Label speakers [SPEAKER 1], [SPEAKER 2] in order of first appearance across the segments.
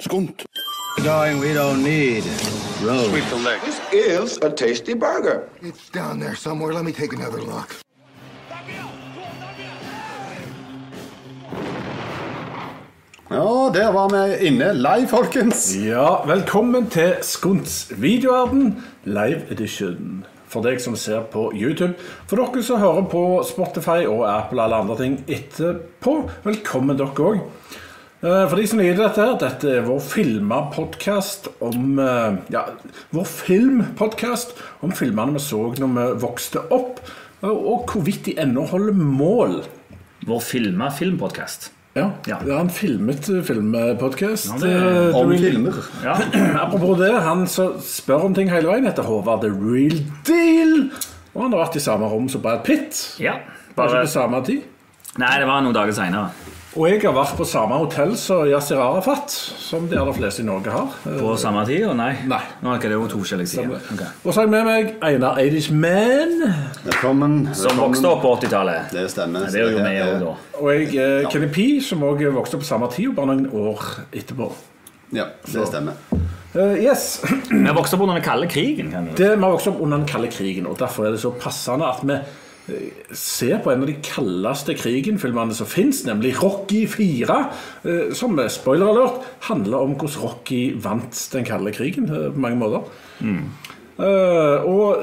[SPEAKER 1] skunt.
[SPEAKER 2] Going, we don't need roads.
[SPEAKER 3] Sweep the leg.
[SPEAKER 4] This is a tasty burger.
[SPEAKER 5] It's down there somewhere. Let me take another look.
[SPEAKER 1] Ja, der var vi inne. Live, folkens.
[SPEAKER 6] Ja, velkommen til Skunts videoverden, live edition. For deg som ser på YouTube, for dere som hører på Spotify og Apple og alle andre ting etterpå, velkommen dere òg. For de som liker dette, her, dette er vår filma podkast om eh, Ja, vår filmpodkast om filmene vi så når vi vokste opp, og hvorvidt de ennå holder mål.
[SPEAKER 7] Vår filma filmpodkast.
[SPEAKER 6] Ja,
[SPEAKER 7] Ja.
[SPEAKER 6] det er en filmet eh, filmpodkast.
[SPEAKER 7] Ja, det er-
[SPEAKER 1] Om filmer.
[SPEAKER 7] Ja.
[SPEAKER 6] Apropos det, han som spør om ting hele veien, heter Håvard The Real Deal. Og han har vært i samme rom som Brad Pitt.
[SPEAKER 7] ja.
[SPEAKER 6] Kanskje
[SPEAKER 7] Bare
[SPEAKER 6] på samme tid.
[SPEAKER 7] Nei, det var noen dager seinere.
[SPEAKER 6] Og jeg har vært på samme hotell som Yasir Arafat, som de aller fleste i Norge har. Eh,
[SPEAKER 7] På samme tid? og Nei.
[SPEAKER 6] Nei.
[SPEAKER 7] Nå er ikke det jo to forskjellige sider. Ok.
[SPEAKER 6] Og så har jeg med meg Einar Eidish Man.
[SPEAKER 1] Velkommen.
[SPEAKER 7] Som
[SPEAKER 1] velkommen.
[SPEAKER 7] vokste opp på 80-tallet.
[SPEAKER 1] Det stemmer.
[SPEAKER 7] Nei, Det gjorde vi
[SPEAKER 1] her
[SPEAKER 7] òg
[SPEAKER 1] er-
[SPEAKER 7] da.
[SPEAKER 6] Og jeg eh, Kenny P, som òg vokste opp på samme tid, og bare noen år etterpå.
[SPEAKER 1] Ja, det stemmer.
[SPEAKER 6] Eh, yes,
[SPEAKER 7] Vi vokste opp under den kalde krigen. kan du.
[SPEAKER 6] Det, Vi har vokst opp under den kalde krigen, og derfor er det så passende at vi eh, ser på en av de kaldeste krigenfilmene som fins, nemlig Rocky 4, eh, som eh, spoiler alert handler om hvordan Rocky vant den kalde krigen eh, på mange måter. Eh, og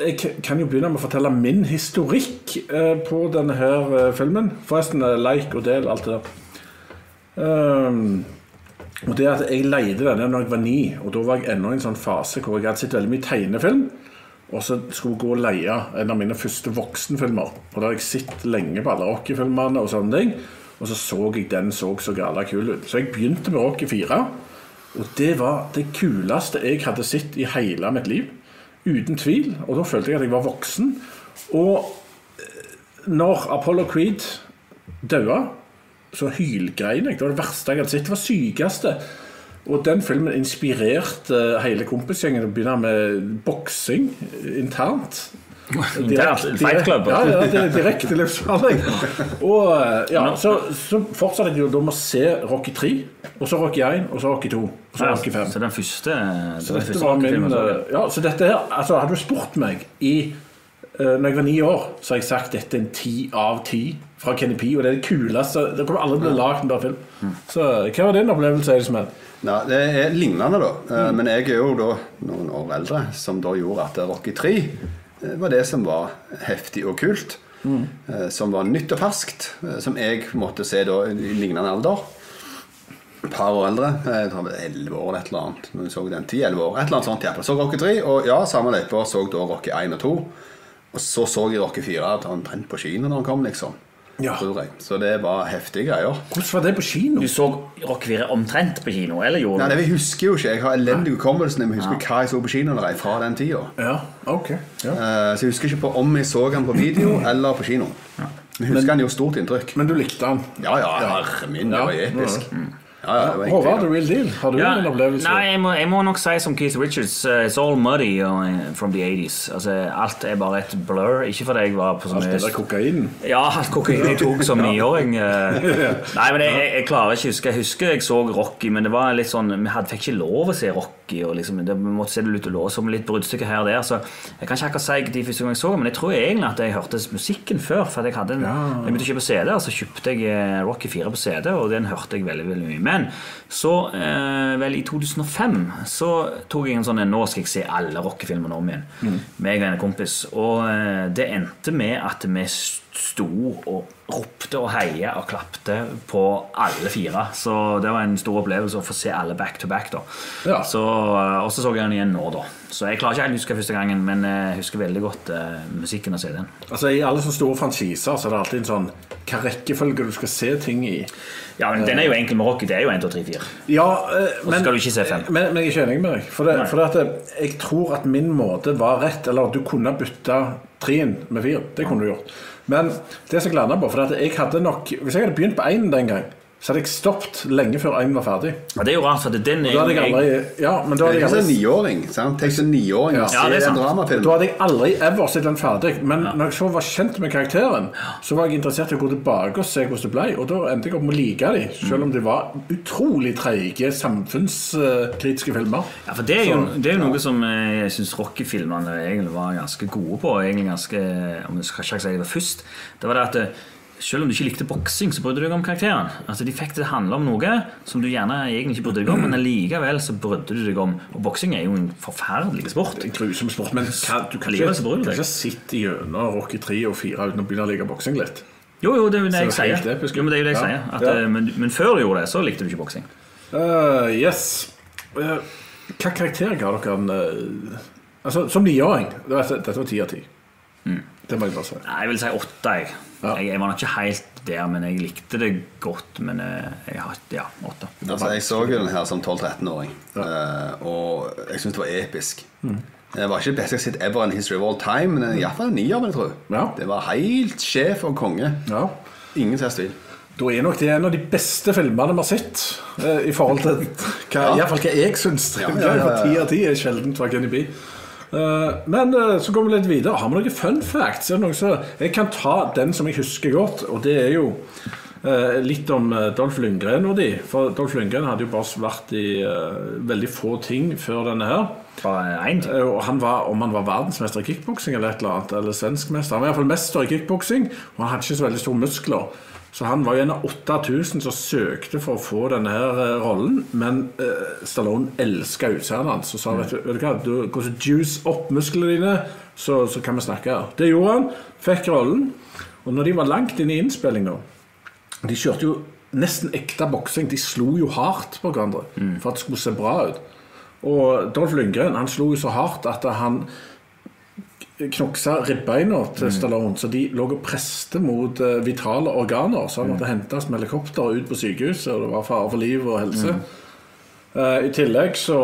[SPEAKER 6] jeg k- kan jo begynne med å fortelle min historikk eh, på denne her eh, filmen. Forresten, eh, like og del, alt det der. Ehm, og det at Jeg leide denne når jeg var ni, og da var jeg ennå i en sånn fase hvor jeg hadde sett veldig mye tegnefilm. Og så skulle jeg gå og leie en av mine første voksenfilmer. Og da hadde jeg sett lenge på alle Rocky-filmene og sånne ting. Og så så jeg den så så gala kul ut. Så jeg begynte med Rocky 4. Og det var det kuleste jeg hadde sett i hele mitt liv. Uten tvil. Og da følte jeg at jeg var voksen. Og eh, når Apollo Creed daua så hylgrein jeg. Det var det verste jeg hadde sett. Det var sykeste. Og den filmen inspirerte eh, hele kompisgjengen til å begynne med boksing eh, internt.
[SPEAKER 7] Internt? Fight Club?
[SPEAKER 6] Ja, ja, det er direkte livsfarlig. Og eh, ja, så, så fortsatte jeg jo da med å se Rocky 3, og så Rocky 1, og så Rocky 2, og så Rocky 5.
[SPEAKER 7] Så den første
[SPEAKER 6] Så
[SPEAKER 7] den
[SPEAKER 6] dette
[SPEAKER 7] første
[SPEAKER 6] var min
[SPEAKER 7] filmen så jeg.
[SPEAKER 6] eh, Ja, så dette her Altså, hadde du spurt meg i eh, Når jeg var ni år, så har jeg sagt dette er en ti av ti fra Kenny P, og det er det kuleste Det kommer aldri til å bli lagd en bra film. Så eh, hva var din opplevelse? Elisabeth?
[SPEAKER 1] Nei, det er lignende, da. Eh, Men jeg er jo da noen år eldre, som da gjorde at Rocky 3 eh, var det som var heftig og kult. eh, Som var nytt og ferskt. eh, Som jeg måtte se da i lignende alder. Et par år eldre. eh, Jeg tror det var 11 år eller et eller annet. Når jeg så den 10-11 år, et eller annet sånt, ja. Så Rocky 3, og ja, samme løyper så da Rocky 1 og 2. Og så så jeg Rocky 4 at han brente på kino når han kom, liksom.
[SPEAKER 6] Ja.
[SPEAKER 1] Tror jeg. Så det var heftige greier.
[SPEAKER 6] Hvordan var det på kino?
[SPEAKER 7] Du så Rock 4 omtrent på kino? eller gjorde
[SPEAKER 1] Nei,
[SPEAKER 7] du?
[SPEAKER 1] det, Jeg husker jo ikke. Jeg har elendig hukommelse, men jeg husker hva jeg så på kino når jeg fra den tida.
[SPEAKER 6] Ja, ok. Ja.
[SPEAKER 1] Eh, så jeg husker ikke på om jeg så han på video eller på kino. Men jeg husker han gjorde stort inntrykk.
[SPEAKER 6] Men du likte han?
[SPEAKER 1] Ja, ja, herre min, det
[SPEAKER 6] Ja. Mm.
[SPEAKER 1] var episk. Ja, ja, det var
[SPEAKER 6] Håvard, the
[SPEAKER 1] egentlig,
[SPEAKER 6] real deal. Har du
[SPEAKER 7] Ja,
[SPEAKER 6] en opplevelse?
[SPEAKER 7] nei, jeg må, jeg må nok si som Keith Richards. eh, It's all muddy eh, from the 80s. Altså, alt er bare et blur. Ikke fordi jeg var på så
[SPEAKER 6] Alt det
[SPEAKER 7] mye
[SPEAKER 6] der kokainen?
[SPEAKER 7] Ja, alt kokain jeg tok som niåring. eh. Nei, men jeg, jeg, jeg klarer ikke å huske. Jeg husker jeg så Rocky, men det var litt sånn, vi hadde, fikk ikke lov å se Rocky. og liksom, det, Vi måtte se det litt lås om litt bruddstykker her og der. så Jeg kan ikke akkurat si de første gang jeg så det, men jeg tror egentlig at jeg hørte musikken før. for at Jeg hadde en, jeg begynte å kjøpe CD, og så kjøpte jeg eh, Rocky 4 på CD, og den hørte jeg veldig veldig mye. Men så, eh, vel i 2005, så tok jeg en sånn en, Nå skal jeg se alle Rocky-filmene om igjen. Meg og en kompis. Og eh, det endte med at vi sto og ropte og heia og klapte på alle fire. Så det var en stor opplevelse å få se alle back to back. da.
[SPEAKER 6] Ja.
[SPEAKER 7] Så, eh, og så så jeg den igjen nå, da. Så jeg klarer ikke helt å huske første gangen, men eh, jeg husker veldig godt eh, musikken og CD-en.
[SPEAKER 6] Altså, I alle sånne store franchiser så er det alltid en sånn hva rekkefølge du skal se ting i.
[SPEAKER 7] Ja, men den er jo enkel med Rocky. Det er jo 1, 2, 3, 4.
[SPEAKER 6] Ja, eh, men,
[SPEAKER 7] skal du ikke se fem.
[SPEAKER 6] Men, men jeg er ikke enig med deg. For, det,
[SPEAKER 7] Nei.
[SPEAKER 6] for det at det- jeg tror at min måte var rett. Eller at du kunne bytte trien med fire. Det kunne du gjort. Men det som jeg landa på for det at jeg hadde nok, Hvis jeg hadde begynt på én den gang, så hadde jeg stoppet lenge før én var ferdig.
[SPEAKER 7] Ja, det er jo rart, for at den
[SPEAKER 6] Da hadde jeg aldri, ja, men da
[SPEAKER 1] Det
[SPEAKER 6] hadde
[SPEAKER 1] er
[SPEAKER 6] jeg
[SPEAKER 1] ikke en
[SPEAKER 6] aldri
[SPEAKER 1] niåring. sant? Tenk som niåring
[SPEAKER 6] Ja.
[SPEAKER 1] å
[SPEAKER 7] Ja,
[SPEAKER 1] se
[SPEAKER 7] det er
[SPEAKER 1] en
[SPEAKER 7] sant.
[SPEAKER 1] dramafilm.
[SPEAKER 6] da hadde jeg aldri ever sett den ferdig. Men når jeg så var kjent med karakteren, så var jeg interessert i å gå tilbake og se hvordan det ble. Og da endte jeg opp med å like dem, selv om de var
[SPEAKER 7] Mm.
[SPEAKER 6] utrolig treige samfunnskritiske filmer.
[SPEAKER 7] Ja, for Det er jo, det er jo noe som eh, jeg syns Rocky-filmene egentlig var ganske gode på. egentlig ganske, om jeg skal ikke si det var først, det var det at eh, selv om du ikke likte boksing, så brydde du deg om karakteren. Altså, De fikk det til å handle om noe som du gjerne egentlig ikke brydde deg om, men allikevel så brydde du deg om. Og boksing er jo en forferdelig sport.
[SPEAKER 6] En grusom sport, men kan, du kan
[SPEAKER 7] Likevel
[SPEAKER 6] ikke,
[SPEAKER 7] så bryr du
[SPEAKER 6] kan
[SPEAKER 7] deg.
[SPEAKER 6] ikke sitte gjennom Rocky 3 og 4 uten å begynne å like boksing litt.
[SPEAKER 7] Jo, jo, det er jo det
[SPEAKER 6] Så det
[SPEAKER 7] jeg
[SPEAKER 6] er
[SPEAKER 7] sier.
[SPEAKER 6] helt episk.
[SPEAKER 7] Jo, men det er jo det jeg
[SPEAKER 6] Ja.
[SPEAKER 7] sier. At,
[SPEAKER 6] Ja.
[SPEAKER 7] eh, men, men før du gjorde det, så likte du ikke boksing.
[SPEAKER 6] Eh, yes. Eh, hva karakter ga dere en eh, altså, Som niåring det var- Dette var ti av ti. Det må jeg bare si.
[SPEAKER 7] Nei, jeg vil si åtte. Jeg.
[SPEAKER 6] Ja.
[SPEAKER 7] Jeg, jeg var nok ikke helt der, men jeg likte det godt. Men eh, jeg har ja, åtte.
[SPEAKER 1] Altså, jeg så jo den her som 12-13-åring, eh, og jeg syns det var episk. Eh, Det var ikke det beste jeg har sett ever in history of all time, men iallfall en nier, vil jeg tro.
[SPEAKER 6] Ja.
[SPEAKER 1] Det var helt sjef og konge.
[SPEAKER 6] Ja.
[SPEAKER 1] Ingen som helst tvil.
[SPEAKER 6] Da er nok det en av de beste filmene vi har sett. eh, I forhold til
[SPEAKER 1] Ja.
[SPEAKER 6] hva, i hvert fall hva jeg syns.
[SPEAKER 1] Ja, ja, ja, ja.
[SPEAKER 6] Ti av ti er sjelden fra Kenny B. Eh, men eh, så går vi litt videre. Har vi noen fun facts? Er det noen som- jeg kan ta den som jeg husker godt, og det er jo eh, litt om eh, Dolph Lundgren og de. For Dolph Lundgren hadde jo bare vært i eh, veldig få ting før denne her.
[SPEAKER 7] Bare én ting.
[SPEAKER 6] Eh, Og han var, om han var verdensmester i kickboksing eller et eller annet, eller svenskmester. Han var iallfall mester i kickboksing, og han hadde ikke så veldig store muskler. Så han var jo en av 8000 som søkte for å få denne her eh, rollen, men eh, Stallone elska utseendet hans og sa vet du, vet du hva, du går så juice opp musklene dine, så, så kan vi snakke her. Det gjorde han, fikk rollen. Og når de var langt inne i innspillinga de kjørte jo nesten ekte boksing. De slo jo hardt på hverandre for at det skulle se bra ut. Og Dolph Lundgren han slo jo så hardt at han knoksa ribbeina til Stallone, så de lå og preste mot eh, vitale organer. Så han måtte hentes med helikopter og ut på sykehuset, og det var fare for liv og helse. Eh, I tillegg så,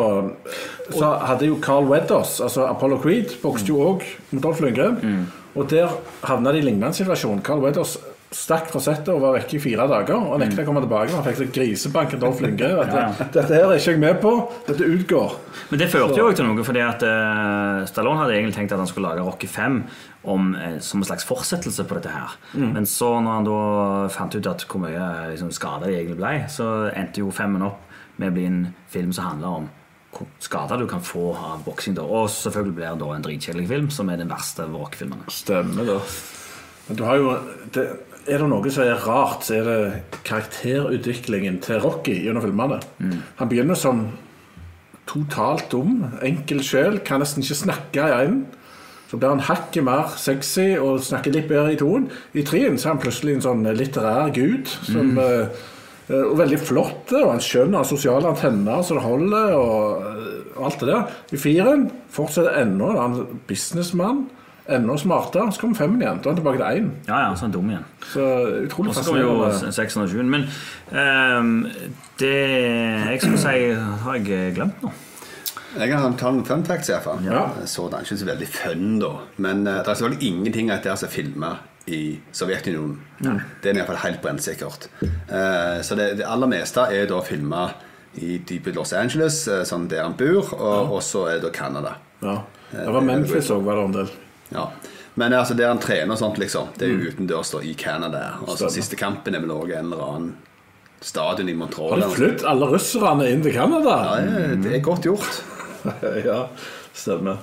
[SPEAKER 6] så hadde jo Carl Weathers, altså Apollo Creed, bokste jo òg mot Dolph Lundgren. Og der havna de i lignende situasjon. Carl Weathers stakk fra settet og var vekke i fire dager. Og nekta å komme tilbake. Han fikk så grisebank av Dolph Lundgren. Vet du. Dette her er ikke jeg med på. Dette utgår.
[SPEAKER 7] Men det førte jo også til noe, fordi at eh, Stallone hadde egentlig tenkt at han skulle lage Rocky 5 om, eh, som en slags fortsettelse på dette her. Men så, når han da fant ut at hvor mye eh, liksom, skader de egentlig ble, så endte jo 5-en opp med å bli en film som handler om hvor skader du kan få av boksing. da. Og selvfølgelig blir det da en dritkjedelig film, som er den verste av Rocky-filmene.
[SPEAKER 6] Stemmer det. Men du har jo det, Er det noe som er rart, så er det karakterutviklingen til Rocky gjennom filmene. Han begynner som totalt dum, enkel sjel, kan nesten ikke snakke i øynene. Så blir han hakket mer sexy og snakker litt bedre i tonen. I trien så er han plutselig en sånn litterær gud.
[SPEAKER 7] Mm.
[SPEAKER 6] Som, eh, eh, og veldig flott, og han skjønner sosiale antenner så det holder, og, eh, og alt det der. I firen fortsetter ennå, da er han businessmann. Enda smartere. Så kommer femmen igjen. Da er han tilbake til én.
[SPEAKER 7] Ja, ja, så er han dum igjen.
[SPEAKER 6] Så utrolig
[SPEAKER 7] Og så kom jo
[SPEAKER 6] fascinerende.
[SPEAKER 7] 620. Men ehm, det jeg skulle si, har jeg glemt nå.
[SPEAKER 1] Jeg kan ta noen fun facts, iallfall.
[SPEAKER 6] Ja.
[SPEAKER 1] Så den er ikke så veldig fun, da. Men eh, det er selvfølgelig ingenting av dette som er filma i Sovjetunionen. Det er i hvert fall helt brennsikkert. Eh, så det, det aller meste er da filma i dype Los Angeles, eh, sånn der han bor, og, og så er det da Canada.
[SPEAKER 6] Ja. Det var Memphis òg, var det en del.
[SPEAKER 1] Ja. Men altså, der han trener og sånt, liksom, det er
[SPEAKER 6] Mm.
[SPEAKER 1] jo utendørs da, i Canada. Altså,
[SPEAKER 6] Stemmer.
[SPEAKER 1] siste kampen er vel også en eller annen stadion i Montreal.
[SPEAKER 6] Har de
[SPEAKER 1] eller noe sånt.
[SPEAKER 6] flyttet alle russerne inn til Canada?
[SPEAKER 1] Ja, det- det er godt gjort.
[SPEAKER 6] ja, stemmer.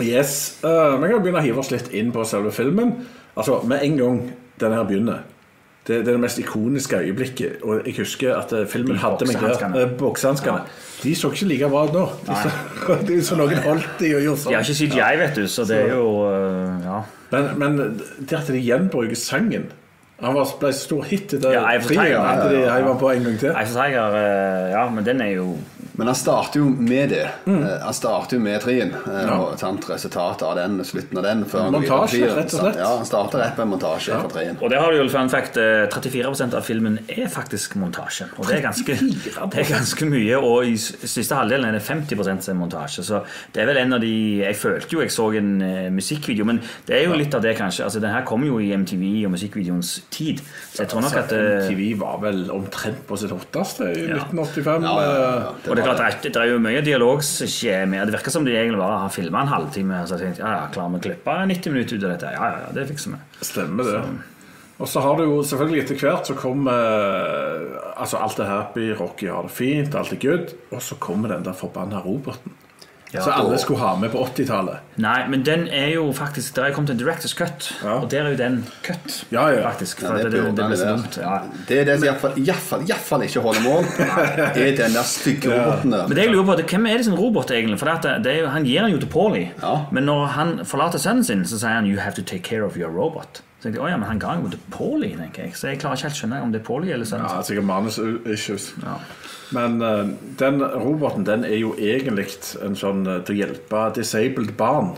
[SPEAKER 6] Yes. eh, Vi kan begynne å hive oss litt inn på selve filmen. Altså, Med en gang denne her begynner det, det er det mest ikoniske øyeblikket. Og jeg husker at eh, filmen hadde meg der.
[SPEAKER 7] boksehanskene.
[SPEAKER 6] Eh, Boksehanskene. De så ikke like bra ut nå. De så, de så noen holdt de og gjorde
[SPEAKER 7] De
[SPEAKER 6] sånn.
[SPEAKER 7] har ikke CGI, jeg, vet du, så det er jo eh, Ja.
[SPEAKER 6] Men, men det at de gjenbruker sangen Han var, ble så stor hit i det
[SPEAKER 7] Ja, Eye for Tiger, ja,
[SPEAKER 6] at de heiv han på en gang til.
[SPEAKER 7] Ice and Tiger, eh, ja, men den er jo
[SPEAKER 1] Men han starter jo med det.
[SPEAKER 7] Mm.
[SPEAKER 1] Eh, Han starter jo med trien. eh, Og sant, resultatet av den, slutten av den. Før han går videre
[SPEAKER 6] Montasje,
[SPEAKER 1] til trien.
[SPEAKER 6] rett og slett.
[SPEAKER 1] Ja, han starter rett med en montasje fra trien.
[SPEAKER 7] Og der har du jo fun fact, eh, 34 av filmen er faktisk montasje. Og det er ganske, det er ganske mye. Og i s- siste halvdelen er det 50 som er montasje. Så det er vel en av de Jeg følte jo jeg så en eh, musikkvideo, men det er jo litt av det, kanskje. Altså, Den her kom jo i MTV og musikkvideoens tid. Så jeg tror nok at eh,
[SPEAKER 6] Altså, MTV var vel omtrent på sitt hotteste i
[SPEAKER 7] Ja.
[SPEAKER 6] 1985.
[SPEAKER 1] Ja, ja, ja, ja.
[SPEAKER 6] eh,
[SPEAKER 7] Og det er klart, det er jo mye dialog som skjer med Det virker som de egentlig bare har filma en halvtime. Så jeg tenkte, ja, ja, klarer vi å klippe 90 minutter ut av dette? Ja, ja, ja, det fikser vi.
[SPEAKER 6] Stemmer det. Og så har du jo selvfølgelig etter hvert så kom eh, Altså alt er happy, Rocky har det fint, alt er good. Og så kommer den der forbanna roboten. så alle skulle ha med på 80-tallet.
[SPEAKER 7] Nei, men den er jo faktisk Der er kommet en Directors Cut,
[SPEAKER 6] Ja.
[SPEAKER 7] og der er jo den cut,
[SPEAKER 6] Ja, ja.
[SPEAKER 7] faktisk. For
[SPEAKER 1] Ja,
[SPEAKER 7] det, det, det,
[SPEAKER 1] burde
[SPEAKER 7] blir så
[SPEAKER 1] være.
[SPEAKER 7] dumt. Ja.
[SPEAKER 1] Det er det som iallfall, iallfall, iallfall ikke holder mål. Det er den der stygge roboten der.
[SPEAKER 7] Men det jeg lurer på, det, Hvem er det sin robot, egentlig? For det at det, det er jo, Han gir den jo til Paulie.
[SPEAKER 1] Ja.
[SPEAKER 7] Men når han forlater sønnen sin, så sier han 'You have to take care of your robot'. Så jeg tenkte, «Å ja, men Han ga den jo til Paulie, tenker jeg. Så jeg klarer ikke helt skjønne om det er Paulie eller sønnen.
[SPEAKER 6] Ja, sikkert manus-issues.
[SPEAKER 7] Ja.
[SPEAKER 6] Men eh, den roboten den er jo egentlig en sånn eh, til å hjelpe disabled barn.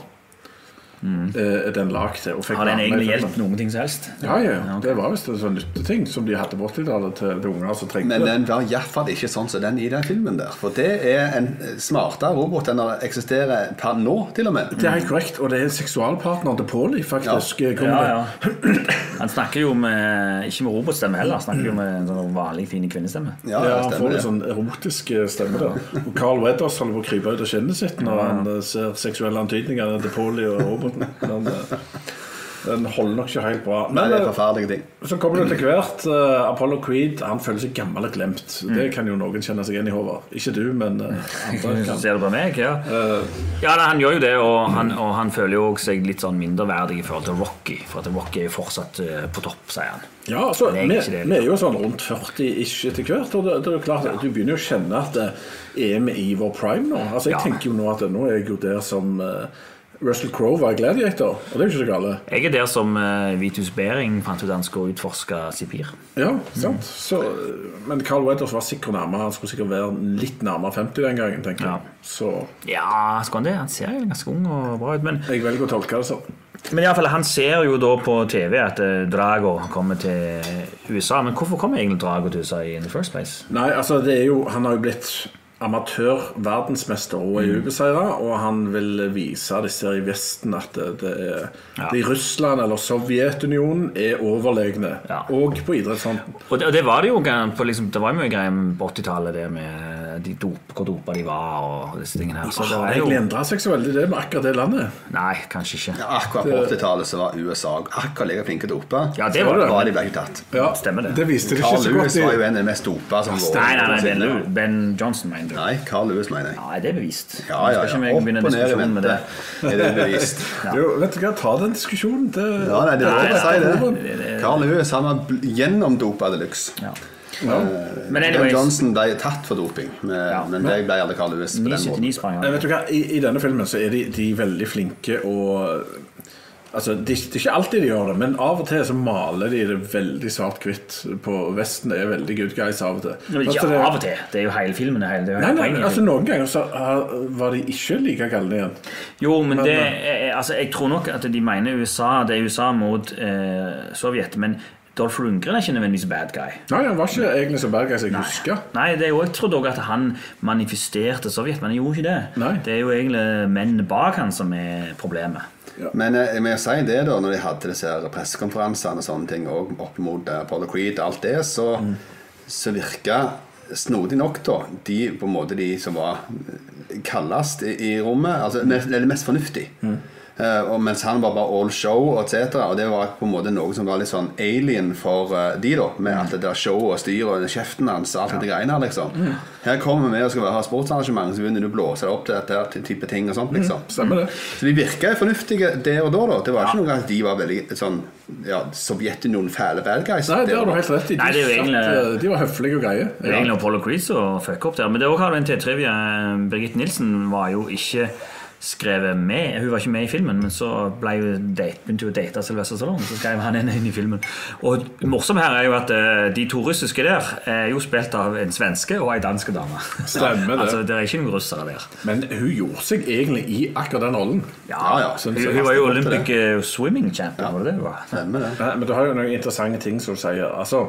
[SPEAKER 6] Eh, den lagd til. og fikk
[SPEAKER 7] Mm. Har den
[SPEAKER 6] være med i
[SPEAKER 7] egentlig
[SPEAKER 6] filmen.
[SPEAKER 7] hjulpet noen ting som helst?
[SPEAKER 6] Ja, ja. Det var visst en sånn nytteting som de hadde på 80-tallet til til unger som trengte
[SPEAKER 1] Men eh,
[SPEAKER 6] det.
[SPEAKER 1] den var iallfall ikke sånn som den i den filmen der. For det er en smartere robot enn den eksisterer per nå, til og med.
[SPEAKER 6] Det er helt korrekt, og det er seksualpartneren til Pauli, faktisk. kommer
[SPEAKER 7] Ja,
[SPEAKER 6] det.
[SPEAKER 7] ja. Han snakker jo med ikke med robotstemme heller, han snakker jo med en sånn vanlig fin kvinnestemme.
[SPEAKER 1] Ja,
[SPEAKER 6] Ja, han får
[SPEAKER 1] stemmer
[SPEAKER 6] litt
[SPEAKER 1] det.
[SPEAKER 6] sånn erotisk eh, stemme der. Og Carl Weathers holder på å krype ut av skinnet sitt når han eh, ser seksuelle antydninger til Polly og roboten. Men, eh, den holder nok ikke helt bra.
[SPEAKER 1] Nei,
[SPEAKER 6] Men
[SPEAKER 1] det er
[SPEAKER 6] eh,
[SPEAKER 1] forferdelige ting.
[SPEAKER 6] så kommer det til hvert. eh, Apollo Creed han føler seg gammel og glemt.
[SPEAKER 1] Mm.
[SPEAKER 6] Det kan jo noen kjenne seg igjen i, Håvard. Ikke du, men eh, andre
[SPEAKER 7] Så
[SPEAKER 6] kan.
[SPEAKER 7] ser du på meg, ja. Ja, nei, Han gjør jo det, og han, og han føler jo også seg litt sånn mindreverdig i forhold til Rocky. For at Rocky er jo fortsatt eh, på topp, sier han.
[SPEAKER 6] Ja, altså,
[SPEAKER 7] Det
[SPEAKER 6] vi,
[SPEAKER 7] er ikke det.
[SPEAKER 6] vi er jo sånn rundt 40-ish etter hvert. Og det, det er jo klart, at Du begynner jo å kjenne at eh, er vi i vår prime nå? Altså, Jeg
[SPEAKER 7] Ja.
[SPEAKER 6] tenker jo nå at nå er jeg jo der som eh, Russell Crowe var i Gladiator. Og det er jo ikke så gale.
[SPEAKER 7] Jeg er der som eh, Vitus Bering fant ut han skulle utforske Sipir.
[SPEAKER 6] Ja, sant? Så, eh, men Carl Weathers var sikkert nærmere. Han skulle sikkert være litt nærmere 50 den gangen, tenker
[SPEAKER 7] Ja.
[SPEAKER 6] jeg. Så
[SPEAKER 7] Ja, skal han det? Han ser jo ganske ung og bra ut. Men,
[SPEAKER 6] jeg velger å tolke det sånn.
[SPEAKER 7] men i alle fall, han ser jo da på TV at eh, Drago kommer til USA. Men hvorfor kommer egentlig Drago til USA i the first place?
[SPEAKER 6] Nei, altså det er jo, Han har jo blitt amatør-verdensmester
[SPEAKER 7] Mm.
[SPEAKER 6] og er ubeseira, og han vil vise disse her i Vesten at det, det er
[SPEAKER 7] Ja.
[SPEAKER 6] det i Russland eller Sovjetunionen er overlegne.
[SPEAKER 7] Ja.
[SPEAKER 6] Og på idrettsfronten.
[SPEAKER 7] Og det, og det var det jo gan- på liksom, Det var jo mye greier på 80-tallet, det med eh, de dop, hvor dopa de var og disse tingene her. Så
[SPEAKER 6] Det
[SPEAKER 7] det
[SPEAKER 6] har
[SPEAKER 7] var
[SPEAKER 6] egentlig
[SPEAKER 7] jo
[SPEAKER 6] endra seg så veldig, det med akkurat det landet.
[SPEAKER 7] Nei, kanskje ikke.
[SPEAKER 1] Ja, akkurat på 80-tallet så var USA akkurat like flinke til å dope.
[SPEAKER 7] Ja, det var det.
[SPEAKER 1] Bare de ble tatt.
[SPEAKER 6] Ja,
[SPEAKER 7] Stemmer det.
[SPEAKER 6] Det viste det ikke
[SPEAKER 1] Carl
[SPEAKER 6] så
[SPEAKER 1] Lewis
[SPEAKER 6] godt
[SPEAKER 1] var jo
[SPEAKER 7] E.
[SPEAKER 6] i
[SPEAKER 1] en av de mest dopa som var
[SPEAKER 7] Nei, nei, nei, Ben, Lew- ben Johnson, mener du.
[SPEAKER 1] Nei, Carl Lewis, mener jeg.
[SPEAKER 7] Nei, det er bevist.
[SPEAKER 1] Ja, ja, ja.
[SPEAKER 7] Skal ikke vi
[SPEAKER 1] Opp og
[SPEAKER 7] begynne
[SPEAKER 1] ned i
[SPEAKER 7] diskusjonen med
[SPEAKER 1] mente.
[SPEAKER 7] det?
[SPEAKER 1] Er det bevist?
[SPEAKER 6] jo, vet du hva, Ta den diskusjonen. Det,
[SPEAKER 1] Ja, nei, det er
[SPEAKER 7] Nei,
[SPEAKER 1] lov å si
[SPEAKER 6] nei,
[SPEAKER 1] det. Carl Lewis han var bl- gjennomdopa de luxe.
[SPEAKER 7] Ja.
[SPEAKER 6] ja.
[SPEAKER 7] Men
[SPEAKER 1] Ben
[SPEAKER 7] anyways,
[SPEAKER 1] Johnson ble tatt for doping, men,
[SPEAKER 7] Ja.
[SPEAKER 1] men det ble aldri Carl Lewis på den måten.
[SPEAKER 7] 979 sprang
[SPEAKER 6] Nei,
[SPEAKER 7] han.
[SPEAKER 6] vet du hva, I, I denne filmen så er de, de veldig flinke og Altså, det, det er ikke alltid de gjør det, men av og til så maler de det veldig svart-hvitt. På Vesten er veldig good guys av og til.
[SPEAKER 7] Det var
[SPEAKER 6] Altså,
[SPEAKER 7] Ikke
[SPEAKER 6] det-
[SPEAKER 7] av og til. Det er jo hele filmen. det er hele- det er jo
[SPEAKER 6] Nei,
[SPEAKER 7] hele
[SPEAKER 6] nei,
[SPEAKER 7] poenget.
[SPEAKER 6] altså Noen ganger så har- var de ikke like galne igjen.
[SPEAKER 7] Jo, men det er- altså, Jeg tror nok at de mener USA Det er USA mot eh, Sovjet, men Dolph Lundgren er ikke nødvendigvis bad guy.
[SPEAKER 6] Nei, Han var ikke egentlig så bad guy som jeg husker.
[SPEAKER 7] Nei, det er jo, jeg trodde også at han manifesterte Sovjet, men han gjorde ikke det.
[SPEAKER 6] Nei.
[SPEAKER 7] Det er jo egentlig menn bak han som er problemet.
[SPEAKER 1] Men eh, jeg må jo si det da, når de hadde disse her pressekonferansene og sånne ting, og opp mot eh, Apollo Creed og alt det, så, så virka snodig nok da, de på en måte de som var kaldest i, i rommet, altså mest, eller mest fornuftig. Eh, og mens han var bare all show og etc. Og det var på en måte noe som var litt sånn alien for eh, de, da. Med alt det der showet og styret og den kjeften hans og alt det greiene her, liksom. Her kommer vi og skal ha sportsarrangement, så begynner du å blåse deg opp til dette type ting og sånt, liksom.
[SPEAKER 6] Stemmer det.
[SPEAKER 1] Så de virka fornuftige der og da. da. Det var ikke noe at de var veldig sånn ja, Sovjetunionen fæle bad guys.
[SPEAKER 6] Nei, det har du helt rett i. De,
[SPEAKER 7] Nei, det er jo
[SPEAKER 6] satt,
[SPEAKER 7] egentlig-
[SPEAKER 6] eh, de var høflige og greie.
[SPEAKER 7] Det er egentlig Apollo Creed som fucker opp der. Men det er også har du en til trivia. Birgitte Nilsen var jo ikke skrevet med. Hun var ikke med i filmen, men så ble hun date, begynte hun å date Sylvester Stallone. Så skrev han henne inn i filmen. Og det morsomme her er jo at eh, de to russiske der er jo spilt av en svenske og ei danske dame.
[SPEAKER 6] Stemmer det.
[SPEAKER 7] altså, det er ikke noen russere der.
[SPEAKER 6] Men hun gjorde seg egentlig i akkurat den rollen.
[SPEAKER 1] Ja, ja.
[SPEAKER 7] Hun, hun var jo Olympic eh, swimming champion, var det det hun var?
[SPEAKER 1] Stemmer det.
[SPEAKER 6] Nei, men du har jo noen interessante ting som du sier. Altså,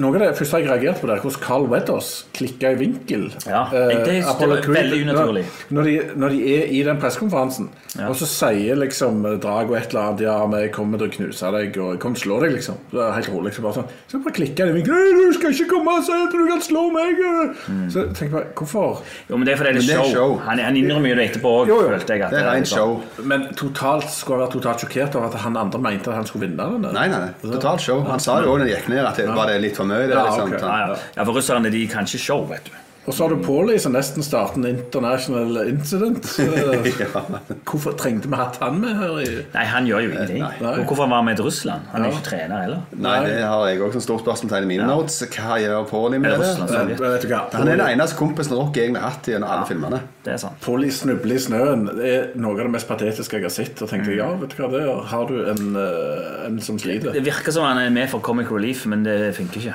[SPEAKER 6] Noe av det første jeg reagerte på, der, hvordan Carl Weathers klikka i vinkel.
[SPEAKER 7] Ja,
[SPEAKER 6] Eh,
[SPEAKER 7] jeg- det- det
[SPEAKER 6] Apollo
[SPEAKER 7] var
[SPEAKER 6] Creed,
[SPEAKER 7] veldig unaturlig.
[SPEAKER 6] Når, når, de, når de er i den pressekonferansen, og så sier liksom eh, Drago et eller annet Ja, men jeg kommer til å knuse deg, og jeg kommer til å slå deg, liksom. Det er helt rolig. Så bare sånn Så bare klikker de i vinkel. «Nei, Du skal ikke komme og si at du kan slå meg! eh!»
[SPEAKER 7] Mm.
[SPEAKER 6] Så jeg tenker jeg hvorfor?
[SPEAKER 7] Jo, men det er fordi det er
[SPEAKER 1] Men det er
[SPEAKER 7] show.
[SPEAKER 1] show.
[SPEAKER 7] Han, han innrømmer jo det etterpå òg,
[SPEAKER 6] Jo, jo.
[SPEAKER 7] følte jeg. At
[SPEAKER 1] Det er rent
[SPEAKER 7] liksom-
[SPEAKER 1] show.
[SPEAKER 6] Men totalt skulle han være totalt sjokkert over at han andre mente at han skulle vinne den? Altså- eller?
[SPEAKER 1] Nei, nei, nei. Totalt show. Han sa jo òg når det gikk ned, at det var det litt for mye. Det,
[SPEAKER 6] Ja,
[SPEAKER 1] liksom.
[SPEAKER 6] ok.
[SPEAKER 1] sånn.
[SPEAKER 7] Ja, ja. ja, for russerne de kan ikke show, vet du.
[SPEAKER 6] Og så har du Paulie som nesten starter en international incident. Eh, Hvorfor trengte vi hatt han med her? i...
[SPEAKER 7] Nei, han gjør jo ingenting.
[SPEAKER 6] Nei.
[SPEAKER 7] Og hvorfor var han med til Russland? Han er jo ikke trener heller.
[SPEAKER 1] Nei, det har jeg òg som stort spørsmålstegn i mine notes. Hva gjør Paulie med
[SPEAKER 7] Er det
[SPEAKER 1] det?
[SPEAKER 7] Russland,
[SPEAKER 6] Men,
[SPEAKER 7] Sovjet?
[SPEAKER 6] vet du hva?
[SPEAKER 1] eh, Han er den
[SPEAKER 6] Paulie-
[SPEAKER 1] eneste kompisen Rocky egentlig har hatt gjennom alle filmene.
[SPEAKER 7] Det er sant.
[SPEAKER 6] Paulie snuble i snøen er noe av det mest patetiske jeg har sett. Og tenkte, ja, vet du hva det er? Har du en, eh, en som sliter?
[SPEAKER 7] Det virker som han er med for Comic Relief, men det funker ikke.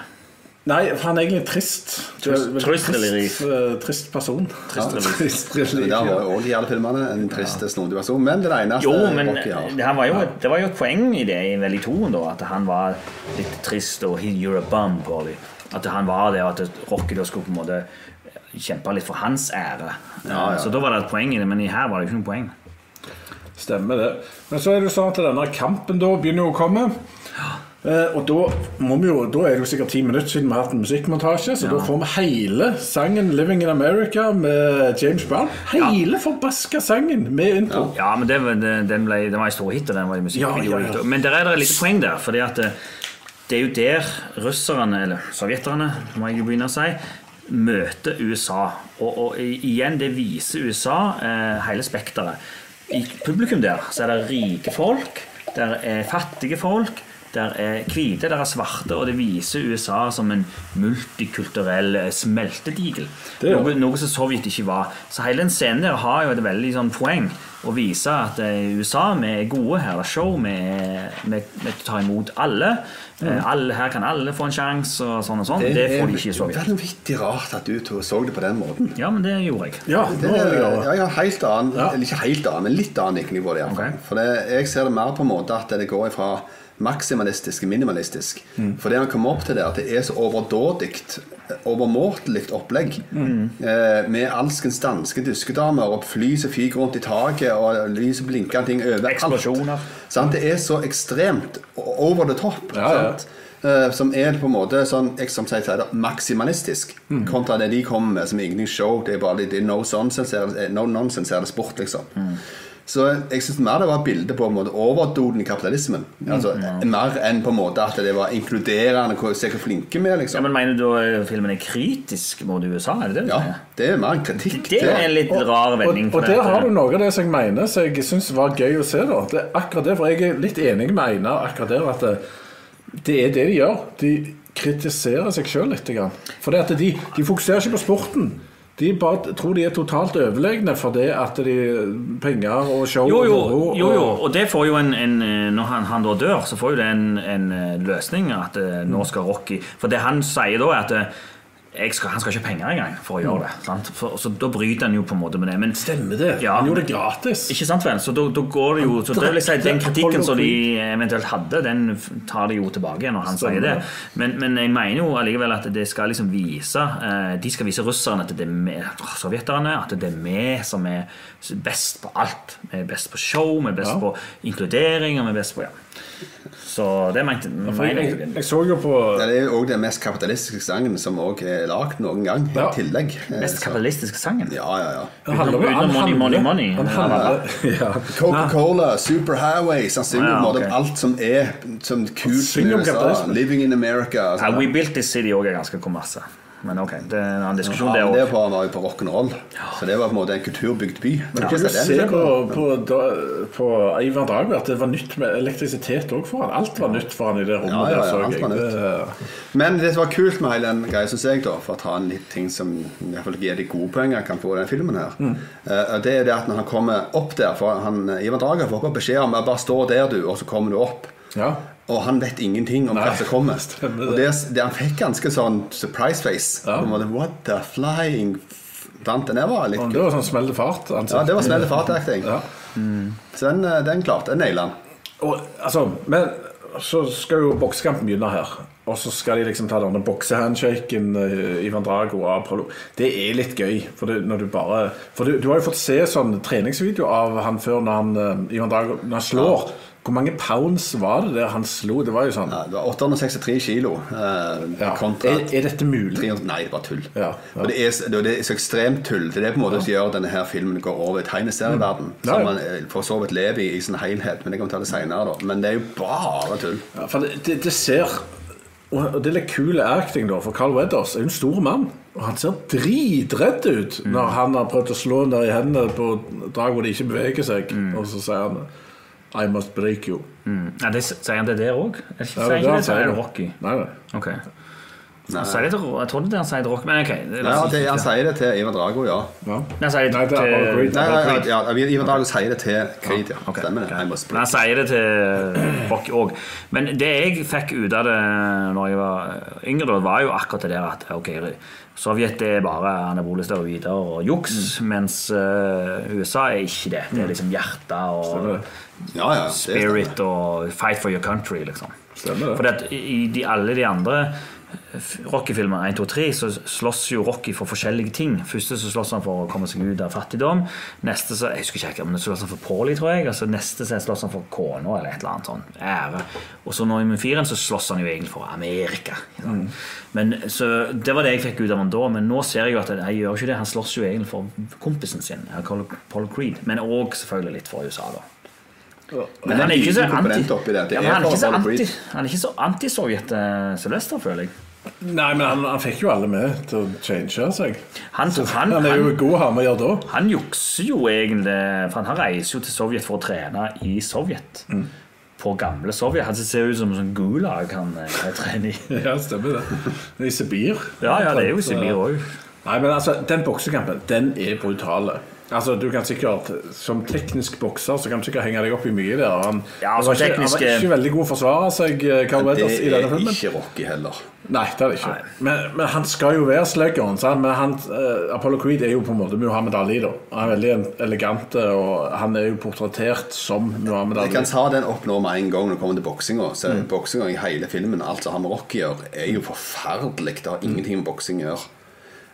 [SPEAKER 6] Nei, for han er egentlig trist. Du er vel
[SPEAKER 7] Trist eller
[SPEAKER 6] trist, eh, trist person. Trist
[SPEAKER 1] eller-
[SPEAKER 6] trist
[SPEAKER 1] Det
[SPEAKER 6] eller
[SPEAKER 1] der var jo også i alle filmene en trist, snodig person, men Altså, det er den eneste
[SPEAKER 7] Jo, men
[SPEAKER 1] Rocky har.
[SPEAKER 7] det, han var jo, et- det var jo et poeng i det i vel i toen, da. At han var litt trist og he, you're a bum, Paulie. At han var det, og at Rocky da skulle på en måte kjempe litt for hans ære. Så da var det et poeng i det, men i her var det jo ikke noe poeng.
[SPEAKER 6] Stemmer det. Men så er det jo sånn at denne kampen da begynner jo å komme. Eh, og da, må vi jo, da er det jo sikkert ti minutter siden vi har hatt en musikkmontasje, så da får vi hele sangen 'Living in America' med James Brown. Hele forbaska sangen med intro.
[SPEAKER 7] Ja, men det, var- det, den, ble, den var en stor hit, og den var en
[SPEAKER 6] Ja,
[SPEAKER 7] musikkvideo.
[SPEAKER 6] ja, ja.
[SPEAKER 7] Men der er det litt poeng der. fordi at eh, det er jo der russerne, eller sovjeterne, må jeg jo begynne å si, møter USA. Og, og i- igjen, det viser USA eh, hele spekteret. I publikum der så er det rike folk, der er fattige folk, der er hvite, der er svarte, og det viser USA som en multikulturell eh, smeltedigel.
[SPEAKER 6] Det gjør
[SPEAKER 7] Noe- noe som Sovjet ikke var. Så hele den scenen der har jo et veldig sånn poeng å vise at eh, USA, vi er gode, her er det show, vi, er- vi, vi tar imot alle.
[SPEAKER 6] Mm.
[SPEAKER 7] Eh, alle. Her kan alle få en sjanse, og sånn og sånn. Det, får de ikke i
[SPEAKER 1] Det
[SPEAKER 7] Sovjet.
[SPEAKER 1] er vanvittig rart at du to så det på den måten.
[SPEAKER 7] Ja, men det gjorde jeg.
[SPEAKER 6] Ja,
[SPEAKER 1] Det
[SPEAKER 6] nå er det
[SPEAKER 1] er,
[SPEAKER 6] greit.
[SPEAKER 1] ja, ja, helt annen,
[SPEAKER 6] Ja.
[SPEAKER 1] eller ikke helt annen, men litt annen virkning på det. i hvert fall.
[SPEAKER 7] Ok.
[SPEAKER 1] For det, jeg ser det mer på en måte at det går fra maksimalistisk til minimalistisk.
[SPEAKER 6] Mm.
[SPEAKER 1] For det han kommer opp til der, at det er så overdådig, overmåtelig opplegg.
[SPEAKER 6] Mm.
[SPEAKER 1] Eh, med alskens danske duskedamer og fly som fyker rundt i taket, og lys og blinkende ting overalt.
[SPEAKER 7] Eksplosjoner.
[SPEAKER 1] Sant? Det er så ekstremt o- over the top.
[SPEAKER 6] Ja, ja.
[SPEAKER 1] Sant? Eh, som er på en måte sånn, jeg som sier, sier det, maksimalistisk,
[SPEAKER 7] Mm.
[SPEAKER 1] kontra det de kommer med som er ingenting show. Det er bare litt det er no nonsense, er det, no nonsense er det sport, liksom.
[SPEAKER 7] Mm.
[SPEAKER 1] Så jeg syns mer det var et bilde på en måte overdoden i kapitalismen. Altså,
[SPEAKER 7] Mm,
[SPEAKER 1] Mer enn på en måte at det var inkluderende, hvor- se hvor flinke vi er,
[SPEAKER 7] Ja,
[SPEAKER 1] liksom.
[SPEAKER 7] men Mener du da eh, filmen er kritisk mot USA? Er det det du
[SPEAKER 1] Ja,
[SPEAKER 7] sier?
[SPEAKER 1] det er mer en kritikk.
[SPEAKER 7] Det er en litt rar vending.
[SPEAKER 6] Og, og der
[SPEAKER 7] eh,
[SPEAKER 6] har du noe av det som jeg mener som jeg syns var gøy å se. da det er akkurat det, For jeg er litt enig med Einar akkurat der at det, det er det de gjør. De kritiserer seg sjøl litt. grann. For det at de, de fokuserer ikke på sporten. De bare tror de er totalt overlegne fordi at de penger og show
[SPEAKER 7] Jo,
[SPEAKER 6] og moro
[SPEAKER 7] jo,
[SPEAKER 6] og-
[SPEAKER 7] jo, jo. Og det får jo en, en eh, Når han, han da dør, så får jo det en, en eh, løsning at eh, nå skal Rocky For det han sier da, er at eh, jeg skal, han skal ikke ha penger engang for å gjøre det. Sant? For, så da bryter han jo på en måte med det. Men
[SPEAKER 6] Mm. Stemmer det.
[SPEAKER 7] Ja.
[SPEAKER 6] Han gjorde det gratis.
[SPEAKER 7] ikke sant, Sven? Så da, da går det jo så det vil jeg si, Den
[SPEAKER 6] drakk
[SPEAKER 7] kritikken som de
[SPEAKER 6] Apollo
[SPEAKER 7] eventuelt hadde, den f- tar de jo tilbake når han
[SPEAKER 6] Stemmer
[SPEAKER 7] sier det.
[SPEAKER 6] det.
[SPEAKER 7] Men, men jeg mener jo allikevel at det skal liksom vise eh, De skal vise russerne at det er vi, åh, sovjeterne, at det er vi som er best på alt. Vi er best på show, vi er best
[SPEAKER 6] Ja.
[SPEAKER 7] på inkludering, og vi er best på ja. Så det mente
[SPEAKER 6] For jeg,
[SPEAKER 7] mener jeg.
[SPEAKER 6] jeg, jeg så jo på
[SPEAKER 1] Ja, det er jo òg den mest kapitalistiske sangen som òg er lagd noen gang,
[SPEAKER 6] Ja.
[SPEAKER 1] i tillegg. Eh,
[SPEAKER 7] Mest
[SPEAKER 1] så-
[SPEAKER 7] kapitalistiske sangen.
[SPEAKER 1] Ja, ja, ja.
[SPEAKER 6] Han handler-
[SPEAKER 7] Utenom- utenom
[SPEAKER 6] han
[SPEAKER 7] money, money,
[SPEAKER 6] handler-
[SPEAKER 7] money.
[SPEAKER 6] Han handler, ja.
[SPEAKER 1] Coca-Cola, Superhighway, sannsynlig på
[SPEAKER 7] Ja,
[SPEAKER 1] en måte
[SPEAKER 7] ok.
[SPEAKER 1] om alt som er som kult
[SPEAKER 6] Syng om
[SPEAKER 1] med USA.
[SPEAKER 6] kapitalisme.
[SPEAKER 1] Living in America.
[SPEAKER 7] Ja,
[SPEAKER 1] sånn.
[SPEAKER 7] We Built This City òg er ganske kommersiell. Men ok, det er en annen
[SPEAKER 1] Ja, men
[SPEAKER 7] diskusjon, det
[SPEAKER 1] det
[SPEAKER 7] òg.
[SPEAKER 1] var var jo på rock'n'roll. Så det var på en måte en kulturbygd by. Men
[SPEAKER 6] Kan du
[SPEAKER 1] hvordan er det?
[SPEAKER 6] se på, på, da- på Ivan Dragberg at det var nytt med elektrisitet òg for han Alt var nytt for han i det rommet
[SPEAKER 1] Ja, ja, ja,
[SPEAKER 6] der, så
[SPEAKER 1] alt
[SPEAKER 6] jeg.
[SPEAKER 1] var nytt.
[SPEAKER 6] Det-
[SPEAKER 1] Men det som var kult med hele den greia, synes jeg, da, for å ta en litt ting som i hvert fall gir de gode poengene kan få i den filmen her, eh, og det er det at når han kommer opp der for han, Ivan Drager får bare beskjed om «Ja, bare stå der, du, og så kommer du opp.
[SPEAKER 6] Ja.
[SPEAKER 1] Og han vet ingenting om hva som kommer.
[SPEAKER 6] stemmer det.
[SPEAKER 1] Og det, det Han fikk ganske sånn surprise face.
[SPEAKER 6] Ja.
[SPEAKER 1] På en måte, What the flying f- Dante, det var litt
[SPEAKER 6] Men
[SPEAKER 1] kult.
[SPEAKER 6] det var sånn smell til fart. ansikt.
[SPEAKER 1] Ja, det var snelle fat-acting.
[SPEAKER 6] Ja.
[SPEAKER 1] Så den, eh, den klarte jeg. Naila den.
[SPEAKER 6] Og, altså, men så skal jo boksekampen begynne her. Og så skal de liksom ta denne boksehandshaken eh, Ivan Drago og Apollo. Det er litt gøy. For, det, når du, bare, for du, du har jo fått se sånn treningsvideo av han før når han, eh, Ivan Drago når han slår. Hvor mange pounds var det der han slo? Det var jo sånn
[SPEAKER 1] Ja, det var 863 kilo eh,
[SPEAKER 6] ja.
[SPEAKER 1] kontra
[SPEAKER 6] er, er dette mulig?
[SPEAKER 1] 300 Nei, det var tull.
[SPEAKER 6] Ja, ja.
[SPEAKER 1] Og det er, det, det er så ekstremt tull. Det er det på en måte som gjør denne her filmen går over i tegneserieverden.
[SPEAKER 6] Mm. Ja, ja.
[SPEAKER 1] Som man eh, for så vidt lever i i sin helhet. Men det kan vi ta det senere da. Men det er jo bare tull.
[SPEAKER 6] Ja, for det, det, det ser Og og det er litt kul acting, da, for Carl Weathers er jo en stor mann. Og han ser dritredd ut
[SPEAKER 7] Mm.
[SPEAKER 6] når han har prøvd å slå henne der i hendene på Drago og de ikke beveger seg. Og så sier han I must break you.
[SPEAKER 7] Mm. Ja, det, sier han det der òg? Sier
[SPEAKER 6] Ja,
[SPEAKER 7] han
[SPEAKER 6] det
[SPEAKER 7] ikke det,
[SPEAKER 6] han
[SPEAKER 7] så er det
[SPEAKER 6] sier.
[SPEAKER 7] Rocky.
[SPEAKER 6] Nei, nei.
[SPEAKER 7] Ok. Han sier det til, jeg trodde det han sier til Rocky, men ok. det- la
[SPEAKER 1] Ja,
[SPEAKER 7] oss
[SPEAKER 1] det,
[SPEAKER 7] ikke-
[SPEAKER 1] han sier det til Ivan Drago, ja.
[SPEAKER 6] Ja.
[SPEAKER 7] Nei, han sier det eh,
[SPEAKER 6] Nei, det er
[SPEAKER 7] til-
[SPEAKER 6] Apollo Creed.
[SPEAKER 1] Nei, nei, nei, ja, Ivan Drago sier det til Creed, ja.
[SPEAKER 7] Ok,
[SPEAKER 1] Stemmer det.
[SPEAKER 7] ok.
[SPEAKER 1] I must
[SPEAKER 7] Men Han sier det til Rocky òg. Men det jeg fikk ut av det når jeg var yngre, da, var jo akkurat det der at ok, Sovjet er bare anabole steroider og juks,
[SPEAKER 1] Mm.
[SPEAKER 7] mens eh, USA er ikke det. Det er liksom hjerte og
[SPEAKER 1] Ja, ja, det
[SPEAKER 7] spirit og fight for your country, liksom.
[SPEAKER 6] Stemmer det.
[SPEAKER 7] Fordi at i de, alle de andre f- Rocky-filmene 1, 2, 3 så slåss jo Rocky for forskjellige ting. Første så slåss han for å komme seg ut av fattigdom. Neste så jeg husker ikke helt, men så slåss han for Paulie, tror jeg. Og så neste så slåss han for kona eller et eller annet sånn ære. Og så nå i Mufiren så slåss han jo egentlig for Amerika. ikke sant?
[SPEAKER 1] Mm.
[SPEAKER 7] Men, så Det var det jeg fikk ut av han da, men nå ser jeg jo at han- jeg gjør ikke det. Han slåss jo egentlig for kompisen sin, Apollo Apollo Creed, men òg selvfølgelig litt for USA, da. Men han er ikke så
[SPEAKER 1] liten komponent
[SPEAKER 7] anti-
[SPEAKER 1] oppi det. Det
[SPEAKER 7] Ja, men
[SPEAKER 1] er
[SPEAKER 7] han er ikke så
[SPEAKER 1] Apollo Creed.
[SPEAKER 7] anti- han er ikke så anti-Sovjet eh, Sylvester, føler jeg.
[SPEAKER 6] Nei, men han, han fikk jo alle med til å change seg.
[SPEAKER 7] Han, han,
[SPEAKER 6] Han er jo
[SPEAKER 7] han,
[SPEAKER 6] god han må gjøre da.
[SPEAKER 7] han jukser jo egentlig, for han reiser jo til Sovjet for å trene i Sovjet.
[SPEAKER 6] Mm.
[SPEAKER 7] På gamle Sovjet. Han ser ut som en sånn gulag han eh, trener i.
[SPEAKER 6] Ja, stemmer det. I Sibir.
[SPEAKER 7] Ja, ja, det er jo i Sibir òg.
[SPEAKER 6] Nei, men altså, den boksekampen, den er brutale. Altså, du kan sikkert, Som teknisk bokser så kan du sikkert henge deg opp i mye der. Han,
[SPEAKER 7] Ja, altså,
[SPEAKER 6] han, var, ikke, han var
[SPEAKER 7] tekniske-
[SPEAKER 6] ikke veldig god å forsvare seg, eh, Carl
[SPEAKER 1] Det
[SPEAKER 6] Weathers, i
[SPEAKER 1] er
[SPEAKER 6] denne filmen.
[SPEAKER 1] ikke Rocky heller.
[SPEAKER 6] Nei, det er det ikke. Men, men han skal jo være sluggeren. sant? Men han, eh, Apollo Creed er jo på en måte Muhammad Ali. da. Han er veldig elegant, eh, og han er jo portrettert som Muhammad
[SPEAKER 1] Jeg kan
[SPEAKER 6] Ali.
[SPEAKER 1] ta den opp nå med en gang når det kommer til boksinga. Så
[SPEAKER 6] Mm.
[SPEAKER 1] boksinga i hele filmen, alt som har med Rocky å gjøre, er jo forferdelig. Det
[SPEAKER 6] Mm.
[SPEAKER 1] har ingenting med boksing å gjøre.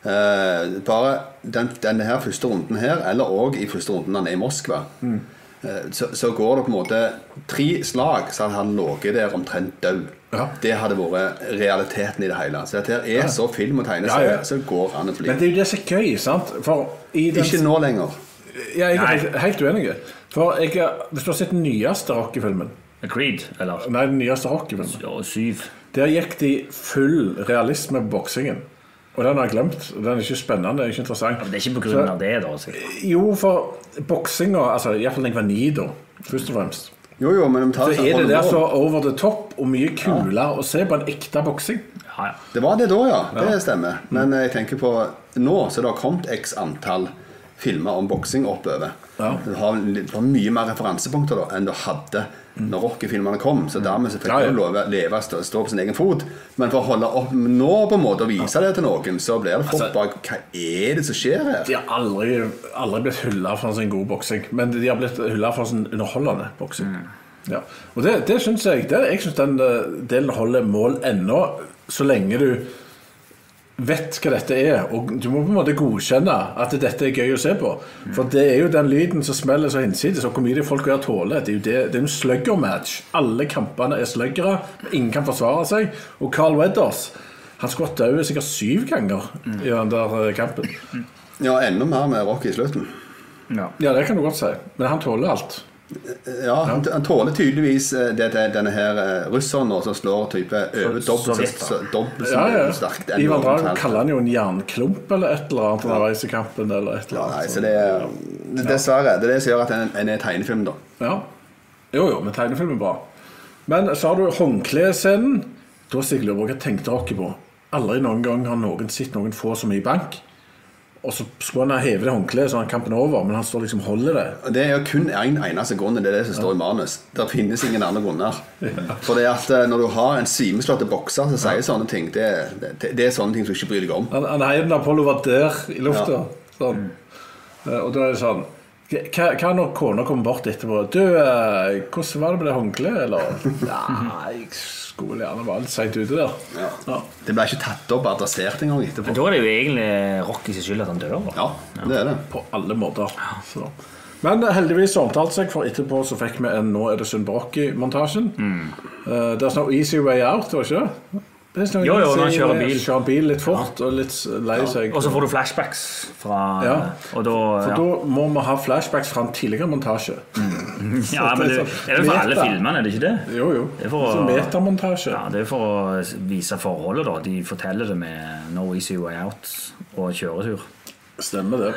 [SPEAKER 1] Eh, bare den, denne her første runden her, eller òg i første runden han er i Moskva,
[SPEAKER 6] Mm.
[SPEAKER 1] eh, så, så går det på en måte tre slag, så hadde han ligget der omtrent død.
[SPEAKER 6] Ja.
[SPEAKER 1] Det hadde vært realiteten i det hele. Så dette her er så film og
[SPEAKER 6] Ja,
[SPEAKER 1] tegneserie,
[SPEAKER 6] ja.
[SPEAKER 1] så går an å bli.
[SPEAKER 6] Men det er jo det som er gøy, sant? For i den
[SPEAKER 1] Ikke nå lenger.
[SPEAKER 6] Ja, jeg er
[SPEAKER 7] Nei.
[SPEAKER 6] helt, helt uenig. For jeg, er- hvis du har sett den nyeste Rocky-filmen
[SPEAKER 7] Creed, eller
[SPEAKER 6] Nei, den nyeste Rocky-filmen.
[SPEAKER 7] ja, Syv.
[SPEAKER 6] Der gikk de full realisme på boksingen. Og den har jeg glemt. Den er ikke spennende. ikke interessant.
[SPEAKER 7] Det er ikke på grunn av det, da. altså. sikkert.
[SPEAKER 6] Jo, for boksinga altså, Iallfall da jeg var ni, da. Først og fremst.
[SPEAKER 1] Jo, jo, men de tar
[SPEAKER 6] Så
[SPEAKER 7] Altså,
[SPEAKER 1] seg
[SPEAKER 6] er
[SPEAKER 1] for
[SPEAKER 6] det der
[SPEAKER 1] nå.
[SPEAKER 6] så over the top og mye kulere å se på en ekte boksing.
[SPEAKER 7] Ja, ja.
[SPEAKER 1] Det var det da, ja. Det
[SPEAKER 6] Mm.
[SPEAKER 1] stemmer. Men eh, jeg tenker på nå, så det har kommet x antall filmer om boksing oppover.
[SPEAKER 6] Ja.
[SPEAKER 1] Du, har, du har mye mer referansepunkter da enn du hadde når Rocky-filmene kom. Så dermed så fikk
[SPEAKER 6] Mm. Ja, ja.
[SPEAKER 1] du lov å leve stå, stå på sin egen fot. Men for å holde opp nå på en måte og vise det til noen, så blir det fort
[SPEAKER 6] Altså-
[SPEAKER 1] bare Hva er det som skjer her?
[SPEAKER 6] Eh, De har aldri, aldri blitt hylla for sin gode boksing, men de har blitt hylla for sin underholdende boksing. Ja. Og det, det syns jeg det, Jeg synes den eh, delen holder mål ennå, så lenge du vet hva dette er. Og du må på en måte godkjenne at dette er gøy å se på. For det er jo den lyden som smeller så hinsides, og hvor mye de folk her tåler. Det er jo det, det er jo en sluggermatch. Alle kampene er sluggere. Ingen kan forsvare seg. Og Carl Weathers han skulle vært død sikkert syv ganger i den der eh, kampen.
[SPEAKER 1] Ja, enda mer med Rocky i slutten.
[SPEAKER 6] Ja, det kan du godt si. Men han tåler alt.
[SPEAKER 1] Ja, Han, han tåler tydeligvis eh, det, det, denne her eh, russeren nå som slår type over dobbelt
[SPEAKER 7] Sovjet, da.
[SPEAKER 1] så- så dobbelt så
[SPEAKER 6] Ja, ja.
[SPEAKER 1] sterkt. enn
[SPEAKER 6] Ivan Drago
[SPEAKER 1] omtrent.
[SPEAKER 6] kaller han jo en jernklump eller et eller annet underveis i kampen. eller et eller
[SPEAKER 1] Ja,
[SPEAKER 6] annet.
[SPEAKER 1] nei, så det er, dessverre. Det er det som gjør at en, en er tegnefilm, da.
[SPEAKER 6] Ja. Jo, jo, men tegnefilm er bra. Men så har du håndklescenen. Da Stig Løvåg, jeg tenkte dere på Aldri noen gang har noen sett noen få så mye bank. Og så skulle han ha hevet det håndkleet, så han kampen er over, men han står liksom og holder det.
[SPEAKER 1] Og Det er jo kun én en, eneste grunn, det er det som står i manus. Det finnes ingen andre grunner. For det at eh, når du har en svimeslått bokser som sier sånne ting, det, det, det er sånne ting som du ikke bryr deg om.
[SPEAKER 7] Mm.
[SPEAKER 6] Han, han heier den Apollo var der i lufta. Sånn. Eh, Og da er det sånn Hva hva når kona kommer bort etterpå? 'Du, eh, hvordan var det med det håndkleet?' Eller 'Nei, jeg skulle vel gjerne vært litt seint ute der'. Ja.
[SPEAKER 1] Det ble ikke tatt opp og adressert engang etterpå.
[SPEAKER 7] Men da er det jo egentlig Rocky sin skyld at han dør. da.
[SPEAKER 1] Ja, det er det.
[SPEAKER 6] På alle måter. Så. Men eh, heldigvis så omtalte seg, for etterpå så fikk vi en 'Nå er det synd på Rocky'-montasjen.
[SPEAKER 7] Mm.
[SPEAKER 6] Eh, there's no easy way out, var ikke det? There's no
[SPEAKER 7] Jo, jo,
[SPEAKER 6] easy
[SPEAKER 7] når han kjører
[SPEAKER 6] way-
[SPEAKER 7] bil.
[SPEAKER 6] Kjører bil litt fort og litt lei seg.
[SPEAKER 7] Og så får du flashbacks fra
[SPEAKER 6] Ja.
[SPEAKER 7] Og da
[SPEAKER 6] For
[SPEAKER 7] ja.
[SPEAKER 6] da må vi ha flashbacks fra en tidligere montasje.
[SPEAKER 7] ja, men det, er det for alle
[SPEAKER 6] Meta.
[SPEAKER 7] filmene, er det ikke det?
[SPEAKER 6] Jo, jo.
[SPEAKER 7] Det er for å-
[SPEAKER 6] Så metamontasje.
[SPEAKER 7] Ja, Det er for å vise forholdet, da. De forteller det med No Easy Way Out og kjøretur.
[SPEAKER 6] Stemmer det.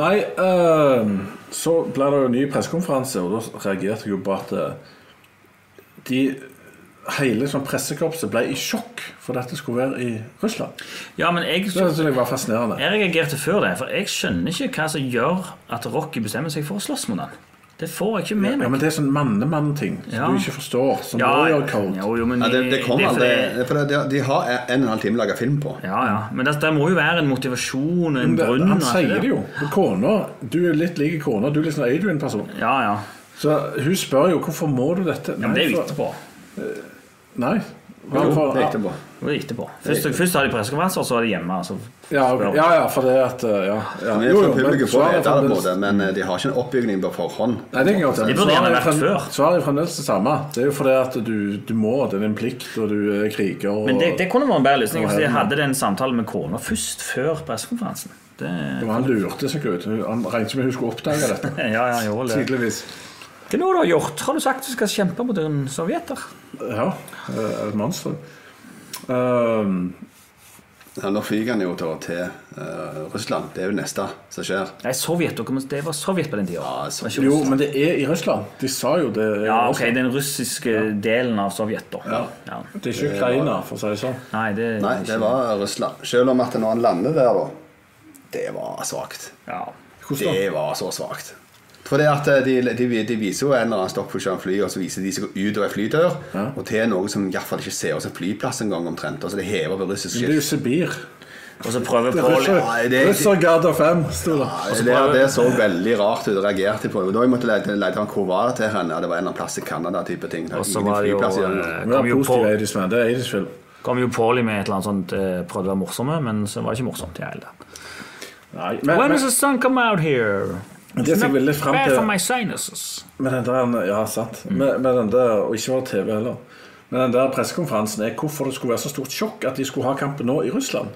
[SPEAKER 6] Nei, eh, så ble det jo en ny pressekonferanse, og da reagerte jeg jo på at eh, de Hele sånn pressekorpset ble i sjokk for dette skulle være i Russland.
[SPEAKER 7] Ja, men jeg,
[SPEAKER 6] Det synes jeg var fascinerende.
[SPEAKER 7] jeg reagerte før det, for jeg skjønner ikke hva som gjør at Rocky bestemmer seg for å slåss mot han. Det får jeg ikke med
[SPEAKER 6] Ja,
[SPEAKER 7] meg.
[SPEAKER 6] men Det er sånn mannemann-ting som
[SPEAKER 7] Ja.
[SPEAKER 6] du ikke forstår. Som
[SPEAKER 7] Ja,
[SPEAKER 6] warrior code.
[SPEAKER 7] jo, jo, men
[SPEAKER 1] Ja, det, det kom
[SPEAKER 7] er
[SPEAKER 1] aldri
[SPEAKER 7] fordi-
[SPEAKER 1] For det, de har en og en halv time laga film på.
[SPEAKER 7] Ja, ja. Men det, det må jo være en motivasjon og en
[SPEAKER 6] Det-
[SPEAKER 7] grunn.
[SPEAKER 6] Han
[SPEAKER 7] og alt
[SPEAKER 6] sier
[SPEAKER 7] der.
[SPEAKER 6] det jo. Og Kona, du er litt lik kona. Du er litt sånn Adrian-person.
[SPEAKER 7] Ja, ja.
[SPEAKER 6] Så hun spør jo hvorfor må du dette.
[SPEAKER 7] ja men det er jo
[SPEAKER 6] for-
[SPEAKER 7] etterpå.
[SPEAKER 6] Nei.
[SPEAKER 1] Jo,
[SPEAKER 6] Hvorfor-
[SPEAKER 1] det gikk det bra.
[SPEAKER 7] Det er etterpå. Først, først har de pressekonferanser, og så er de hjemme. Altså.
[SPEAKER 6] Ja, ok. ja, ja, for det at uh, Ja. ja.
[SPEAKER 1] Vi som publikum får
[SPEAKER 6] svaret
[SPEAKER 1] vite det, på en
[SPEAKER 6] fremdeles-
[SPEAKER 1] måte, men eh, de har ikke en oppbygning på forhånd.
[SPEAKER 6] Nei, det kan jeg godt
[SPEAKER 7] Det
[SPEAKER 6] gjøre.
[SPEAKER 7] burde gjerne
[SPEAKER 6] Svaret er
[SPEAKER 7] vært
[SPEAKER 6] frem-
[SPEAKER 7] før.
[SPEAKER 6] Svaret er fremdeles det samme. Det er jo fordi at du, du må, det er din plikt, og du er kriger og
[SPEAKER 7] Men det, det kunne vært en bedre løsning hvis de hadde den samtalen med kona først, før pressekonferansen. Det,
[SPEAKER 6] Jo, Han lurte seg ut. Han regnet med hun skulle oppdage dette.
[SPEAKER 7] ja, ja, jo, det.
[SPEAKER 6] Tydeligvis.
[SPEAKER 7] Hva nå har du gjort? Har du sagt du skal kjempe mot en sovjeter?
[SPEAKER 6] Ja. eh, Et monster. Ehm,
[SPEAKER 1] Ja, Nå fyker han jo til, til eh, Russland. Det er jo det neste som skjer.
[SPEAKER 7] Nei, Sovjet, dere må- det var Sovjet på den tida.
[SPEAKER 1] Ja, så-
[SPEAKER 6] jo, men det er i Russland. De sa jo det. er i
[SPEAKER 7] Ja, ok,
[SPEAKER 6] Russland.
[SPEAKER 7] den russiske delen av Sovjet, da. Ja.
[SPEAKER 6] Det er ikke Ukraina, for å si det sånn.
[SPEAKER 7] Nei, det,
[SPEAKER 1] Nei, det var Russland. Selv om at når han lander der, da Det var svakt.
[SPEAKER 7] ja.
[SPEAKER 6] Hvordan da?
[SPEAKER 1] Det var så svakt. For det at eh, de, de, de viser jo en eller annen stoppfunksjon fly, og så viser de seg ut av en flydør, og til noe som i hvert fall ikke ser ut som en flyplass engang, omtrent. Altså det hever på russisk
[SPEAKER 6] Det er jo
[SPEAKER 1] skilt.
[SPEAKER 6] Sibir.
[SPEAKER 7] Og så prøver
[SPEAKER 6] Det er
[SPEAKER 7] Paul
[SPEAKER 6] Russer-
[SPEAKER 1] Nei, det er-
[SPEAKER 6] Russergata 5, sto det.
[SPEAKER 1] Nei, Det, det så veldig rart ut, reagerte på det. Og Da jeg måtte lete lete han hvor var det til henne. Ja, det var en eller annen plass i Canada, type ting. Det
[SPEAKER 7] Og så
[SPEAKER 1] ingen
[SPEAKER 7] var det jo,
[SPEAKER 1] flyplass i den.
[SPEAKER 7] eh,
[SPEAKER 6] Vi har
[SPEAKER 7] kom jo
[SPEAKER 6] positive
[SPEAKER 7] Paul-
[SPEAKER 6] 80s, men det er 80s-film.
[SPEAKER 7] kom jo Pauli med et eller annet sånt eh, Prøvde å være morsomme, men så var det ikke morsomt. i det hele tatt.
[SPEAKER 6] Nei,
[SPEAKER 7] When
[SPEAKER 6] men,
[SPEAKER 7] does the sun come out here?
[SPEAKER 6] men det som jeg ville frem
[SPEAKER 7] Bad
[SPEAKER 6] til
[SPEAKER 7] for my sinuses.
[SPEAKER 6] med den der, Ja, sant.
[SPEAKER 7] Mm.
[SPEAKER 6] Med, med den der, og ikke var det TV heller. Men den der pressekonferansen er hvorfor det skulle være så stort sjokk at de skulle ha kampen nå i Russland.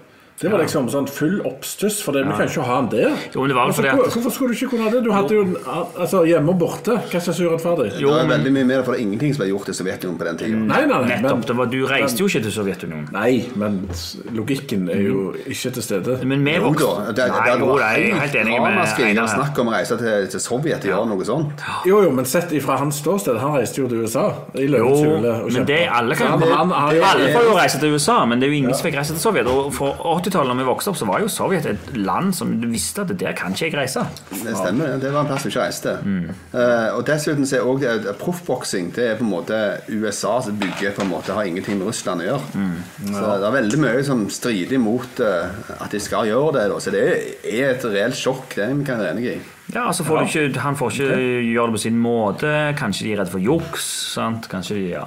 [SPEAKER 6] Det var liksom sånn full oppstuss, for det, vi kan ikke ha den der.
[SPEAKER 7] Jo, men det var
[SPEAKER 6] Hvorfor
[SPEAKER 7] vel fordi at-
[SPEAKER 6] skulle- Hvorfor skulle du ikke kunne ha det? Du hadde jo den, al- altså, hjemme og borte. Hva er det som er urettferdig?
[SPEAKER 1] Det var veldig mye mer, for det er ingenting som ble gjort i Sovjetunionen på den tida.
[SPEAKER 6] Nei, nei, nei,
[SPEAKER 7] Nettopp. Det
[SPEAKER 6] men,
[SPEAKER 7] var, du reiste jo ikke til Sovjetunionen.
[SPEAKER 6] nei, men logikken er jo ikke til stede.
[SPEAKER 7] Mm. Men vi
[SPEAKER 1] Jo da,
[SPEAKER 7] vokste
[SPEAKER 1] det, det,
[SPEAKER 7] Nei,
[SPEAKER 1] det
[SPEAKER 7] jo,
[SPEAKER 1] var
[SPEAKER 7] da, jeg er helt enig med
[SPEAKER 1] ramaskrik.
[SPEAKER 7] Einar.
[SPEAKER 1] Han
[SPEAKER 7] her.
[SPEAKER 1] snakker om å reise til, til Sovjet og gjøre noe sånt.
[SPEAKER 6] Jo, jo, men sett ifra hans ståsted. Han reiste jo til USA. I løvens
[SPEAKER 7] Jo,
[SPEAKER 6] hule. og
[SPEAKER 7] men det
[SPEAKER 6] kjempet.
[SPEAKER 7] alle kan
[SPEAKER 6] Så han, han, han,
[SPEAKER 7] Alle får jo reise til USA, men det er jo ingen som fikk reise til Sovjet. Og fra 80-tallet da vi vokste opp, så var jo Sovjet et land som du visste at der kan ikke jeg reise.
[SPEAKER 1] Det stemmer, det. det var en plass vi ikke reiste.
[SPEAKER 7] Mm.
[SPEAKER 1] Eh, og dessuten så er også det at proffboksing det er på en måte USA som bygger på en måte har ingenting med Russland å gjøre.
[SPEAKER 7] Mm.
[SPEAKER 1] Så det er veldig mye som strider imot eh, at de skal gjøre det. Da. Så det er et reelt sjokk, det er vi kan være enig i.
[SPEAKER 7] Ja, altså får du ikke, Han får ikke gjøre det på sin måte. Kanskje de er redde for juks. sant? Kanskje de, ja.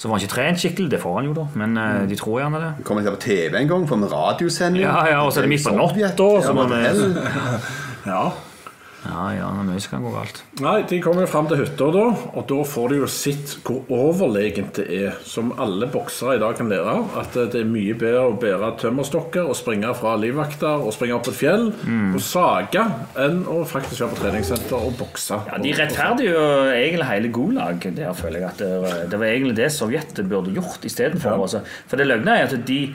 [SPEAKER 7] Så får han ikke trent skikkelig. Det får han jo, da. Men
[SPEAKER 1] Mm.
[SPEAKER 7] eh, de tror gjerne det.
[SPEAKER 1] Vi kommer til å være på TV en gang, får vi radiosending.
[SPEAKER 7] Ja, ja, og så er det midt på natta,
[SPEAKER 1] Sovjet, ja,
[SPEAKER 7] så må
[SPEAKER 1] men
[SPEAKER 7] vi-
[SPEAKER 1] hell.
[SPEAKER 6] ja.
[SPEAKER 7] Ja, ja, det er mye som kan gå galt.
[SPEAKER 6] Nei, de kommer jo fram til hytta, da, og da får de jo sett hvor overlegent det er. Som alle boksere i dag kan lære av. At eh, det er mye bedre å bære tømmerstokker og springe fra livvakter og springe opp et fjell
[SPEAKER 7] Mm.
[SPEAKER 6] og sage enn å faktisk være på treningssenter og bokse.
[SPEAKER 7] Ja, De rettferdiggjør jo egentlig hele Gulag. der føler jeg at det, det var egentlig det Sovjet burde gjort istedenfor. Altså. For det løgna er at de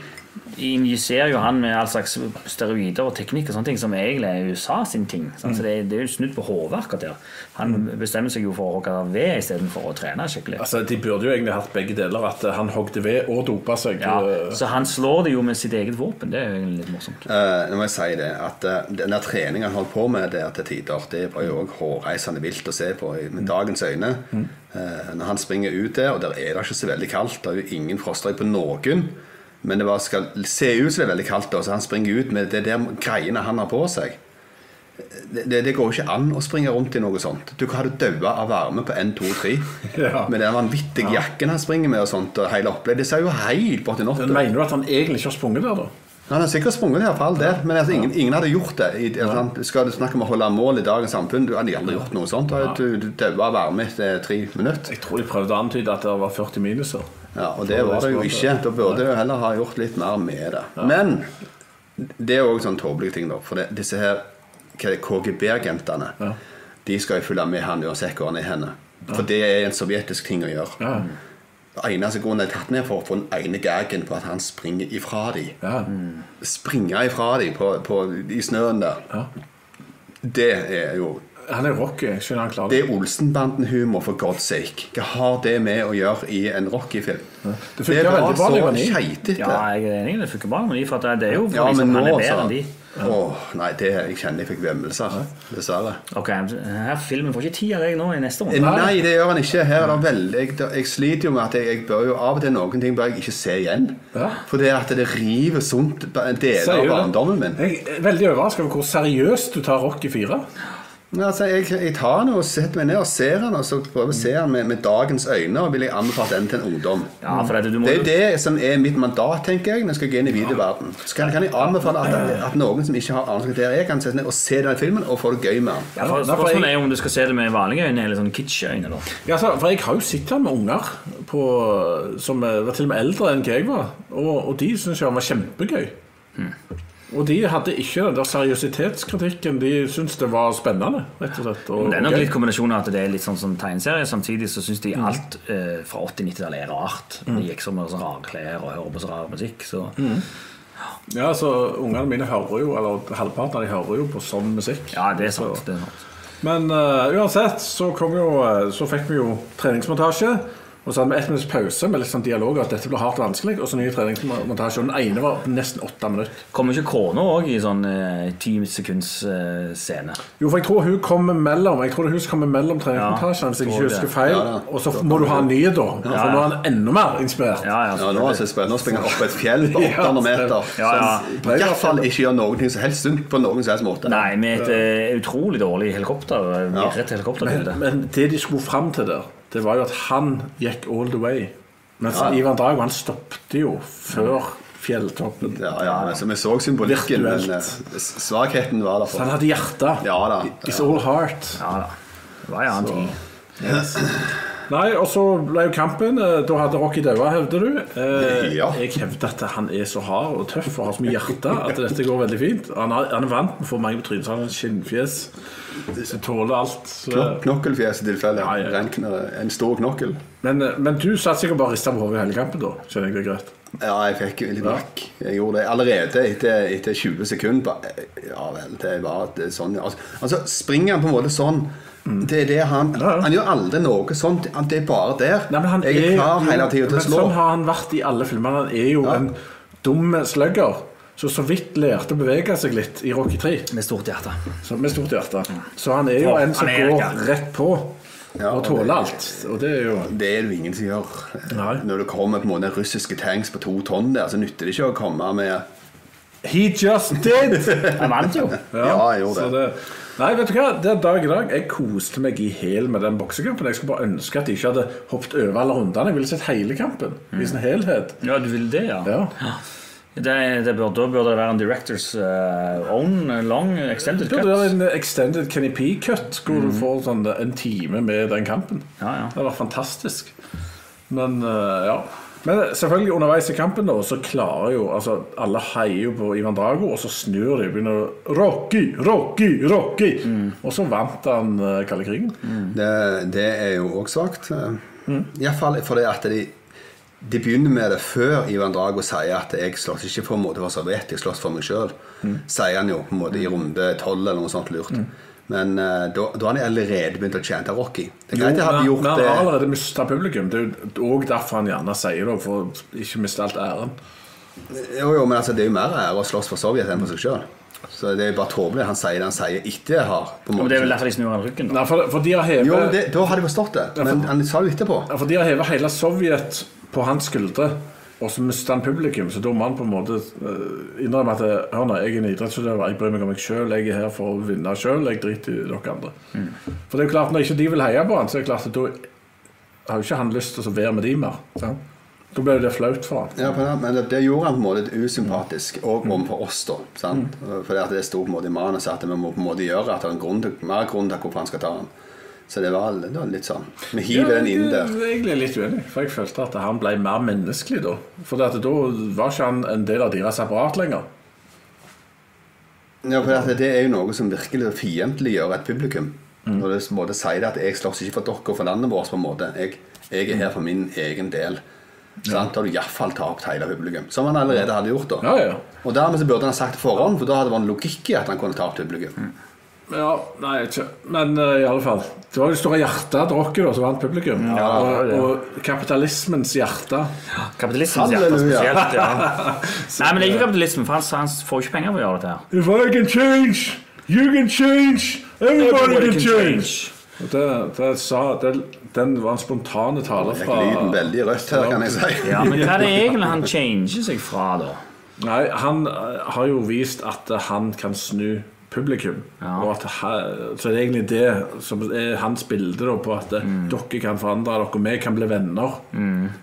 [SPEAKER 7] injiserer jo han med all slags steroider og teknikk og sånne ting som egentlig er USA sin ting.
[SPEAKER 1] Mm.
[SPEAKER 7] sant? Så det, det er jo snudd på hodet akkurat der. Han bestemmer seg jo for å hogge ved istedenfor å trene skikkelig.
[SPEAKER 6] Altså, De burde jo egentlig hatt begge deler. At eh, han hogde ved og dopa seg.
[SPEAKER 7] Ja,
[SPEAKER 6] eh,
[SPEAKER 7] så han slår det jo med sitt eget våpen. Det er jo egentlig litt morsomt.
[SPEAKER 1] Eh, nå må jeg si det, at eh, den der treningen han holdt på med der til tider, det var jo også hårreisende vilt å se på i-
[SPEAKER 6] Mm.
[SPEAKER 1] med dagens øyne. Eh, når han springer ut der, og der er det ikke så veldig kaldt, det er jo ingen frostrøy på noen, men det var, skal se ut som det er veldig kaldt, da, så han springer ut med det der greiene han har på seg. det, det- det går jo ikke an å springe rundt i noe sånt. Du hadde daua av varme på 1, 2, 3
[SPEAKER 6] Ja.
[SPEAKER 1] med den vanvittige jakken han springer med og sånt. Og hele opplegget. Det ser jo helt bortinått
[SPEAKER 6] Men
[SPEAKER 1] ut.
[SPEAKER 6] Mener du at han egentlig ikke har sprunget der, da?
[SPEAKER 1] Han har sikkert sprunget i hvert fall der, men altså, ingen, ingen hadde gjort det. I, altså, han- Skal du snakke om å holde mål i dagens samfunn, du hadde aldri gjort noe sånt. Du- Du daua av varme etter tre minutter.
[SPEAKER 6] Jeg tror de prøvde å antyde at det var 40 minuser.
[SPEAKER 1] Ja, og det var det jo ikke. Da burde jeg jo heller ha gjort litt mer med det. Men det er òg sånn tåpelige ting, da. For det, disse her hva er det, KGB-agentene
[SPEAKER 6] Ja.
[SPEAKER 1] De skal jo følge med han uansett hvor han er henne. For det er en sovjetisk ting å gjøre.
[SPEAKER 6] Ja.
[SPEAKER 1] Eneste grunnen de er tatt ned for, for den ene gagen på at han springer ifra dem.
[SPEAKER 6] Ja.
[SPEAKER 7] Mm.
[SPEAKER 1] Springe ifra dem på, på, i snøen der.
[SPEAKER 6] Ja.
[SPEAKER 1] Det er jo
[SPEAKER 6] Han er jo rocky. Jeg skjønner han klarer
[SPEAKER 1] Det
[SPEAKER 6] det.
[SPEAKER 1] er Olsenbanden-humor, for god sake. Hva har det med å gjøre i en Rocky-film?
[SPEAKER 6] Det funker veldig bra, det
[SPEAKER 1] så
[SPEAKER 6] var det.
[SPEAKER 1] keitete.
[SPEAKER 7] Ja, jeg er enig, det funker bra med de, for at det er jo
[SPEAKER 1] Ja,
[SPEAKER 7] liksom,
[SPEAKER 1] men nå,
[SPEAKER 7] han er bedre
[SPEAKER 1] altså.
[SPEAKER 7] enn de.
[SPEAKER 1] Åh, nei, det, jeg kjenner jeg fikk vemmelser. Dessverre.
[SPEAKER 7] Ok, her Filmen får ikke ti av deg nå i neste runde.
[SPEAKER 1] Nei, det gjør han ikke. Her er det veldig Jeg, jeg sliter jo med at jeg, jeg bør jo av og til noen ting bør jeg ikke se igjen.
[SPEAKER 6] Ja.
[SPEAKER 1] For det at det river sunt en del av barndommen min.
[SPEAKER 6] Jeg er veldig overrasket over hvor seriøst du tar Rocky 4.
[SPEAKER 1] Men Altså, jeg, jeg tar den og setter meg ned og ser den, og så prøver jeg å se den med, med dagens øyne, og vil jeg anbefale den til en ungdom.
[SPEAKER 7] Ja, for at du må
[SPEAKER 1] Det er jo det som er mitt mandat, tenker jeg, når jeg skal gå inn i videoverden. Så kan, kan jeg anbefale at, at noen som ikke har anelse om hva det er, kan sette seg ned og se den filmen og få det gøy med den.
[SPEAKER 7] Ja, for,
[SPEAKER 6] Derfor jeg-
[SPEAKER 7] spørsmålet er jo om du skal se det med vanlige øyne eller sånn kitsch-øyne. da.
[SPEAKER 6] Ja, altså, for jeg har jo sett han med unger på, som eh, var til og med eldre enn hva jeg var, og, og de syntes jo han var kjempegøy. Og de hadde ikke den der seriøsitetskritikken. De syntes det var spennende, rett og slett. Og,
[SPEAKER 7] Det er nok
[SPEAKER 6] gøy.
[SPEAKER 7] litt kombinasjon av at det er litt sånn som tegneserie. Samtidig så syns de alt eh, fra 80-90-tallet er rart. De gikk som med sånn rare klær og hører på så rar musikk. Så
[SPEAKER 6] Ja, altså, Ungene mine hører jo, eller halvparten av de hører jo på sånn musikk.
[SPEAKER 7] ja, det er sant. Det er sant.
[SPEAKER 6] Men eh, uansett så, kom jo, eh, så fikk vi jo treningsmontasje. Og så hadde vi ett minutts pause med litt sånn dialog at dette blir hardt og vanskelig. Og så ny treningsmontasje. Og den ene var på nesten åtte minutter.
[SPEAKER 7] Kommer ikke kona òg i sånn eh, ti sekunds eh, scene?
[SPEAKER 6] Jo, for jeg tror hun kommer mellom Jeg tror det er hun som kommer mellom treningsmontasjene,
[SPEAKER 7] Ja,
[SPEAKER 6] hvis jeg
[SPEAKER 7] tror
[SPEAKER 6] ikke
[SPEAKER 7] det.
[SPEAKER 6] husker feil.
[SPEAKER 1] Ja, da.
[SPEAKER 6] Og så må du ha en ny, da. For nå er han enda mer inspirert.
[SPEAKER 7] Ja, ja,
[SPEAKER 1] Ja, nå, altså, spør- nå springer han opp et fjell på
[SPEAKER 6] Ja,
[SPEAKER 1] 800 meter.
[SPEAKER 7] Ja, ja.
[SPEAKER 1] Som i hvert fall ikke gjør noen ting som helst sunt på noen som helst måte.
[SPEAKER 7] Nei, med et eh, utrolig dårlig helikopter. eh, Virret helikopterbilde.
[SPEAKER 6] Men det de skulle fram til der, det var jo at han gikk all the way. Mens Ivan Drago, han stoppet jo før fjelltoppen.
[SPEAKER 1] Ja, ja, men så vi så symbolikken, men eh, s- svakheten var der.
[SPEAKER 6] Så
[SPEAKER 7] Sånn
[SPEAKER 1] for-
[SPEAKER 6] han hadde hjerte.
[SPEAKER 1] Ja, da.
[SPEAKER 6] It's all heart.
[SPEAKER 7] Ja da. Det var en annen tid.
[SPEAKER 6] Nei, og så ble jo kampen. eh, Da hadde Rocky daua, hevder du. Eh,
[SPEAKER 1] Ja.
[SPEAKER 6] Jeg hevder at han er så hard og tøff og har så mye hjerte at dette går veldig fint. Han er, han er vant med å få mange på trynet, så han har et skinnfjes. Så tåler alt.
[SPEAKER 1] Knok-
[SPEAKER 6] Så.
[SPEAKER 1] Knokkelfjes i tilfelle.
[SPEAKER 6] Ja, ja.
[SPEAKER 1] Ren kn- En stor knokkel.
[SPEAKER 6] Men, eh, men du satt sikkert bare og rista på hodet hele kampen, da. Skjønner jeg det er greit?
[SPEAKER 1] Ja, jeg fikk jo litt nakk. Jeg gjorde det allerede etter, etter 20 sekunder. Bare, ja vel, det var det, sånn. Altså, altså, springer han på en måte sånn Det er det han
[SPEAKER 6] Mm. Ja, ja.
[SPEAKER 1] Han gjør aldri noe sånt. Han- Det er bare der.
[SPEAKER 6] Nei, men han
[SPEAKER 1] jeg er klar
[SPEAKER 6] jo-
[SPEAKER 1] hele tida til
[SPEAKER 6] men
[SPEAKER 1] å slå.
[SPEAKER 6] Sånn har han vært i alle filmene. Han er jo en dum slugger. Så så vidt lærte å bevege seg litt i Rocky 3.
[SPEAKER 7] Med stort hjerte.
[SPEAKER 6] Så, med stort hjerte. Så han er jo
[SPEAKER 7] Ja,
[SPEAKER 6] en som
[SPEAKER 7] han er
[SPEAKER 6] går
[SPEAKER 7] ikke.
[SPEAKER 6] rett på
[SPEAKER 1] Ja,
[SPEAKER 6] og
[SPEAKER 1] og
[SPEAKER 6] tåler
[SPEAKER 1] det-
[SPEAKER 6] alt. Og det er jo
[SPEAKER 1] Det er det jo ingen som gjør.
[SPEAKER 6] Nei.
[SPEAKER 1] Når det kommer på en måte russiske tanks på to tonn der, så nytter det ikke å komme med
[SPEAKER 6] He just did!
[SPEAKER 7] Han vant jo.
[SPEAKER 1] Ja, jeg gjorde
[SPEAKER 6] så
[SPEAKER 1] det.
[SPEAKER 6] Nei, vet du hva? Det er dag i dag. Jeg koste meg i hæl med den boksekampen. Jeg skulle bare ønske at de ikke hadde hoppet over alle rundene. Jeg ville sett hele kampen i sin helhet.
[SPEAKER 7] Ja, du vil det, ja?
[SPEAKER 6] Ja.
[SPEAKER 7] Det, det bør, da bør det være en directors eh, own eh, long extended
[SPEAKER 6] Det
[SPEAKER 7] cut.
[SPEAKER 6] burde være en extended Kenny P-cut, hvor du får sånn en time med den kampen.
[SPEAKER 7] Ja, ja.
[SPEAKER 6] Det var fantastisk. Men eh, ja. Men selvfølgelig underveis i kampen da, så klarer jo altså, Alle heier jo på Ivan Drago, og så snur de og begynner å Rocky, Rocky, Rocky! Og så vant han uh, kalde krigen.
[SPEAKER 1] Det, det er jo òg svakt.
[SPEAKER 7] Mm.
[SPEAKER 1] Iallfall fordi at de de begynner med det før Ivan Drago sier at 'jeg slåss ikke for en måte for Sovjet, jeg slåss for meg sjøl'.
[SPEAKER 7] Mm.
[SPEAKER 1] Sier han jo på en måte i runde tolv eller noe sånt lurt. Men eh, da da har han allerede begynt å chante Rocky. Det er greit jeg hadde
[SPEAKER 6] men,
[SPEAKER 1] gjort
[SPEAKER 6] men han har
[SPEAKER 1] det.
[SPEAKER 6] allerede mista publikum. Det er jo òg derfor han gjerne sier det, for å ikke miste alt æren.
[SPEAKER 1] Jo, jo, men altså, det er jo mer ære å slåss for Sovjet enn for seg sjøl. Så det er jo bare tåpelig. Han sier det han sier etter jeg har. på en
[SPEAKER 7] Ja, men
[SPEAKER 1] måte.
[SPEAKER 7] det er vel derfor de snur han ryggen. da.
[SPEAKER 6] Nei, for, for de har hevet
[SPEAKER 1] Jo, det, da hadde jeg forstått det. Men han sa det jo etterpå.
[SPEAKER 6] Ja, for de har hevet hele Sovjet på hans skuldre. Og Og så mister han publikum, så da må han på en måte eh, innrømme at hør nå, jeg er en idrettsutøver, jeg bryr meg om meg sjøl, jeg er her for å vinne sjøl, jeg driter i dere andre. For det er jo klart, når ikke de vil heie på han, så er det klart at da har jo ikke han lyst til å være med de mer. sant? Da blir jo det flaut for han.
[SPEAKER 1] Ja, på den- men det, det gjorde han på en måte litt usympatisk, òg overfor oss, da. Sant?
[SPEAKER 6] Mm.
[SPEAKER 1] Fordi at det sto på en måte i manuset at vi må på en måte gjøre at det er en grunn til, mer grunn til hvorfor han skal ta den. Så det var, det var litt sånn Vi hiver den inn der.
[SPEAKER 6] Jeg er egentlig litt uenig, for jeg følte at han ble mer menneskelig da. For da var ikke han en del av deres apparat lenger.
[SPEAKER 1] Ja, for det, det er jo noe som virkelig fiendtliggjør et publikum.
[SPEAKER 6] Mm.
[SPEAKER 1] Når du på en måte sier det at 'jeg slåss ikke for dere og for landet vårt', på en måte. Jeg, jeg er her for min egen del. Sant? Da har du iallfall tapt hele publikum. Som han allerede hadde gjort, da.
[SPEAKER 6] Ja, ja.
[SPEAKER 1] Og dermed så burde han ha sagt det på forhånd, for da hadde det vært en logikk i at han kunne tapt publikum.
[SPEAKER 6] Mm. Ja, nei, ikke. Men eh, i alle fall. Det var jo det store hjertet til rocket da, som vant publikum. og, og kapitalismens hjerte.
[SPEAKER 7] Kapitalismens hjerte
[SPEAKER 1] Halleluja.
[SPEAKER 7] spesielt. Ja. Nei, men det er ikke kapitalismen, for han, han får jo ikke penger for å gjøre dette her.
[SPEAKER 6] If I can change, you can change, everybody can change. Og det, det sa, det, den var en spontane tale
[SPEAKER 1] Fikk
[SPEAKER 6] fra
[SPEAKER 1] lyden veldig rødt her, kan jeg si.
[SPEAKER 7] Ja, men hva er det egentlig han changer seg fra, da?
[SPEAKER 6] Nei, han eh, har jo vist at eh, han kan snu publikum. Og at, he- så det er egentlig det som er hans bilde da, på at eh,
[SPEAKER 7] Mm.
[SPEAKER 6] dere kan forandre dere, vi kan bli venner.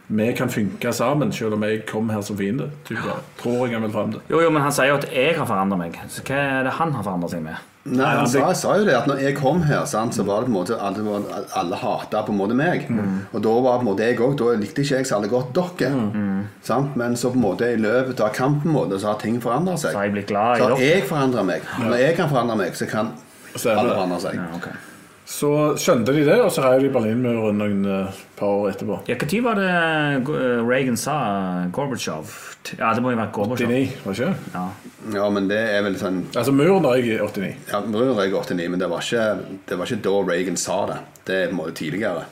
[SPEAKER 6] Vi kan funke sammen, selv om jeg kom her som fiende. Typ, ja. Tror jeg han vil frem det.
[SPEAKER 7] Jo, jo, men han sier jo at jeg har forandret meg. Så hva er det han har forandret seg med?
[SPEAKER 1] Nei, han sa, sa jo det at når jeg kom her, sant, så var det på en måte alle, var- alle hata på en måte meg.
[SPEAKER 7] Mm.
[SPEAKER 1] Og da var på en måte jeg òg Da likte ikke jeg særlig godt dere.
[SPEAKER 7] Mm.
[SPEAKER 1] Sant? Men så på en måte i løpet av kampen på en måte, så har ting forandra seg.
[SPEAKER 7] Så har jeg blitt glad i
[SPEAKER 1] Så har
[SPEAKER 7] dere.
[SPEAKER 1] jeg forandra meg. Når jeg kan forandre meg, så kan
[SPEAKER 6] Så er det-
[SPEAKER 1] alle forandre seg.
[SPEAKER 7] Ja, ok.
[SPEAKER 6] Så skjønte de det, og så reiv de Berlinmuren noen eh, par år etterpå.
[SPEAKER 7] Ja, hva tid var det eh, Reagan sa Gorbatsjov? Ja, det må jo være Gorbatsjov.
[SPEAKER 6] 89, var det ikke?
[SPEAKER 7] Ja.
[SPEAKER 1] Ja, men det er vel sånn
[SPEAKER 6] Altså Muren da jeg i 89.
[SPEAKER 1] ja, Brun røyk 89, men det var, ikke, det var ikke da Reagan sa det. Det er på en måte tidligere.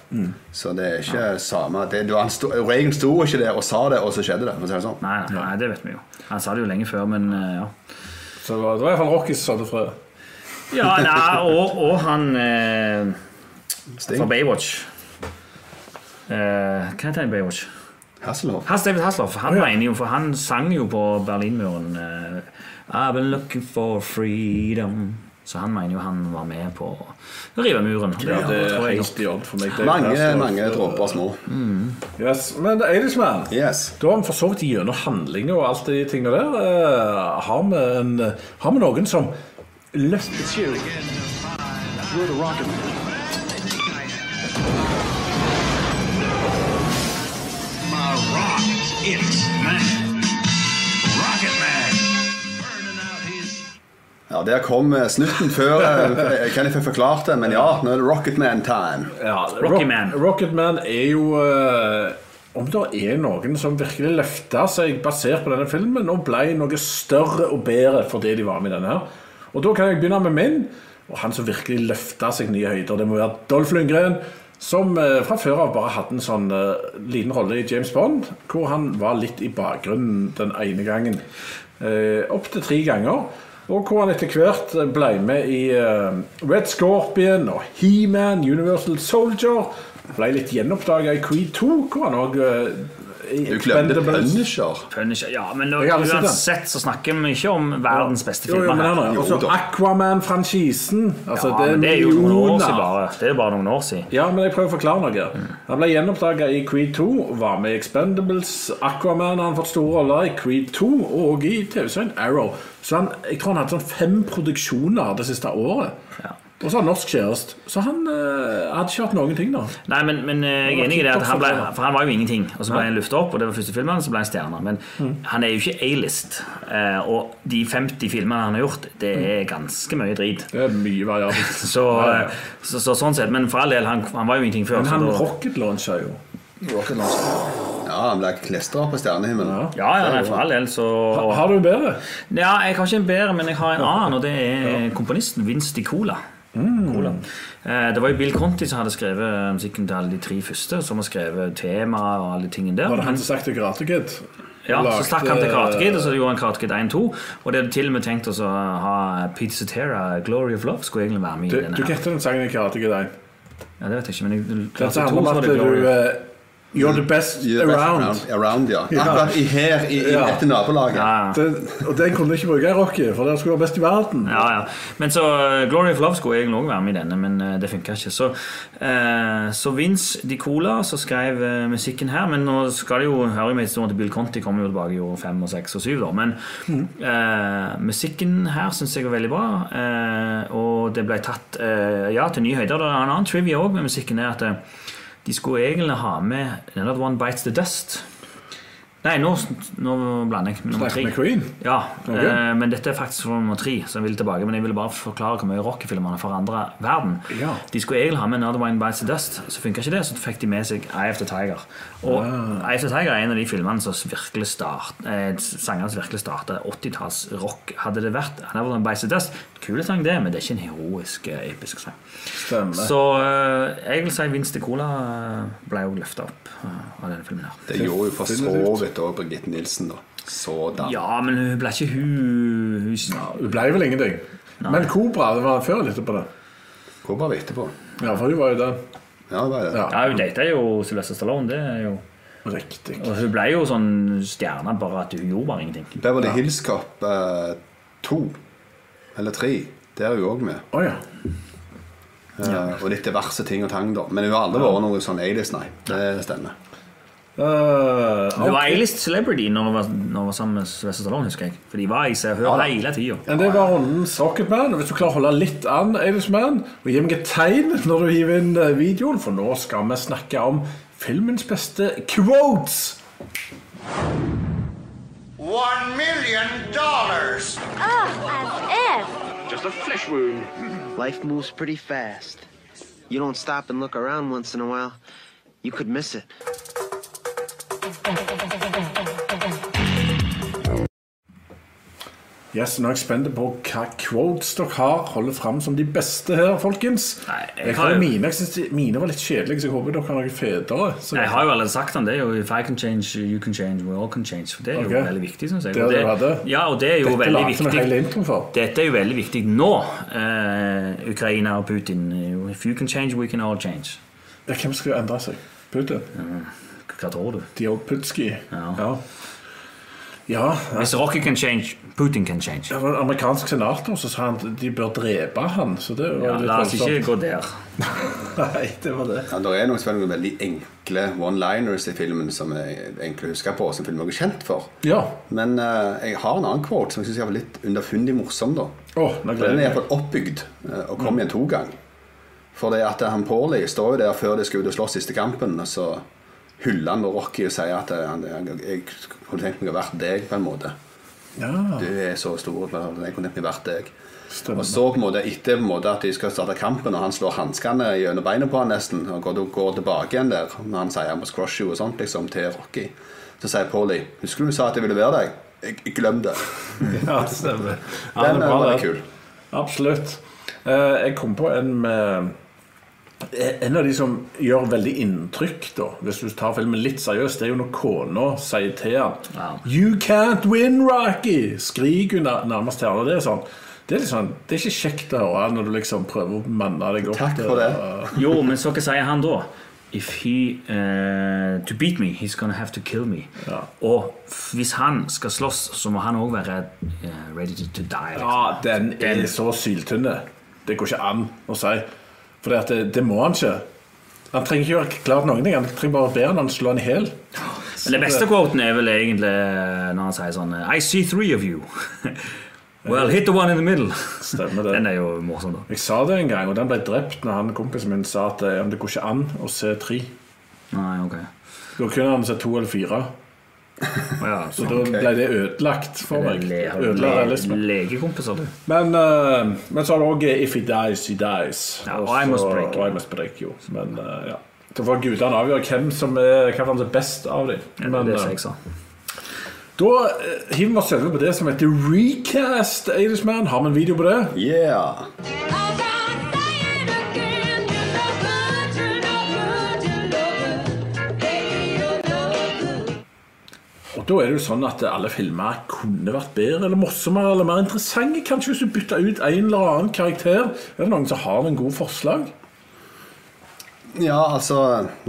[SPEAKER 1] Så det er ikke samme det, du, han sto, Reagan sto ikke der og sa det, og så skjedde det. for å si det sånn.
[SPEAKER 7] Nei, nei, nei, det vet vi jo. Han sa det jo lenge før, men eh, ja.
[SPEAKER 6] Så det var, det var i hvert fall Rocky som sådde frø.
[SPEAKER 7] Ja, nei, og, og han eh, fra
[SPEAKER 1] Sting.
[SPEAKER 7] Baywatch. Eh, hva heter han i Baywatch?
[SPEAKER 1] Hasselhoff.
[SPEAKER 7] Hans David Hasselhoff. Han mener jo, for han sang jo på Berlinmuren eh, I've been looking for freedom. Så han mener jo han var med på å rive muren.
[SPEAKER 6] Ja, det er
[SPEAKER 7] tror jeg
[SPEAKER 6] helt i odd for meg. Det er
[SPEAKER 1] Mange,
[SPEAKER 6] Hasselhoff.
[SPEAKER 1] mange dråper altså. små.
[SPEAKER 6] Yes, Men Eidishman,
[SPEAKER 1] Yes.
[SPEAKER 6] da har vi for så vidt gjennom handlinger og alt de tingene der. eh, har, vi en, har vi noen som løfter
[SPEAKER 3] my rock. It's man. Rocket Man. Burning out his
[SPEAKER 1] Ja, Der kom eh, snutten før. eh, Jeg kan ikke få forklart det, men ja, nå er det Rocketman-time.
[SPEAKER 6] ja,
[SPEAKER 7] Rocky Man.
[SPEAKER 6] Rocket Man er jo eh, Om det er noen som virkelig løfta seg basert på denne filmen og ble noe større og bedre for det de var med i denne her. Og da kan jeg begynne med min. Og han som virkelig løfta seg nye høyder, det må være Dolph Lundgren. Som eh, fra før av bare hadde en sånn eh, liten rolle i James Bond, hvor han var litt i bakgrunnen den ene gangen. Eh, Opptil tre ganger. Og hvor han etter hvert ble med i eh, Red Scorpion og He-Man, Universal Soldier. Ble litt gjenoppdaga i Creed 2, hvor han eh, òg
[SPEAKER 1] Du glemte Punisher.
[SPEAKER 7] Punisher. Ja, men nå,
[SPEAKER 6] Jeg har aldri sett den.
[SPEAKER 7] uansett så snakker vi ikke om verdens beste filmer. her.
[SPEAKER 1] Jo
[SPEAKER 6] Og så
[SPEAKER 1] da.
[SPEAKER 6] Aquaman-franchisen. Altså,
[SPEAKER 7] Ja,
[SPEAKER 6] det er
[SPEAKER 7] men det er jo noen år siden
[SPEAKER 6] millioner.
[SPEAKER 7] bare. Det er bare noen år siden.
[SPEAKER 6] Ja, men jeg prøver å forklare noe. Han ble gjenoppdaga i Creed 2, var med i Expendables, Aquaman har han fått store roller i Creed 2 og i TV-serien Arrow. Så han, jeg tror han hadde sånn fem produksjoner det siste året.
[SPEAKER 7] Ja.
[SPEAKER 6] Og så har han norsk kjæreste. Så han eh, hadde ikke hatt noen ting, da.
[SPEAKER 7] Nei, men, men eh, jeg er enig i det. At han ble, for han var jo ingenting. Og så ble han lufta opp, og det var første filmen, så ble han stjerne. Men
[SPEAKER 6] Mm.
[SPEAKER 7] han er jo ikke A-list. eh, Og de 50 filmene han har gjort, det
[SPEAKER 6] Mm.
[SPEAKER 7] er ganske mye drit.
[SPEAKER 6] Det er mye variabelt.
[SPEAKER 7] Så, eh, så, så sånn sett, Men for all del, han, han var jo ingenting før.
[SPEAKER 6] Men
[SPEAKER 7] så
[SPEAKER 6] han
[SPEAKER 7] da-
[SPEAKER 6] rocket-launcha jo.
[SPEAKER 1] Ja, Han ble klistra på stjernehimmelen.
[SPEAKER 7] ja, ja, nei, for all del, så
[SPEAKER 6] Har du bedre?
[SPEAKER 7] Ja, jeg har ikke en bedre, men jeg har en annen, og det er eh, komponisten Vince Di Cola.
[SPEAKER 6] Mm.
[SPEAKER 7] Cola. Eh, Det var jo Bill Conti som hadde skrevet musikken til alle de tre første, som har skrevet temaet og alle de tingene der.
[SPEAKER 6] Var det han som stakk til Karate Kid?
[SPEAKER 7] Ja,
[SPEAKER 6] Lagde-
[SPEAKER 7] så stakk han til Karate Kid, og så gjorde han Karate Kid 1-2. Og det hadde til og med tenkt oss å ha Pete Cetera, Glory of Love, skulle egentlig være med
[SPEAKER 6] Du,
[SPEAKER 7] i
[SPEAKER 6] du
[SPEAKER 7] denne her.
[SPEAKER 6] gjetter den sangen i Karate Kid 1.
[SPEAKER 7] Ja, det vet jeg ikke, men jeg,
[SPEAKER 6] Den som
[SPEAKER 7] Karate
[SPEAKER 6] handler
[SPEAKER 7] 2 så
[SPEAKER 6] om
[SPEAKER 7] var
[SPEAKER 6] at
[SPEAKER 7] det Glory
[SPEAKER 6] du
[SPEAKER 7] of
[SPEAKER 6] eh, You're the best
[SPEAKER 1] You're best
[SPEAKER 6] around.
[SPEAKER 1] around ja.
[SPEAKER 6] Ja.
[SPEAKER 1] Akkurat i her, i, i
[SPEAKER 6] Ja.
[SPEAKER 1] dette nabolaget.
[SPEAKER 7] Ja,
[SPEAKER 6] Det, og den kunne du ikke bruke i Rocky, for den skulle være best i verden.
[SPEAKER 7] ja, ja. Men så eh, Glory of Love skulle egentlig også være med i denne, men eh, det funka ikke. Så, eh, så Vince DiCola som skrev eh, musikken her. Men nå skal det jo høre med historien til Bill Conti kommer jo tilbake i år fem og seks og syv, da. Men eh, musikken her syns jeg var veldig bra. Eh, og det ble tatt eh, ja, til nye høyder. Det er en annen trivia òg med musikken er at eh, de skulle egentlig ha med Another One Bites The Dust. Nei, nå, nå blander jeg med nummer
[SPEAKER 6] Snakker
[SPEAKER 7] tre.
[SPEAKER 6] med Queen.
[SPEAKER 7] Ja,
[SPEAKER 6] Ok.
[SPEAKER 7] eh, men dette er faktisk fra nummer tre, som vil tilbake. Men jeg ville bare forklare hvor mye rockefilmene forandra verden.
[SPEAKER 6] Ja.
[SPEAKER 7] De skulle egentlig ha med Another Wine Bites the Dust, så funka ikke det. Så fikk de med seg Eye of the Tiger. Og
[SPEAKER 6] Ah.
[SPEAKER 7] Eye of the Tiger er en av de filmene som virkelig start, eh, sangene som virkelig starta 80-tallsrock. Hadde det vært Another Wine Bites the Dust, kule sang det, men det er ikke en heroisk, eh, episk sang.
[SPEAKER 6] Stemmer.
[SPEAKER 7] Så eh, jeg vil si Vince de Cola eh, ble jo løfta opp eh, av denne filmen her.
[SPEAKER 1] Det gjorde jo for så vidt òg Birgitte Nilsen, da. Så da.
[SPEAKER 7] Ja, men hun ble ikke hun, hun
[SPEAKER 6] Det ble vel ingenting. Men Cobra det var før eller etterpå det.
[SPEAKER 1] Hvor var vi etterpå?
[SPEAKER 6] Ja, for hun var jo den.
[SPEAKER 1] Ja, det var det.
[SPEAKER 6] Ja.
[SPEAKER 7] Ja, hun data jo Sylvester Stallone, det er jo
[SPEAKER 6] Riktig.
[SPEAKER 7] Og hun ble jo sånn stjerne bare at hun gjorde bare ingenting.
[SPEAKER 1] Beverly Hills Cop eh, to eller tre. Det er hun òg med.
[SPEAKER 6] Å ja.
[SPEAKER 1] Eh, Og litt diverse ting og tang, da. Men hun har aldri vært noe sånn Ailis, nei. Det stemmer.
[SPEAKER 6] Eh,
[SPEAKER 7] Hun var A-list celebrity når hun var, når hun var sammen med Sylvester Stallone, husker jeg. For de var i seg hør hele tida.
[SPEAKER 6] Men det var rundens Rocketman. Hvis du klarer å holde litt an, Aidesman, og gi meg et tegn når du hiver inn eh, videoen, for nå skal vi snakke om filmens beste quotes.
[SPEAKER 3] One million dollars.
[SPEAKER 8] As if.
[SPEAKER 9] Life moves pretty fast. You don't stop and look around once in a while, you could miss it.
[SPEAKER 6] Yes, Nå er jeg spent på hva quotes dere har holder fram som de beste her, folkens.
[SPEAKER 7] Nei, jeg
[SPEAKER 6] jeg
[SPEAKER 7] har
[SPEAKER 6] har
[SPEAKER 7] jo-
[SPEAKER 6] mine, jeg synes de, mine var litt kjedelige, så jeg håper dere har noe fetere. Så-
[SPEAKER 7] Jeg har jo allerede sagt han det. er jo If I can change, you can change, we all can change. For Det er jo
[SPEAKER 6] Ok.
[SPEAKER 7] veldig viktig, synes jeg.
[SPEAKER 6] Det
[SPEAKER 7] Og
[SPEAKER 6] var det.
[SPEAKER 7] ja, og det er jo
[SPEAKER 6] Dette
[SPEAKER 7] veldig
[SPEAKER 6] lagde vi
[SPEAKER 7] viktig.
[SPEAKER 6] hele introen for.
[SPEAKER 7] Dette er jo veldig viktig nå. Eh, Ukraina og Putin. eh, If you can change, we can all change.
[SPEAKER 6] Ja, Hvem skal endre seg? Putin?
[SPEAKER 7] Hva tror du?
[SPEAKER 6] Dioputskij?
[SPEAKER 7] Ja.
[SPEAKER 6] Ja. ja.
[SPEAKER 7] Hvis Rocky can change, Putin can change.
[SPEAKER 6] Det var en amerikansk senator som sa han de bør drepe han. Så det var
[SPEAKER 7] Ja,
[SPEAKER 6] litt
[SPEAKER 7] la oss ikke
[SPEAKER 6] voldsomt.
[SPEAKER 7] gå der.
[SPEAKER 6] Nei, det var det.
[SPEAKER 1] Ja, det er noen selvfølgelig noen veldig enkle one-liners i filmen som jeg egentlig husker på, som filmen er kjent for.
[SPEAKER 6] Ja.
[SPEAKER 1] Men eh, jeg har en annen quote som jeg syns var litt underfundig morsom. da.
[SPEAKER 6] Åh, nå
[SPEAKER 1] For Den er
[SPEAKER 6] gleder jeg meg.
[SPEAKER 1] iallfall oppbygd eh, og kom igjen to ganger. For det at han Pauli står jo der før de skal ut og slåss siste kampen, og så hyller han da Rocky og sier at eh, han, jeg, jeg kunne tenkt meg å vært deg, på en måte.
[SPEAKER 6] Ja,
[SPEAKER 1] Du er så stor, bla, bla, bla, jeg kunne tenkt meg å vært deg. Og
[SPEAKER 6] stemmer.
[SPEAKER 1] så på en måte etter på en måte at de skal starte kampen, og han slår hanskene gjennom beina på han nesten, og går, går tilbake igjen der når han sier 'I must crush you' og sånt, liksom, til Rocky, så sier Paulie 'Husker du du sa at jeg ville være deg?' Jeg, jeg glem det.
[SPEAKER 6] Ja, stemmer. Ja,
[SPEAKER 1] Den eh,
[SPEAKER 6] det
[SPEAKER 1] var
[SPEAKER 6] bra,
[SPEAKER 1] veldig
[SPEAKER 6] det.
[SPEAKER 1] kul.
[SPEAKER 6] Absolutt. Eh, Jeg kom på en med en av de som gjør veldig inntrykk, da, hvis du tar filmen litt seriøst, det er jo når kona sier til han
[SPEAKER 7] Ja.
[SPEAKER 6] You can't win, Rocky! Skriker hun nær- nærmest til han. og Det er sånn det er, litt sånn, det er ikke kjekt å høre når du liksom prøver å manne deg opp.
[SPEAKER 1] Takk
[SPEAKER 6] til-
[SPEAKER 1] for det.
[SPEAKER 7] Jo, men så hva sier han da? If he eh, To beat me, he's gonna have to kill me.
[SPEAKER 6] Ja.
[SPEAKER 7] Og f- hvis han skal slåss, så må han òg være eh, ready to, to die. liksom.
[SPEAKER 6] Ja, den er så syltynne. Det går ikke an å si. For det, det må han ikke. Han trenger ikke gjøre klart noen ting. Han trenger bare å be han, han slå han i hjel.
[SPEAKER 7] Men den beste quoten er vel egentlig når han sier sånn I see three of you. Well, hit the one in the middle.
[SPEAKER 6] Stemmer det.
[SPEAKER 7] Den er jo morsom, da.
[SPEAKER 6] Jeg sa det en gang, og den ble drept når han kompisen min sa at eh, ja, men det går ikke an å se tre.
[SPEAKER 7] Nei, ok.
[SPEAKER 6] Da kunne han se to eller fire.
[SPEAKER 7] Ja,
[SPEAKER 6] Så
[SPEAKER 7] sånn.
[SPEAKER 6] da ble det ødelagt for meg.
[SPEAKER 7] Le,
[SPEAKER 6] Ødela
[SPEAKER 7] le,
[SPEAKER 6] realismen.
[SPEAKER 7] legekompiser, du.
[SPEAKER 6] Men, eh, men så har du òg If he dies, he dies.
[SPEAKER 7] Ja,
[SPEAKER 6] Og
[SPEAKER 7] og I
[SPEAKER 6] så-
[SPEAKER 7] must break you.
[SPEAKER 6] og I must break you. Men eh, ja. Så får gudene avgjøre hvem som er, hvem som er best av dem.
[SPEAKER 7] Det er sånn.
[SPEAKER 6] Men,
[SPEAKER 7] det
[SPEAKER 6] eh,
[SPEAKER 7] som jeg sa.
[SPEAKER 6] Da eh, hiver vi oss over på det som heter Recast Aidesman. Har vi en video på det?
[SPEAKER 1] Yeah!
[SPEAKER 6] Og da er det jo sånn at alle filmer kunne vært bedre eller morsommere eller mer interessante. Kanskje hvis du bytter ut en eller annen karakter. Er det noen som har en god forslag?
[SPEAKER 1] Ja, altså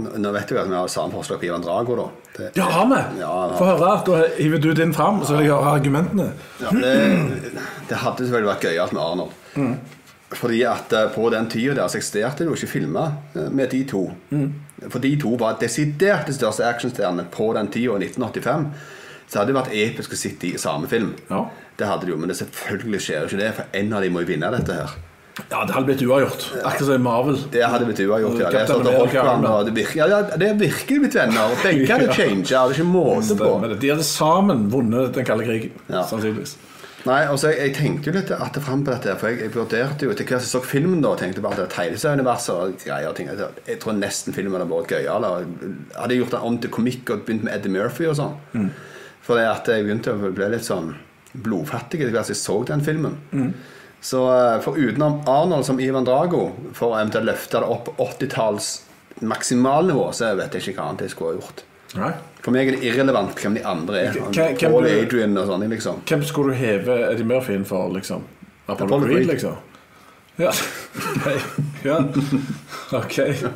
[SPEAKER 1] Nå nå vet du jo at vi har samme forslag på Ivan Drago, da. Det-
[SPEAKER 6] Ja, har vi!
[SPEAKER 1] Ja, han har-
[SPEAKER 6] Få høre. Da hiver du din fram, og så vil jeg høre argumentene.
[SPEAKER 1] Ja, det, det hadde selvfølgelig vært gøyalt med Arnold.
[SPEAKER 6] Mm.
[SPEAKER 1] Fordi at eh, på den tida der så eksisterte det jo ikke filmer eh, med de to.
[SPEAKER 6] Mm.
[SPEAKER 1] For de to var desidert de største actionstjernene på den tida, i 1985. Så hadde det vært episk å sitte i samme film.
[SPEAKER 6] Ja.
[SPEAKER 1] Det hadde det jo, men det selvfølgelig skjer jo ikke det, for en av de må jo vinne dette her.
[SPEAKER 6] Ja, det hadde blitt uavgjort. Akkurat som i Marvel.
[SPEAKER 1] Det hadde blitt uavgjort, ja. Det, er
[SPEAKER 6] Captain
[SPEAKER 1] sånn at
[SPEAKER 6] America,
[SPEAKER 1] Hulkman,
[SPEAKER 6] ja.
[SPEAKER 1] og det, virker, ja, det- det er virkelig blitt venner. Begge hadde
[SPEAKER 6] Ja.
[SPEAKER 1] changet, hadde ikke måte på.
[SPEAKER 6] Stemmer det. De hadde sammen vunnet den kalde krigen,
[SPEAKER 1] Ja.
[SPEAKER 6] sannsynligvis.
[SPEAKER 1] Nei, altså jeg, jeg tenkte jo litt at det frem på dette, her, for jeg, jeg vurderte jo etter hver som jeg så filmen da, tenkte jeg bare at det tegneserieuniverset og greier og ting. Jeg, jeg tror nesten filmen hadde vært gøyere. da. Hadde jeg gjort den om til komikk og begynt med Eddie Murphy og sånn.
[SPEAKER 6] Mm.
[SPEAKER 1] For det at jeg begynte å bli litt sånn blodfattig etter hvert som jeg så den filmen.
[SPEAKER 6] Mm.
[SPEAKER 1] Så eh, for utenom Arnold som Ivan Drago, for å eventuelt løfte det opp 80-talls maksimalnivå, så vet jeg ikke hva annet jeg skulle ha gjort.
[SPEAKER 6] Nei.
[SPEAKER 1] For meg er det irrelevant hvem de andre er.
[SPEAKER 6] Hvem- hvem
[SPEAKER 1] Paul
[SPEAKER 6] du-
[SPEAKER 1] Adrian og sånne, liksom.
[SPEAKER 6] Hvem skulle du heve Eddie Murphy inn for, liksom? Apollo
[SPEAKER 1] Apollo
[SPEAKER 6] Creed,
[SPEAKER 1] Creed.
[SPEAKER 6] liksom? Ja. Nei. ja. Ok. Ja.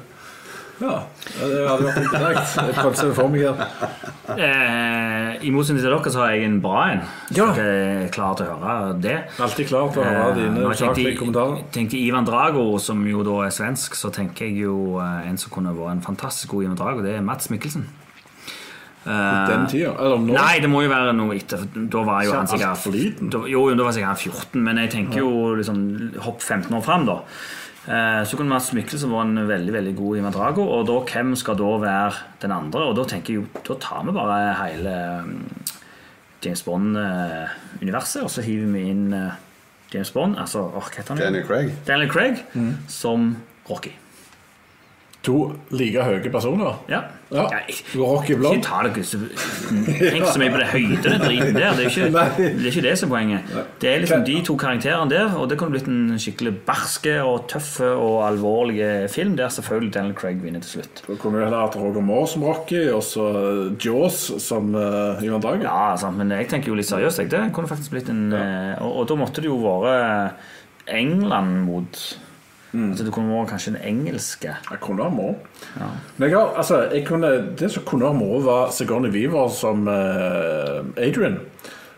[SPEAKER 6] ja, Det hadde vært interessant. Jeg prøvde å se det for meg her.
[SPEAKER 7] Eh, I motsetning til dere så har jeg en bra en.
[SPEAKER 6] Ja.
[SPEAKER 7] Så dere er klare til å høre det.
[SPEAKER 6] Alltid klar til å høre
[SPEAKER 7] Eh,
[SPEAKER 6] dine
[SPEAKER 7] når jeg tenkte-
[SPEAKER 6] saklige kommentarer.
[SPEAKER 7] tenkte Ivan Drago, som jo da er svensk, så tenker jeg jo eh, en som kunne vært en fantastisk god Ivan Drago, det er Mats Mikkelsen. Eh,
[SPEAKER 6] Den tida? Eller nå?
[SPEAKER 7] Nei, det må jo være noe etter. for Da var jo
[SPEAKER 6] Så
[SPEAKER 7] han sikkert
[SPEAKER 6] altfor liten?
[SPEAKER 7] Da, jo, da var sikkert han 14, men jeg tenker jo liksom hopp 15 år fram, da. Eh, Så kunne Mads Mikkelsen vært en veldig veldig god Ivan Drago. Og da, hvem skal da være den andre? Og da tenker jeg jo, da tar vi bare hele mm, James Bond-universet, og så hiver vi inn eh, James Bond, altså åh, hva heter han?
[SPEAKER 1] Daniel Craig.
[SPEAKER 7] Daniel Craig som Rocky.
[SPEAKER 6] To like høye personer?
[SPEAKER 7] Ja.
[SPEAKER 6] Ja.
[SPEAKER 7] Ja, jeg-
[SPEAKER 6] Rocky
[SPEAKER 7] Ikke
[SPEAKER 6] Blond?
[SPEAKER 7] ta det Gustav. Tenk så mye på det høyde den driten der. Det er jo ikke,
[SPEAKER 6] Nei.
[SPEAKER 7] det, er ikke det som er poenget. Det er liksom de to karakterene der, og det kunne blitt en skikkelig barske og tøffe og alvorlige film der selvfølgelig Daniel Craig vinner til slutt.
[SPEAKER 6] Da kunne du heller hatt Roger Moore som Rocky, og så Jaws som uh, Ivan Drago.
[SPEAKER 7] Ja, sant, men jeg tenker jo litt seriøst. Jeg. Det kunne faktisk blitt en eh, og, og da måtte det jo vært England mot Altså, det kunne vært kanskje den engelske.
[SPEAKER 6] Jeg kunne ha moro. Men jeg har, altså, jeg kunne, det som kunne ha moro, var Sigourney Weaver som eh, Adrian.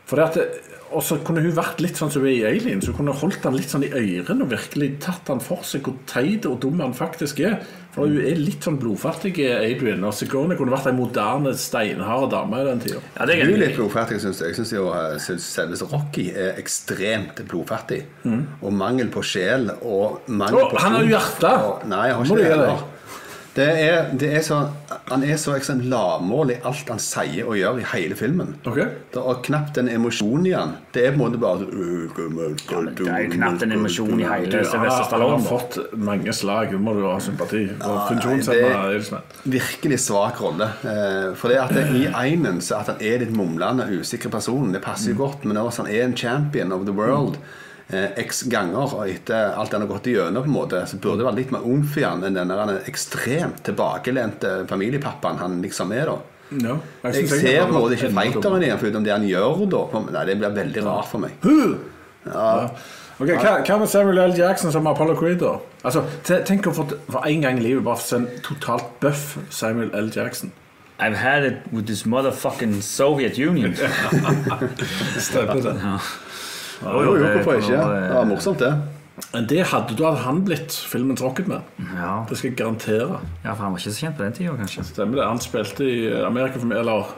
[SPEAKER 6] For det at det- og så kunne hun vært litt sånn som hun er i Alien. Så hun kunne holdt han litt sånn i ørene og virkelig tatt han for seg hvor teit og dum han faktisk er. For hun er litt sånn blodfattig, Adrian. Og Sigourney kunne vært ei moderne, steinhard dame i den tida.
[SPEAKER 7] Ja,
[SPEAKER 1] Du er
[SPEAKER 7] det er jeg
[SPEAKER 1] litt
[SPEAKER 7] enig i.
[SPEAKER 1] blodfattig, syns jeg. Jeg syns jo eh, synes selveste Rocky er ekstremt blodfattig.
[SPEAKER 7] Mm.
[SPEAKER 1] Og mangel på sjel og mangel
[SPEAKER 6] Å,
[SPEAKER 1] på
[SPEAKER 6] han har jo
[SPEAKER 1] tro.
[SPEAKER 6] hjerte!
[SPEAKER 1] Og- Nei, jeg har
[SPEAKER 6] Må
[SPEAKER 1] ikke
[SPEAKER 6] du
[SPEAKER 1] det
[SPEAKER 6] gjøre det?
[SPEAKER 1] heller. Det er, det er så, han er så ekstremt lavmål i alt han sier og gjør i hele filmen.
[SPEAKER 6] Ok.
[SPEAKER 1] Det er knapt en emosjon i han. Det er på en måte bare «Øh, så-
[SPEAKER 7] men det er jo knapt en emosjon i hele-
[SPEAKER 6] Du, han,
[SPEAKER 7] Sylvester
[SPEAKER 6] har- han har
[SPEAKER 7] Stallone, da.
[SPEAKER 6] fått mange slag. Nå må du ha sympati. Og
[SPEAKER 1] nei,
[SPEAKER 6] funksjonshemma er det som er.
[SPEAKER 1] virkelig svak rolle. Eh, For det at det, i einen så at han er litt mumlende, usikker person, det passer
[SPEAKER 6] Mm.
[SPEAKER 1] jo godt. Men også han er en champion of the world eh, x ganger, og etter alt han har gått igjennom, på en måte, så burde det være litt mer omf i han enn den der han er ekstremt tilbakelente familiepappaen han liksom er, da.
[SPEAKER 6] Ja,
[SPEAKER 1] Jeg
[SPEAKER 6] jeg synes egentlig
[SPEAKER 1] ser på
[SPEAKER 6] han
[SPEAKER 1] en
[SPEAKER 6] har
[SPEAKER 1] måte
[SPEAKER 6] vært
[SPEAKER 1] ikke
[SPEAKER 6] enda dummere.
[SPEAKER 1] fighteren igjen, foruten det han gjør da. Nei, det blir veldig rart for meg.
[SPEAKER 6] Ok, hva, hva med Samuel L. Jackson som Apollo Creed, da? Altså, te- tenk å få t- for en gang i livet bare få se en totalt bøff Samuel L. Jackson.
[SPEAKER 7] I've had it with this motherfucking Soviet Union.
[SPEAKER 6] Stemmer det.
[SPEAKER 1] Jo, jo, hvorfor ikke?
[SPEAKER 7] eh,
[SPEAKER 1] Det var morsomt, det.
[SPEAKER 6] Men det hadde du hadde han blitt filmens Rocketman.
[SPEAKER 7] Ja.
[SPEAKER 6] Det skal jeg garantere.
[SPEAKER 7] Ja, for han var ikke så kjent på den tida, kanskje.
[SPEAKER 6] Stemmer det. Han spilte i eh, Amerika for, mi- eller, eh,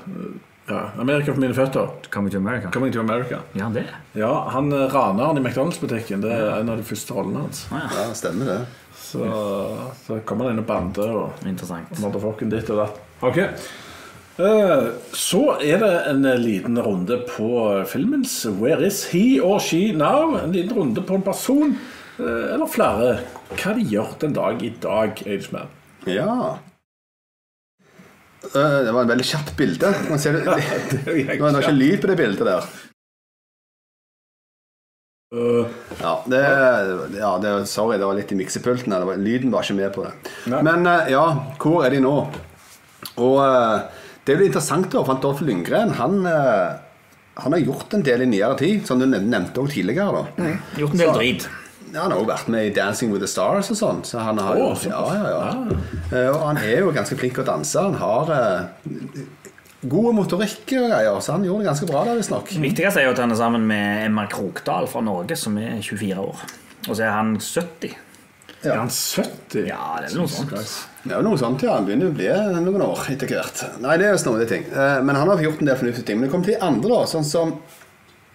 [SPEAKER 6] ja, Amerika for mine føtter.
[SPEAKER 7] Coming to America.
[SPEAKER 6] Coming to America.
[SPEAKER 7] Ja, det.
[SPEAKER 6] Ja, han eh, raneren i McDonald's-butikken. Det er en av de første rollene hans.
[SPEAKER 1] Ja, stemmer det.
[SPEAKER 6] Så, så kommer han inn og bander og
[SPEAKER 7] Interessant.
[SPEAKER 6] Motherfucken ditt og datt. Ok. Eh, Så er det en eh, liten runde på eh, filmens Where is he or she now? En liten runde på en person eh, eller flere. Hva de gjør den dag i dag, Øydsmann.
[SPEAKER 1] Ja. Øh, Det var en veldig kjapt bilde. Man ser det, det, det var ikke lyd på det bildet der.
[SPEAKER 6] Eh,
[SPEAKER 1] Ja, det, ja det, sorry, det var litt i miksepulten. her. Det var- Lyden var ikke med på det.
[SPEAKER 6] Nei.
[SPEAKER 1] Men eh, ja, hvor er de nå? Og eh, det blir interessant, da, for at Dolph Lundgren han, eh, han har gjort en del i nyere tid, som du nev- nevnte også tidligere. da.
[SPEAKER 7] Gjort en del drit.
[SPEAKER 1] Ja, han har jo vært med i 'Dancing with the Stars' og sånn. Så han har jo,
[SPEAKER 6] Å, såpass. Ah.
[SPEAKER 1] ja, ja, ja. Eh, Og han er jo ganske flink til å danse. Han har eh, god motorikk og greier, så han gjorde det ganske bra der, visstnok.
[SPEAKER 7] Det viktigste er jo at han er sammen med Emma Krokdal fra Norge, som er 24 år. Og så er han 70.
[SPEAKER 6] Er han 70?
[SPEAKER 7] Ja, det er noe sånt.
[SPEAKER 1] Ja, noe sånt, ja. Han begynner å bli noen år etter hvert. Nei, det er jo snodige ting. Eh, Men han har gjort en del fornuftige ting. Men det kommer til andre, da. Sånn som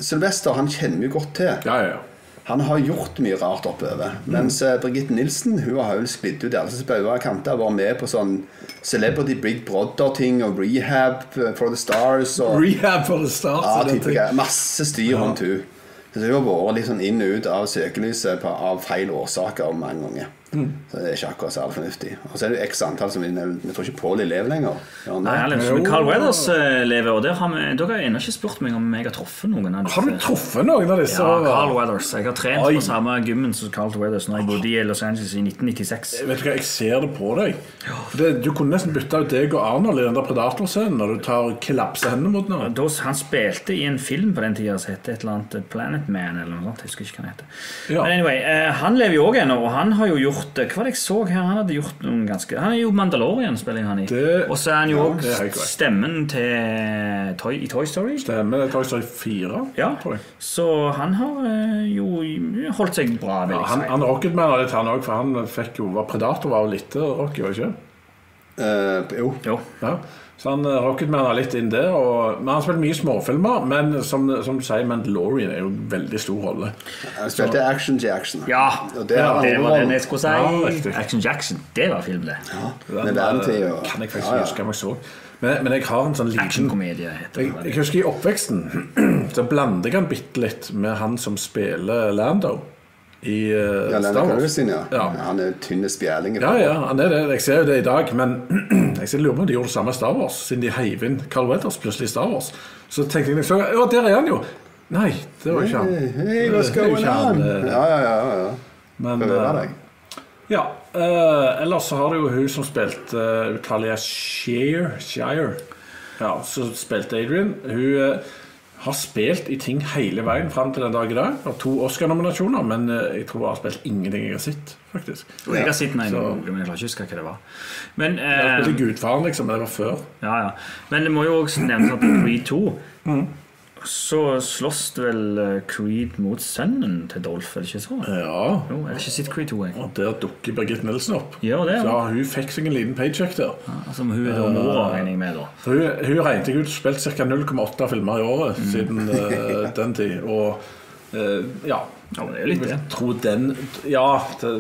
[SPEAKER 1] Sylvester, han kjenner vi jo godt til.
[SPEAKER 6] Ja, ja, ja.
[SPEAKER 1] Han har gjort mye rart oppover. Mens eh, Birgitte Nilsen hun har jo sklidd ut i alle slags bauger og kanter. har Vært med på sånn Celebrity Big Brother-ting og Rehab eh, for the Stars og
[SPEAKER 6] Rehab for the start.
[SPEAKER 1] ja,
[SPEAKER 6] så den
[SPEAKER 1] type
[SPEAKER 6] ting.
[SPEAKER 1] greier. Masse styr rundt hun. Så hun har vært litt sånn inn og ut av søkelyset på, av feil årsaker mange ganger.
[SPEAKER 6] Mm.
[SPEAKER 1] Så det er ikke akkurat særlig fornuftig. Og så er det jo x antall som vi nevnte. Jeg tror ikke Pål lever lenger. Gjør han det?
[SPEAKER 7] Nei, han lever
[SPEAKER 6] Jo.
[SPEAKER 7] som Carl Weathers eh, lever, og der har vi, dere har ennå ikke spurt meg om jeg har truffet noen av disse.
[SPEAKER 6] Har du truffet noen av disse?
[SPEAKER 7] Ja, Carl Weathers. Jeg har trent
[SPEAKER 6] Oi.
[SPEAKER 7] på samme gymmen som Carl Weathers når jeg bodde i Los Angeles i 1996.
[SPEAKER 6] Vet du hva, Jeg ser det på deg. For det, du kunne nesten bytta ut deg og Arnold i den der Predator-scenen når du tar kollapser hendene mot noen.
[SPEAKER 7] Da, han spilte i en film på den tida som het et eller annet eh, Planet Man. eller noe sånt, jeg husker ikke hva den heter.
[SPEAKER 6] Ja.
[SPEAKER 7] Men anyway, eh, Han lever jo òg ennå, og han har jo gjort eh, Hva var det jeg så her? Han hadde gjort noen ganske... Han er jo Mandalorian, spiller han i.
[SPEAKER 6] Det-
[SPEAKER 7] og så er han jo
[SPEAKER 6] Ja,
[SPEAKER 7] òg
[SPEAKER 6] det er helt korrekt.
[SPEAKER 7] stemmen til Toy, i Toy Story.
[SPEAKER 6] Stemmer. Toy Story 4,
[SPEAKER 7] Ja,
[SPEAKER 6] tror jeg.
[SPEAKER 7] Så han har eh, jo holdt seg bra, vil
[SPEAKER 6] Ja,
[SPEAKER 7] jeg
[SPEAKER 6] han
[SPEAKER 7] si.
[SPEAKER 6] han rocket mer litt, han òg, for han fikk jo, var predator var jo litt rocky, var ikke?
[SPEAKER 1] Eh, jo.
[SPEAKER 7] Jo.
[SPEAKER 6] Ja. Så han eh, rocket mer litt inn der. Og, men han spilte mye småfilmer, men som, som du sier, Mandalorian er jo en veldig stor rolle.
[SPEAKER 1] Han spilte Action Jackson.
[SPEAKER 7] Ja,
[SPEAKER 1] Og
[SPEAKER 7] det
[SPEAKER 1] det har han
[SPEAKER 7] var den
[SPEAKER 1] hovedrollen.
[SPEAKER 7] jeg skulle
[SPEAKER 6] Ja,
[SPEAKER 7] si.
[SPEAKER 6] riktig.
[SPEAKER 7] Action Jackson, det var film, det.
[SPEAKER 1] Med verden og
[SPEAKER 6] eh, Kan jeg faktisk
[SPEAKER 1] Ja,
[SPEAKER 6] ikke
[SPEAKER 1] ja.
[SPEAKER 6] huske om jeg så. Men, men jeg har en sånn liten
[SPEAKER 7] Actionkomedie heter
[SPEAKER 6] jeg,
[SPEAKER 7] det.
[SPEAKER 6] jeg husker i oppveksten så blander jeg han bitte litt med han som spiller Lando i eh,
[SPEAKER 1] Ja,
[SPEAKER 6] Star
[SPEAKER 1] Lando
[SPEAKER 6] Wars.
[SPEAKER 1] Calrissian, ja.
[SPEAKER 6] Ja.
[SPEAKER 1] Han er tynne spjæling.
[SPEAKER 6] Ja, ja, han er det. Jeg ser jo det i dag, men jeg ser- lurer på om de gjorde det samme i Star Wars, siden de heiv inn Carl Weathers plutselig i Star Wars. Så tenkte jeg så, Ja, der er han jo! Nei, det var ikke han.
[SPEAKER 1] Hey, what's
[SPEAKER 6] Det er jo
[SPEAKER 1] going
[SPEAKER 6] ikke han,
[SPEAKER 1] on?
[SPEAKER 6] eh,
[SPEAKER 1] Ja, ja, ja. ja.
[SPEAKER 6] Men
[SPEAKER 1] Prøver
[SPEAKER 6] eh,
[SPEAKER 1] deg.
[SPEAKER 6] ja. eh, ellers så har du jo hun som spilte uh, Talia Shire, Shire. Ja, som spilte Adrian. Hun eh, har spilt i ting hele veien fram til den dag i dag. Har to Oscar-nominasjoner, men eh, jeg tror hun har spilt ingenting jeg har sett, faktisk.
[SPEAKER 7] Og jeg har sett den en
[SPEAKER 6] Så-
[SPEAKER 7] gang, men jeg klarer ikke å huske hva det var. Men,
[SPEAKER 6] Hun
[SPEAKER 7] eh,
[SPEAKER 6] spilte Gudfaren, liksom, men det var før.
[SPEAKER 7] ja, ja. men det må jo også nevnes at i Creed 2 Mm. så slåss det vel eh, Creed mot sønnen til Dolph, er det ikke sånn?
[SPEAKER 6] Ja.
[SPEAKER 7] Jo, jeg har ikke sett Creed 2, jeg.
[SPEAKER 6] Og der dukker Birgitte Nilsen opp.
[SPEAKER 7] Gjør det, ja.
[SPEAKER 6] ja, hun fikk seg en liten paycheck der.
[SPEAKER 7] Som Altså, hun er da mora, regner jeg med, da.
[SPEAKER 6] Hun, hun regnet jeg ut spilt ca. 0,8 filmer i året
[SPEAKER 7] Mm.
[SPEAKER 6] siden eh, den tid. Og eh, ja.
[SPEAKER 7] Ja, men det er jo litt
[SPEAKER 6] Jeg
[SPEAKER 7] det.
[SPEAKER 6] tror den Ja, det,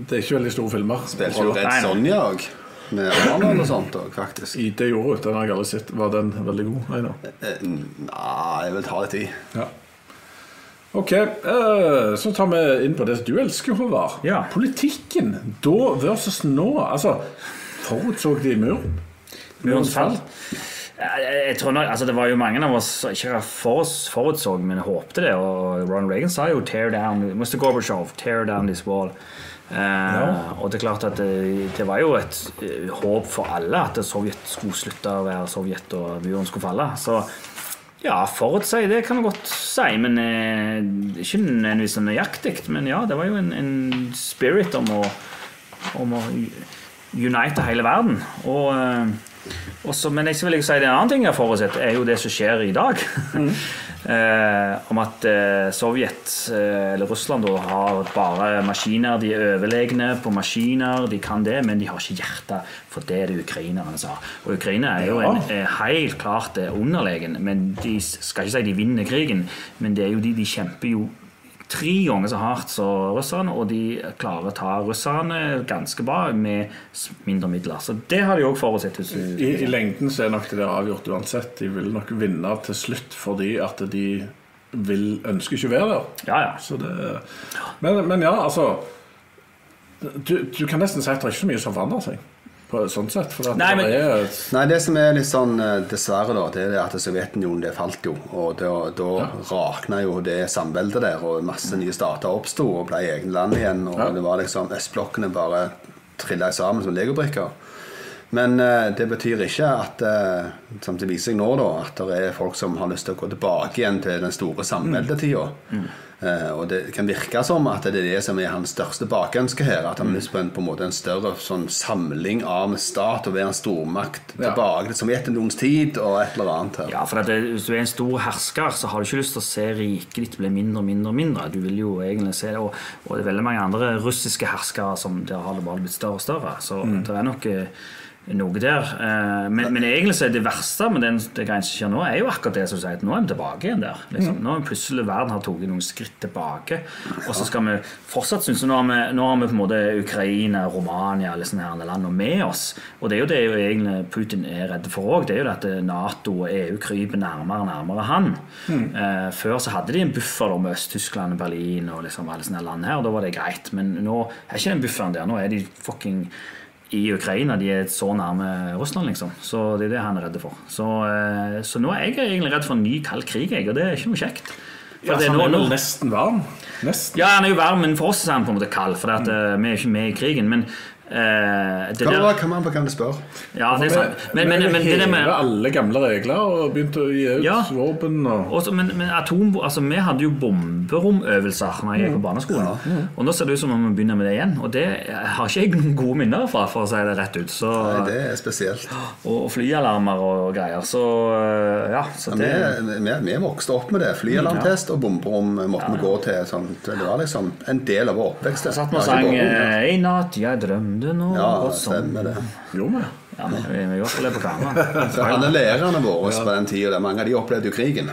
[SPEAKER 6] det er ikke veldig store filmer.
[SPEAKER 1] Spilte jo
[SPEAKER 7] Nei,
[SPEAKER 1] Red
[SPEAKER 7] nei.
[SPEAKER 1] Sonja òg. Med Arnold og sånt òg, faktisk.
[SPEAKER 6] I det jordet, den har jeg aldri sett. Var den veldig god? Einar?
[SPEAKER 1] Eh, Nei, jeg vil ta litt i.
[SPEAKER 6] Ja. Ok, eh, så tar vi inn på det du elsker, Håvard.
[SPEAKER 7] Ja.
[SPEAKER 6] Politikken. Da versus nå. Altså, forutså de muren?
[SPEAKER 7] Murens fall. Jeg, jeg- jeg tror nok, altså Det var jo mange av oss som ikke for, forutså, men håpte det. Og Ronald Reagan sa jo 'tear down Mr. Gorbachev, tear down this wall'. Eh, Og det er klart at det, det var jo et eh, håp for alle at Sovjet skulle slutte å være Sovjet, og muren skulle falle. Så ja, forutsi, det kan du godt si. Men eh, ikke nødvendigvis så nøyaktig. Men ja, det var jo en, en spirit om å om å unite hele verden. Og, eh, også, men jeg vil ikke si det en annen ting jeg har forutsett, er jo det som skjer i dag. eh, om at eh, Sovjet, eh, eller Russland, da, har bare maskiner. De er overlegne på maskiner, de kan det, men de har ikke hjerte. For det er det ukrainerne som har. Og Ukraina er jo en, er helt klart eh, underlegen. men De skal ikke si de vinner krigen, men det er jo de, de kjemper jo tre ganger så hardt som russerne, og de klarer å ta russerne ganske bra med s- mindre midler. Så det har de òg forutsett. hvis du-
[SPEAKER 6] I, I lengden så er nok det der avgjort uansett. De vil nok vinne til slutt fordi at de vil, ønsker ikke å være der.
[SPEAKER 7] Ja, ja.
[SPEAKER 6] Så det, men, men ja, altså du, du kan nesten si at det er ikke så mye som forandrer seg. På, sånn sett, for at
[SPEAKER 7] Nei, men-
[SPEAKER 6] det er
[SPEAKER 1] Nei, det som er litt sånn eh, dessverre, da, det er det at Sovjetunionen det falt jo. Og da, da rakna jo det samveldet der, og masse nye stater oppsto og ble egne land igjen. Og
[SPEAKER 6] Ja.
[SPEAKER 1] det var liksom østblokkene bare trilla sammen som legobrikker. Men eh, det betyr ikke at eh, som
[SPEAKER 7] Mm.
[SPEAKER 1] det viser seg nå da, at det er folk som har lyst til å gå tilbake igjen til den store samveldetida. Eh, og det kan virke som at det er det som er hans største bakønske her. At han
[SPEAKER 7] Mm.
[SPEAKER 1] har lyst på en, på en, måte en større sånn, samling av en stat og være en stormakt
[SPEAKER 6] Ja.
[SPEAKER 1] tilbake til Sovjetunionens tid og et eller annet her.
[SPEAKER 7] Ja, for at det, Hvis du er en stor hersker, så har du ikke lyst til å se riket ditt bli mindre og mindre. og mindre. Du vil jo egentlig se det, og, og det er veldig mange andre russiske herskere som der har det bare blitt større og større. Så det er nok eh, noe der. Eh, Men, men egentlig så er det verste med den, det greiene som skjer nå, er jo akkurat det som du sier, at nå er vi tilbake igjen der. Liksom. Nå er vi plutselig verden har tatt noen skritt tilbake. Og så skal vi fortsatt synes nå har vi, nå har vi på en måte Ukraina, Romania alle sånne her land med oss. Og det er jo det jo egentlig Putin er redd for òg. Det er jo det at eh, Nato og EU kryper nærmere og nærmere han.
[SPEAKER 6] Hmm.
[SPEAKER 7] Eh, før så hadde de en buffer da, med Øst-Tyskland og Berlin og liksom alle sånne land her, og da var det greit. Men nå er ikke den bufferen der. Nå er de fucking i Ukraina. De er så nærme Russland, liksom. Så det er det han er redd for. Så, eh, så nå er jeg egentlig redd for en ny kald krig, jeg, og det er ikke noe kjekt.
[SPEAKER 6] Ja,
[SPEAKER 7] For det
[SPEAKER 6] Altså,
[SPEAKER 7] er
[SPEAKER 6] han
[SPEAKER 7] nå-
[SPEAKER 6] er vel
[SPEAKER 7] nå-
[SPEAKER 6] nesten varm. Nesten.
[SPEAKER 7] ja, han er jo varm, men for oss er han på en måte kald. For at, eh, vi er jo ikke med i krigen. Men eh, det
[SPEAKER 1] Hva
[SPEAKER 7] der
[SPEAKER 1] var- hva man kan du spørre?
[SPEAKER 7] Ja, det er sant. Men, men, men, det der
[SPEAKER 6] hevet
[SPEAKER 7] med
[SPEAKER 6] alle gamle regler og begynte å gi ut
[SPEAKER 7] Ja.
[SPEAKER 6] våpen og
[SPEAKER 7] også, men, men atom, altså, Vi hadde jo bomberomøvelser Når jeg gikk på barneskolen.
[SPEAKER 1] Mm.
[SPEAKER 7] Og nå ser det ut som om vi begynner med det igjen. Og det har ikke jeg noen gode minner fra, for å si det rett ut. Så,
[SPEAKER 1] Nei, det er spesielt.
[SPEAKER 7] og flyalarmer og greier. Så eh, ja. Så
[SPEAKER 1] Vi,
[SPEAKER 7] det,
[SPEAKER 1] vi, vi vokste opp med det. Flyalarmtest og bomberom måtte vi gå til. Sånt. Det var liksom en del av vår oppvekst. det.
[SPEAKER 7] satt vi og
[SPEAKER 1] Det var
[SPEAKER 7] sang
[SPEAKER 1] ikke bare-
[SPEAKER 7] eh, I natt jeg drømte noe
[SPEAKER 1] Ja,
[SPEAKER 7] og sånn.
[SPEAKER 1] stemmer det.
[SPEAKER 6] gjorde vi.
[SPEAKER 7] Ja, men vi, vi gjorde det på kamera.
[SPEAKER 1] Så alle lærerne våre på den tida, mange av de opplevde jo krigen.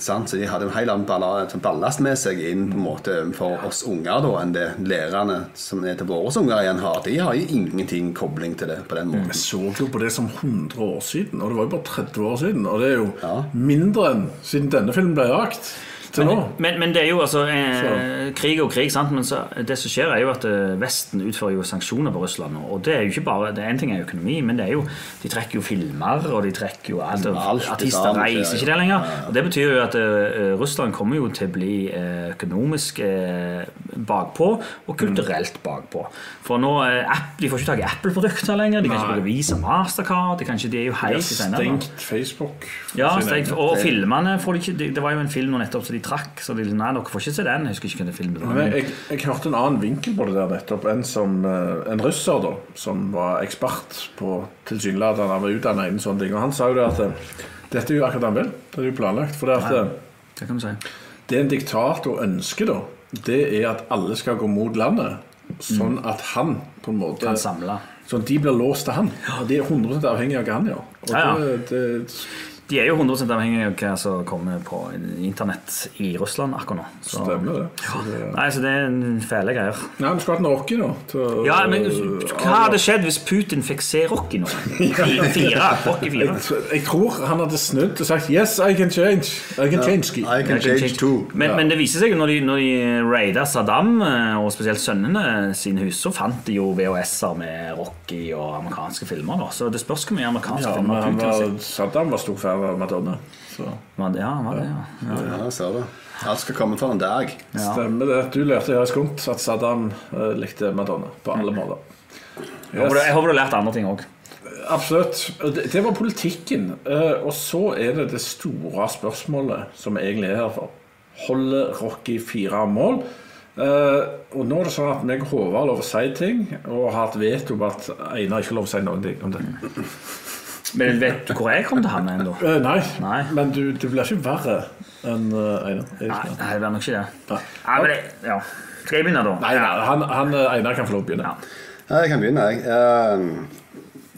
[SPEAKER 1] Sant? Så de hadde en hel annen balla- sånn ballast med seg inn på en måte for oss unger da, enn det lærerne som er til våre unger igjen har. De har jo ingenting kobling til det på den måten.
[SPEAKER 6] Jeg så jo på det som 100 år siden, og det var jo bare 30 år siden. Og det er jo mindre enn siden denne filmen ble lagt til nå.
[SPEAKER 7] Men, men det er jo altså eh, Krig og krig, sant? men så, det som skjer, er jo at eh, Vesten utfører jo sanksjoner på Russland. nå, Og det er jo ikke bare det er En ting er økonomi, men det er jo de trekker jo filmer, og de trekker jo alt. og
[SPEAKER 1] Alt i
[SPEAKER 7] Artister
[SPEAKER 1] dagen,
[SPEAKER 7] reiser
[SPEAKER 1] ja,
[SPEAKER 7] ikke
[SPEAKER 1] ja.
[SPEAKER 7] det lenger. Og det betyr jo at eh, Russland kommer jo til å bli eh, økonomisk eh, bakpå og kulturelt bakpå. For nå eh, app, De får ikke tak i Apple-produkter lenger, de kan ikke
[SPEAKER 6] Nei.
[SPEAKER 7] bruke Visa, Mastercard de kan ikke, De er jo
[SPEAKER 6] De har
[SPEAKER 7] helt i senere. nå.
[SPEAKER 6] stengt Facebook. for
[SPEAKER 7] Ja,
[SPEAKER 6] sin
[SPEAKER 7] stengt,
[SPEAKER 6] egen.
[SPEAKER 7] og filmene får de ikke Det, det var jo en film nå nettopp så de trakk, så de nei, dere får ikke se den. Jeg husker ikke hva den filmen var.
[SPEAKER 6] Men jeg, jeg, jeg hørte en annen vinkel på det der nettopp. En, som, eh, en russer da, som var ekspert på tilsynelatende Han var utdannet innen sånne ting. Og han sa jo det at eh, dette er jo akkurat det han vil. Det er jo planlagt. For det, at, eh,
[SPEAKER 7] Det kan du si.
[SPEAKER 6] det en diktator ønsker, da, det er at alle skal gå mot landet. Sånn at han på en måte
[SPEAKER 7] Kan samle.
[SPEAKER 6] Sånn at de blir låst til han. Og de er 100 avhengig av hva han gjør. Og
[SPEAKER 7] Ja, ja.
[SPEAKER 6] Det, det,
[SPEAKER 7] De er jo 100 avhengig av hva som kommer på internett i Russland akkurat nå. Så,
[SPEAKER 6] Stemmer det. Så det-
[SPEAKER 7] Nei, så det er en fæle greier.
[SPEAKER 6] Nei, vi skulle hatt en Rocky, da. Til, å-
[SPEAKER 7] Ja, men Hva hadde skjedd hvis Putin fikk se Rocky nå? Fire, Rocky
[SPEAKER 6] jeg,
[SPEAKER 7] 4.
[SPEAKER 6] jeg tror han hadde snudd og sagt 'Yes, I can change'. I can change Ki."
[SPEAKER 1] I can change too.
[SPEAKER 7] Men, men det viser seg jo når de, når de raida Saddam, eh, og spesielt sønnene sine hus, så fant de jo VHS-er med Rocky og amerikanske filmer. Da. Så det spørs hvor mye amerikanske
[SPEAKER 6] Ja, men
[SPEAKER 7] filmer
[SPEAKER 6] han
[SPEAKER 7] Putin har
[SPEAKER 6] var,
[SPEAKER 7] sett.
[SPEAKER 6] Saddam var stor fan av Madonna. Så.
[SPEAKER 7] Men- Ja, han var det, ja. ja.
[SPEAKER 1] Ja, ser du. Alt skal komme for en dag.
[SPEAKER 6] Stemmer det. Du lærte i Høyres Kont at Saddam eh, likte Madonna på alle måter.
[SPEAKER 7] Jeg håper du- Jeg
[SPEAKER 6] Yes,
[SPEAKER 7] håper du har lært andre ting òg.
[SPEAKER 6] absolutt. Og Det, det var politikken. Eh, Og så er det det store spørsmålet som vi egentlig er her for. Holder Rocky fire mål? Eh, og nå er det sånn at meg og Håvard har lov å si ting, og har hatt veto på at Einar ikke har lov å si noen ting om det.
[SPEAKER 7] Men vet du hvor jeg kom til å havne ennå?
[SPEAKER 6] Eh, nei.
[SPEAKER 7] Nei.
[SPEAKER 6] men du, det blir ikke verre enn eh, Einar. Er det
[SPEAKER 7] Nei,
[SPEAKER 6] ikke det?
[SPEAKER 7] nei, det var nok ikke det.
[SPEAKER 6] Nei.
[SPEAKER 7] Nei, men det, ja. Skal jeg begynne, da?
[SPEAKER 6] Nei, nei, han, han eh, Einar kan få lov å begynne.
[SPEAKER 7] Ja.
[SPEAKER 1] Ja, jeg kan begynne, jeg. Eh,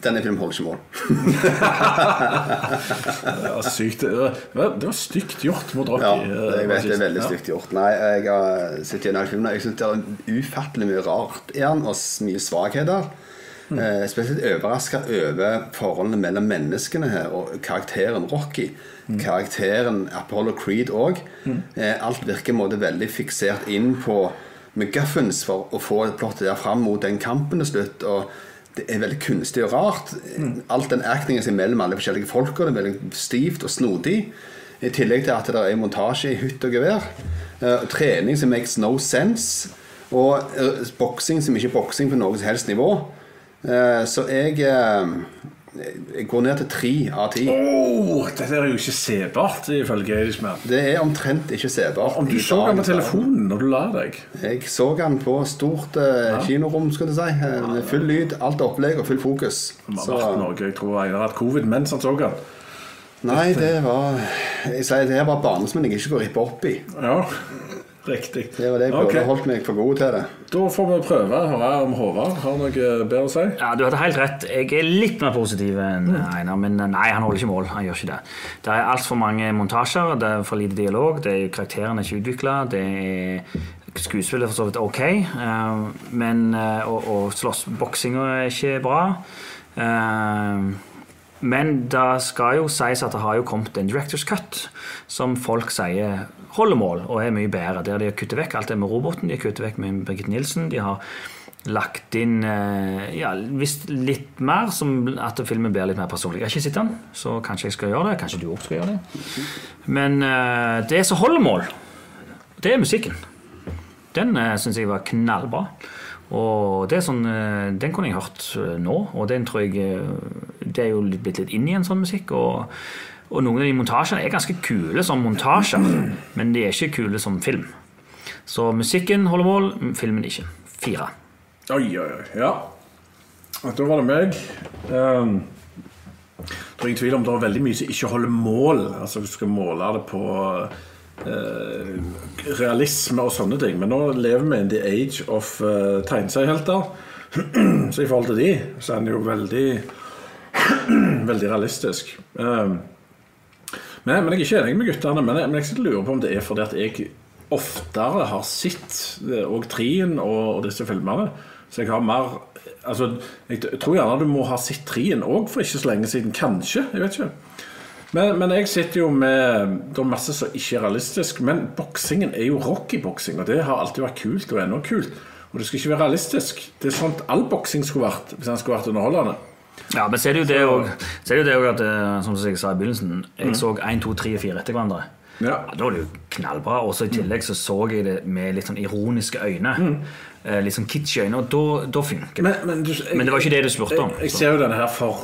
[SPEAKER 1] Denne filmen holder ikke mål.
[SPEAKER 6] Det var Eh, sykt. Det var, det var stygt gjort mot Rocky.
[SPEAKER 1] Ja,
[SPEAKER 6] eh,
[SPEAKER 1] jeg vet det er
[SPEAKER 6] rasist.
[SPEAKER 1] veldig
[SPEAKER 6] Ja.
[SPEAKER 1] stygt gjort. Nei, jeg har sett gjennom filmen. og Jeg syns det er ufattelig mye rart i den, og s- mye svakheter.
[SPEAKER 6] Mm.
[SPEAKER 1] Eh, spesielt overraska over forholdene mellom menneskene her, og karakteren Rocky.
[SPEAKER 6] Mm.
[SPEAKER 1] Karakteren Apollo Creed òg. Eh, alt virker på en måte veldig fiksert inn på McGuffins for å få plottet der fram mot den kampen til slutt. og det er veldig kunstig og rart.
[SPEAKER 6] Mm.
[SPEAKER 1] Alt den actingen som er mellom alle forskjellige folka, det er veldig stivt og snodig. I tillegg til at det er montasje i hytt og gevær. eh, trening som makes no sense. Og eh, boksing som ikke er boksing på noe som helst nivå. Eh, så jeg eh, Jeg går ned til tre av ti.
[SPEAKER 6] Oh, dette er jo ikke sebart, ifølge Eidisman.
[SPEAKER 1] Det er omtrent ikke sebart.
[SPEAKER 6] Om du
[SPEAKER 1] i
[SPEAKER 6] så den på
[SPEAKER 1] dagens verden.
[SPEAKER 6] telefonen når du la deg
[SPEAKER 1] Jeg så den på stort eh, kinorom, skulle jeg si. eh, Med full lyd, alt opplegg og full fokus.
[SPEAKER 6] Han har
[SPEAKER 1] Så-
[SPEAKER 6] vært i Norge, jeg tror Einar har hatt covid mens han så den.
[SPEAKER 1] Nei, det var Jeg sier det her var bane som jeg ikke går rippe opp i.
[SPEAKER 6] Ja, riktig.
[SPEAKER 1] Det var det jeg prøvde
[SPEAKER 6] Ok,
[SPEAKER 1] å holdt meg for god til det.
[SPEAKER 6] Da får vi prøve å høre om Håvard har noe bedre å si.
[SPEAKER 7] Ja, Du hadde helt rett. Jeg er litt mer positiv enn Einar. Men eh, nei, han holder ikke mål. Han gjør ikke Det Det er altfor mange montasjer, det er for lite dialog, det er karakterene er ikke utvikla, skuespillet er for så vidt ok, eh, men, eh, og, og slåssboksinga er ikke bra. Eh, Men det skal jo sies at det har jo kommet en Directors Cut, som folk sier holder mål og er mye bedre. Der de har kuttet vekk alt det med roboten, de har kuttet vekk med Birgitte Nilsen. de har lagt inn eh, ja, visst litt mer, som at filmen blir litt mer personlig. Jeg har ikke sett den, så kanskje jeg skal gjøre det. Kanskje du også skal gjøre det. Men eh, det som holder mål, det er musikken. Den uh, syns jeg var knallbra. Og det er sånn, eh, Den kunne jeg hørt eh, nå, og den tror jeg eh, Det er jo litt- blitt litt inn i en sånn musikk. Og, og noen av de montasjene er ganske kule som montasjer, men de er ikke kule som film. Så musikken holder mål, filmen ikke. Fire.
[SPEAKER 6] Oi, oi, oi. Ja. Og Da var det meg. Um, tror ingen tvil om det er veldig mye som ikke holder mål. Altså Hvis du skal måle det på eh, realisme og sånne ting. Men nå lever vi in the age of uh, tegneseriehelter. så i forhold til de, så er den jo veldig Veldig realistisk. Um, men, men jeg er ikke enig med guttene. Men jeg, men jeg sitter og lurer på om det er fordi at jeg oftere har sett eh, og trien og, og disse filmene. Så jeg har mer Altså, jeg t- tror gjerne du må ha sett trien òg for ikke så lenge siden. Kanskje. Jeg vet ikke. Men, men jeg sitter jo med Det er masse som ikke er realistisk. Men boksingen er jo rockyboksing, og det har alltid vært kult, og er ennå kult. Og det skal ikke være realistisk. Det er sånt all boksing skulle vært, hvis den skulle vært underholdende.
[SPEAKER 7] Ja, men så er det jo det òg Så er det jo det også at, eh, som jeg sa i begynnelsen, jeg så 1, 2, 3 og 4 etter hverandre.
[SPEAKER 6] Ja.
[SPEAKER 7] Da var det jo knallbra. Og så i tillegg så så jeg det med litt sånn ironiske øyne. Eh, Litt sånn kitschy øyne, og da, da funker det.
[SPEAKER 6] Men, men, du, jeg,
[SPEAKER 7] Men det var ikke det du spurte om.
[SPEAKER 6] Jeg, jeg
[SPEAKER 7] så.
[SPEAKER 6] ser jo denne her for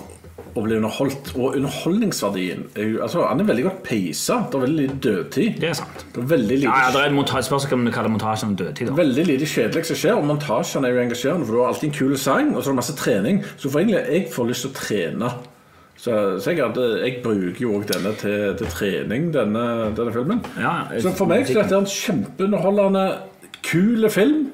[SPEAKER 6] å bli underholdt, og underholdningsverdien er jo altså, Han er veldig godt peisa. Det er veldig lite dødtid.
[SPEAKER 7] Det er sant.
[SPEAKER 6] Det er veldig lite,
[SPEAKER 7] Ja, ja, det er et monta- spørs om du kaller montasjen en dødtid. da.
[SPEAKER 6] veldig lite kjedelig som skjer, og montasjen er jo engasjerende, for du har alltid en kul sang, og så er det masse trening. Så for egentlig jeg får lyst til å trene. Så, så jeg, hadde, jeg bruker jo òg denne til, til trening, denne, denne filmen.
[SPEAKER 7] Ja, ja.
[SPEAKER 6] så for meg så er dette en kjempeunderholdende, kul film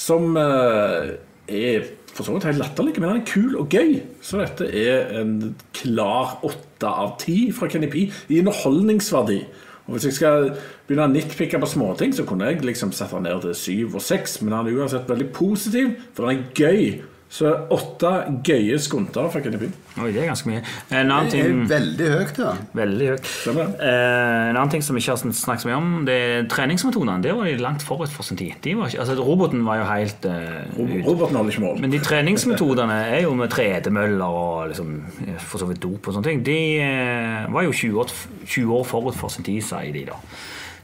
[SPEAKER 6] som eh, er for så vidt helt latterlig, men den er kul og gøy. Så dette er en klar åtte av ti fra Kenny P i underholdningsverdi. Og Hvis jeg skal begynne å nitpicke på småting, så kunne jeg liksom sette den ned til syv og seks, men han er uansett veldig positiv, for den er gøy. Så åtte gøye skunter fra Kenny P.
[SPEAKER 7] Oi, det er ganske mye.
[SPEAKER 6] Eh,
[SPEAKER 7] En annen
[SPEAKER 1] Det er
[SPEAKER 7] ting
[SPEAKER 1] veldig høyt, ja.
[SPEAKER 7] Veldig høyt.
[SPEAKER 6] Stemmer.
[SPEAKER 7] Eh, en annen ting som vi ikke har sn- snakket så mye om, det er treningsmetodene. Det var de langt forut for sin tid. De var ikke, altså, roboten var jo helt uh,
[SPEAKER 6] Roberten holder ikke mål.
[SPEAKER 7] Men de treningsmetodene er jo med tredemøller og liksom, eh, for så vidt dop og sånne ting. De eh, var jo 20 år, 20 år forut for sin tid, sier de da.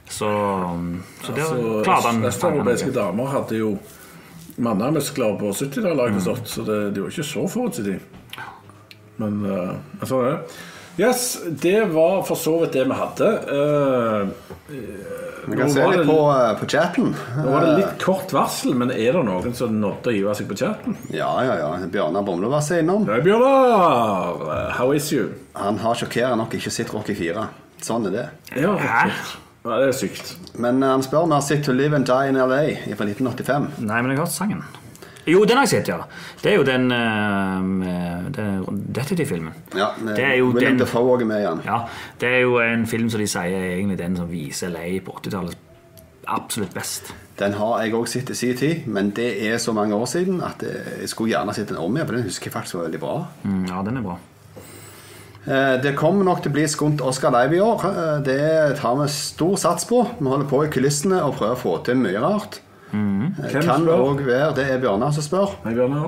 [SPEAKER 7] Så, um, så der
[SPEAKER 6] Så
[SPEAKER 7] klarte han
[SPEAKER 6] Østeuropeiske Altså,
[SPEAKER 7] han-
[SPEAKER 6] damer hadde jo mannemuskler på 70-tallet, har jeg forstått, så det, det var ikke så forut til de. Men eh, jeg sa det. Yes, det var for så vidt det vi hadde. Eh,
[SPEAKER 1] Vi
[SPEAKER 6] Nå
[SPEAKER 1] kan se
[SPEAKER 6] var
[SPEAKER 1] litt
[SPEAKER 6] det-
[SPEAKER 1] på, eh, på chatten.
[SPEAKER 6] nå var det litt kort varsel, men er det noen som nådde å hive seg på chatten?
[SPEAKER 1] Ja, ja, ja. Bjørnar Bomle var seg innom.
[SPEAKER 6] Nei, Bjørnar! eh, How is you?
[SPEAKER 1] Han har sjokkerende nok ikke sett Rocky 4. Sånn er det.
[SPEAKER 6] Ja,
[SPEAKER 7] Hæ?
[SPEAKER 6] ja det er sykt.
[SPEAKER 1] Men eh, han spør om jeg har sett To Live and Die in LA fra 1985.
[SPEAKER 7] Nei, men jeg har hørt sangen. Jo, den har jeg sett, ja. Det er jo den, uh, den Detective-filmen.
[SPEAKER 1] Ja, eh,
[SPEAKER 7] det er jo
[SPEAKER 1] William
[SPEAKER 7] den
[SPEAKER 1] Defoe også er med igjen.
[SPEAKER 7] Ja, det er jo en film som de sier er egentlig den som viser LA på 80-tallet absolutt best.
[SPEAKER 1] Den har jeg òg sett i sin tid, men det er så mange år siden at eh, jeg skulle gjerne sett den om igjen, for den husker jeg faktisk var veldig bra.
[SPEAKER 7] Mm, ja, den er bra.
[SPEAKER 1] Eh, Det kommer nok til å bli skumt Oscar Live i år. Eh, Det tar vi stor sats på. Vi holder på i kulissene og prøver å få til mye rart. Eh,
[SPEAKER 6] Hvem
[SPEAKER 1] Kan
[SPEAKER 6] spør?
[SPEAKER 1] òg være det er Bjørnar som spør.
[SPEAKER 6] Hei, Bjørnar.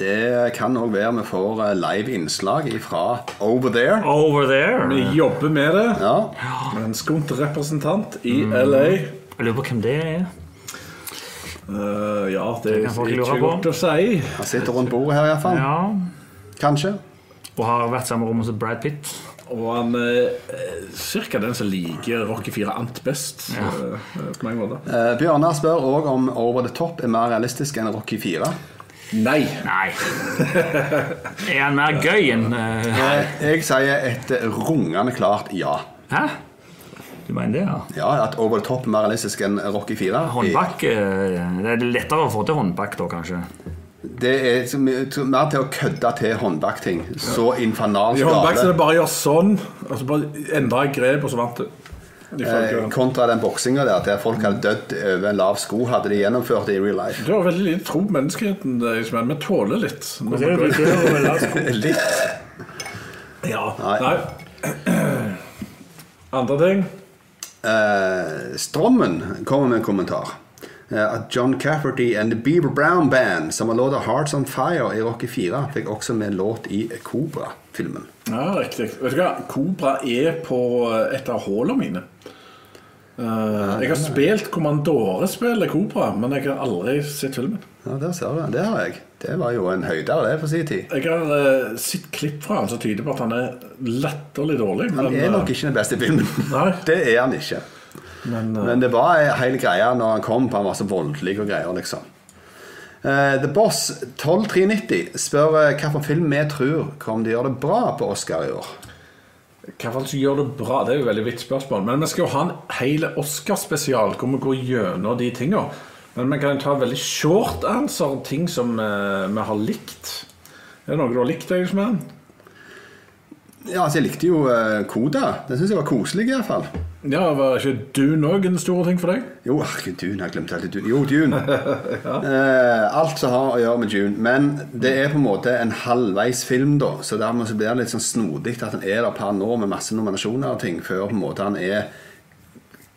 [SPEAKER 1] Det kan òg være vi får eh, live innslag fra Over There.
[SPEAKER 7] Over there.
[SPEAKER 6] Vi jobber med det.
[SPEAKER 1] Ja.
[SPEAKER 6] En skumt representant i LA.
[SPEAKER 7] Jeg lurer på hvem det er.
[SPEAKER 6] Eh, ja, det er
[SPEAKER 7] kan folk
[SPEAKER 6] ikke
[SPEAKER 7] lure på.
[SPEAKER 6] godt å si.
[SPEAKER 1] Han sitter rundt bordet her iallfall.
[SPEAKER 7] Ja,
[SPEAKER 1] Kanskje.
[SPEAKER 7] og har vært samme rom som Brad Pitt.
[SPEAKER 6] Og han er cirka den som liker Rocky 4 Ant best. så, eh, på mange måter.
[SPEAKER 1] Eh, Bjørnar spør òg om Over the Top er mer realistisk enn Rocky 4.
[SPEAKER 6] Nei.
[SPEAKER 7] Nei. Er han mer gøy enn eh,
[SPEAKER 1] Jeg sier et rungende klart ja.
[SPEAKER 7] Hæ? Du mener det, ja?
[SPEAKER 1] Ja, At Over the Top er mer realistisk enn Rocky 4.
[SPEAKER 7] Håndbak eh, Det er lettere å få til håndbak da, kanskje.
[SPEAKER 1] Eh, Det er så mye- så mer til å kødde til håndbakting. Så infernalsk
[SPEAKER 6] I håndbak så er
[SPEAKER 1] gale.
[SPEAKER 6] det bare å gjøre sånn, og så bare endre grep, og så vant du.
[SPEAKER 1] Eh,
[SPEAKER 6] Ifølge-
[SPEAKER 1] Kontra den boksinga der der folk hadde dødd over en lav sko, hadde de gjennomført det i real life.
[SPEAKER 6] Du har veldig lite tro på menneskeheten, eh, Ismail. Vi tåler litt.
[SPEAKER 1] Litt.
[SPEAKER 6] Ja.
[SPEAKER 1] Nei.
[SPEAKER 6] Nei. Andre ting?
[SPEAKER 1] Eh, Strommen kommer med en kommentar. Eh, At John Cafferty and The Beaver Brown Band, som har låta 'Hearts On Fire' i Rocky 4, fikk også med en låt i Cobra-filmen.
[SPEAKER 6] Ja, riktig. Vet du hva? Cobra er på eh, et av hullene mine. Eh, jeg har
[SPEAKER 1] Ah.
[SPEAKER 6] spilt Kommandore-spillet Cobra, men jeg har aldri sett filmen.
[SPEAKER 1] Ja, der ser du. Det har jeg. Det var jo en høydere, det, for sin tid.
[SPEAKER 6] Jeg har eh, sett klipp fra han som tyder på at han er latterlig dårlig.
[SPEAKER 1] Han er
[SPEAKER 6] eh,
[SPEAKER 1] nok ikke den beste filmen.
[SPEAKER 6] Nei.
[SPEAKER 1] Det er han ikke.
[SPEAKER 6] men, eh,
[SPEAKER 1] Men det var en hel greie når han kom, for han var så voldelig og greier, liksom. Eh, The Boss 12390 spør eh, hvilken film vi tror kommer til å gjøre det bra på Oscar i år.
[SPEAKER 6] Hva faen som gjør det bra? Det er jo et veldig vidt spørsmål. Men vi skal jo ha en hel Oscar-spesial hvor vi går gjennom de tinga. Men vi kan ta veldig short answer om ting som eh, vi har likt. Er det noe du har likt, Eidsmann?
[SPEAKER 1] Ja, altså Jeg likte jo eh, Koda. Den syns jeg var koselig, i hvert fall.
[SPEAKER 6] Ja, var ikke Dune òg en stor ting for deg?
[SPEAKER 1] Jo, herregud, Dune. Jeg glemte helt Dune. Jo, Dune. Eh, alt som har å gjøre med Dune. Men det er på en måte en halvveis film, da. Så dermed så blir det litt sånn snodig at den er der per nå med masse nominasjoner og ting, før på en måte han er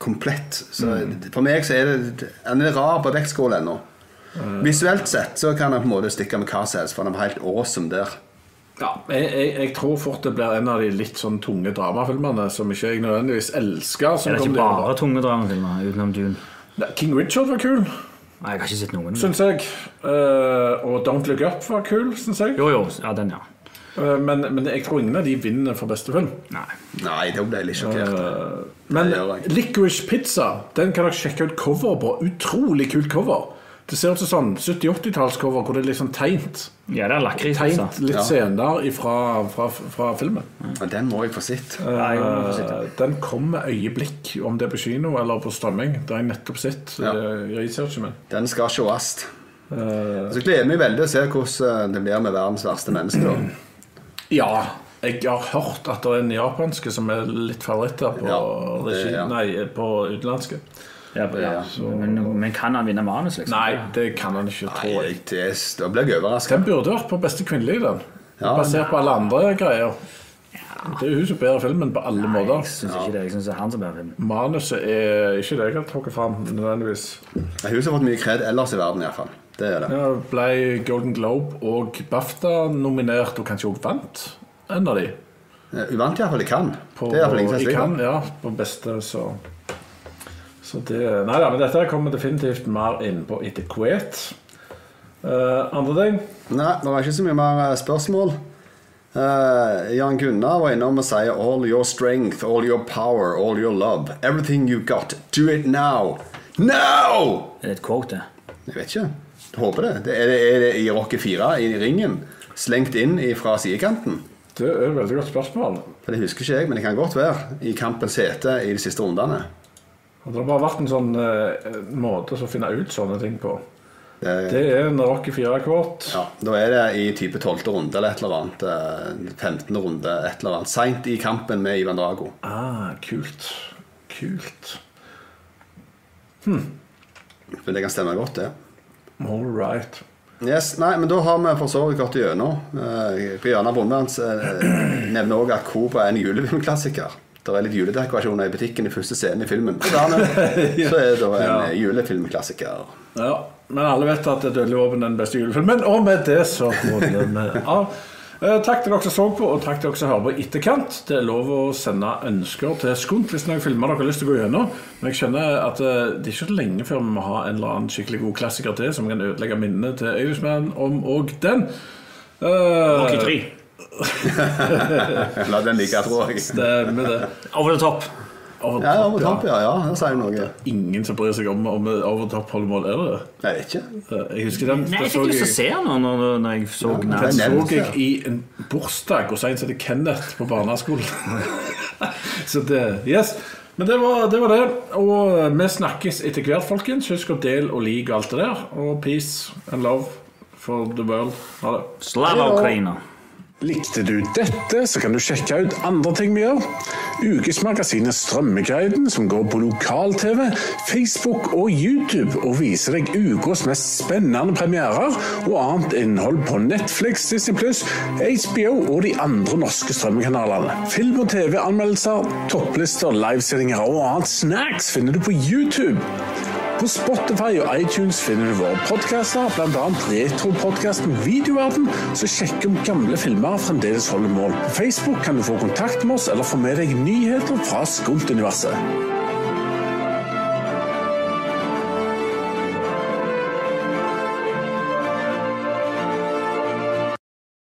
[SPEAKER 1] komplett. Så for meg så er det Han er rar på vektskål ennå. Visuelt sett så kan han på en måte stikke med hva som helst, for han er helt awesome der.
[SPEAKER 6] Ja, jeg, jeg, jeg tror fort det blir en av de litt sånn tunge dramafilmene som ikke jeg nødvendigvis elsker. Som
[SPEAKER 7] Er det
[SPEAKER 6] kom
[SPEAKER 7] ikke
[SPEAKER 6] til å gjøre
[SPEAKER 7] bare tunge dramafilmer utenom Dune?
[SPEAKER 6] det. Nei, King Richard var kul,
[SPEAKER 7] Nei, jeg har ikke sett noen.
[SPEAKER 6] syns jeg. Eh, og Don't Look Up var kul, syns jeg.
[SPEAKER 7] Jo, jo. Ja, den, ja.
[SPEAKER 6] Eh, men, men jeg tror ingen av de vinner for beste film.
[SPEAKER 7] Nei.
[SPEAKER 1] Nei, da ble jeg litt sjokkert.
[SPEAKER 6] Eh, Men
[SPEAKER 1] Det gjør jeg.
[SPEAKER 6] Licorice Pizza Den kan dere sjekke ut coveret på. Utrolig kult cover. Det ser ut som sånn 70-80-tallscover hvor det er litt sånn teint.
[SPEAKER 7] Ja, det er lakris.
[SPEAKER 6] Teint
[SPEAKER 7] altså.
[SPEAKER 6] litt
[SPEAKER 1] Ja.
[SPEAKER 6] senere fra, fra, fra filmen.
[SPEAKER 1] Men Den må jeg få sett.
[SPEAKER 7] Nei, jeg må få sitte.
[SPEAKER 6] Eh, Den kom med øyeblikk, om det er på kino eller på strømming. Det har jeg nettopp sett
[SPEAKER 1] Ja.
[SPEAKER 6] eh, i researchen min.
[SPEAKER 1] Den skal sees.
[SPEAKER 6] Eh.
[SPEAKER 1] Så gleder jeg meg veldig å se hvordan eh, det blir med verdens verste menneske. da.
[SPEAKER 6] Ja. Jeg har hørt at det er en japanske som er litt favoritter på,
[SPEAKER 1] Ja, det-
[SPEAKER 6] regi,
[SPEAKER 1] ja.
[SPEAKER 6] nei, på utenlandske.
[SPEAKER 7] Ja, ja. Men, men kan han vinne manus, liksom?
[SPEAKER 6] Nei, det kan han ikke,
[SPEAKER 1] Nei,
[SPEAKER 6] tror jeg.
[SPEAKER 1] det, da blir jeg overraska.
[SPEAKER 6] Den burde vært på beste kvinnelige, den.
[SPEAKER 1] Ja.
[SPEAKER 6] Basert på alle andre greier. Det er jo hun som bærer filmen på alle
[SPEAKER 7] Jeg
[SPEAKER 6] måter.
[SPEAKER 7] syns ikke det. Jeg syns det er han som bærer filmen.
[SPEAKER 6] Manuset er ikke det jeg har trukket fram, nødvendigvis.
[SPEAKER 1] Det er Hun som har fått mye kred ellers i verden, iallfall. Det er det.
[SPEAKER 6] Ja, ble Golden Globe og BAFTA nominert, og kanskje også vant en av de.
[SPEAKER 1] Eh, Hun vant iallfall i Cannes.
[SPEAKER 6] På,
[SPEAKER 1] Det er iallfall ingen som
[SPEAKER 6] i Cannes,
[SPEAKER 1] slipper.
[SPEAKER 6] ja, på beste, så Så det Nei da, men dette kommer definitivt mer innpå etter Kuwait. Eh, andre ting?
[SPEAKER 1] Nei, det var ikke så mye mer eh, spørsmål. Eh, Jan Gunnar var innom og sier All your strength, all your power, all your love. Everything you got. Do it now. Now!
[SPEAKER 7] Er det et quote, det?
[SPEAKER 1] Jeg vet ikke. Jeg håper det. det er, det er det i Rocky 4, i ringen? Slengt inn fra sidekanten?
[SPEAKER 6] Det er et veldig godt spørsmål.
[SPEAKER 1] For Det husker ikke jeg, men det kan godt være. I kampens hete i de siste rundene.
[SPEAKER 6] Hadde det bare vært en sånn eh, måte å finne ut sånne ting på.
[SPEAKER 1] Det-
[SPEAKER 6] Det er en Rocky 4-kvart.
[SPEAKER 1] Ja, Da er det i type 12. runde eller et eller annet. eh, 15. runde, et eller annet. Seint i kampen med Ivan Drago.
[SPEAKER 6] Ah, kult. Kult.
[SPEAKER 1] Men det kan stemme godt, det.
[SPEAKER 6] All right.
[SPEAKER 1] Yes, nei, men Da har vi for så vidt gått igjennom. Eh, Bjørnar Bondemanns eh, nevner òg at Cobra er en julefilmklassiker. Det er litt juledekorasjoner i butikken i første scenen i filmen. Og dermed Så er det da en eh, julefilmklassiker.
[SPEAKER 6] Ja, men alle vet at det dødelige våpen er den beste julefilmen. Og med det så runder vi av. Eh, Takk til dere som så på, og takk til dere som hører på i etterkant. Det er lov å sende ønsker til Skunt hvis noen filmer dere har lyst til å gå gjennom. Men jeg skjønner at eh, det er ikke så lenge før vi må ha en eller annen skikkelig god klassiker til som kan ødelegge minnene til Øyvidsmenn om og den. Eh,
[SPEAKER 7] Rocky 3.
[SPEAKER 1] La den ligge, tror jeg.
[SPEAKER 10] Stemmer det.
[SPEAKER 7] Over the top.
[SPEAKER 10] Over
[SPEAKER 1] Ja, over
[SPEAKER 10] top,
[SPEAKER 1] topp, ja. ja. Det sier noe.
[SPEAKER 10] Ingen som bryr seg om om over top holder mål, er det?
[SPEAKER 1] Jeg vet ikke.
[SPEAKER 6] Eh,
[SPEAKER 10] Jeg husker den.
[SPEAKER 7] Nei,
[SPEAKER 10] den
[SPEAKER 7] jeg fikk
[SPEAKER 10] så
[SPEAKER 7] lyst til å se den nå når, når jeg så den.
[SPEAKER 1] det er nevnt.
[SPEAKER 10] så jeg i en bursdag hos en som heter Kenneth på barneskolen. så det Yes. Men det var, det var det. Og eh, vi snakkes etter hvert, folkens. Husk å dele og like alt det der. Og peace and love for the world. Ha det.
[SPEAKER 7] Slava Ukraina.
[SPEAKER 6] Likte du dette, så kan du sjekke ut andre ting vi gjør. Ukesmagasinet Strømmeguiden, som går på lokal-TV, Facebook og YouTube, og viser deg ukas mest spennende premierer og annet innhold på Netflix, Disney HBO og de andre norske strømmekanalene. Film- og TV-anmeldelser, topplister, livesendinger og annet snacks finner du på YouTube. På Spotify og iTunes finner du våre podkaster, bl.a. retropodkasten Videoverden, så sjekk om gamle filmer fremdeles holder mål. På Facebook kan du få kontakt med oss eller få med deg nyheter fra Skumt-universet.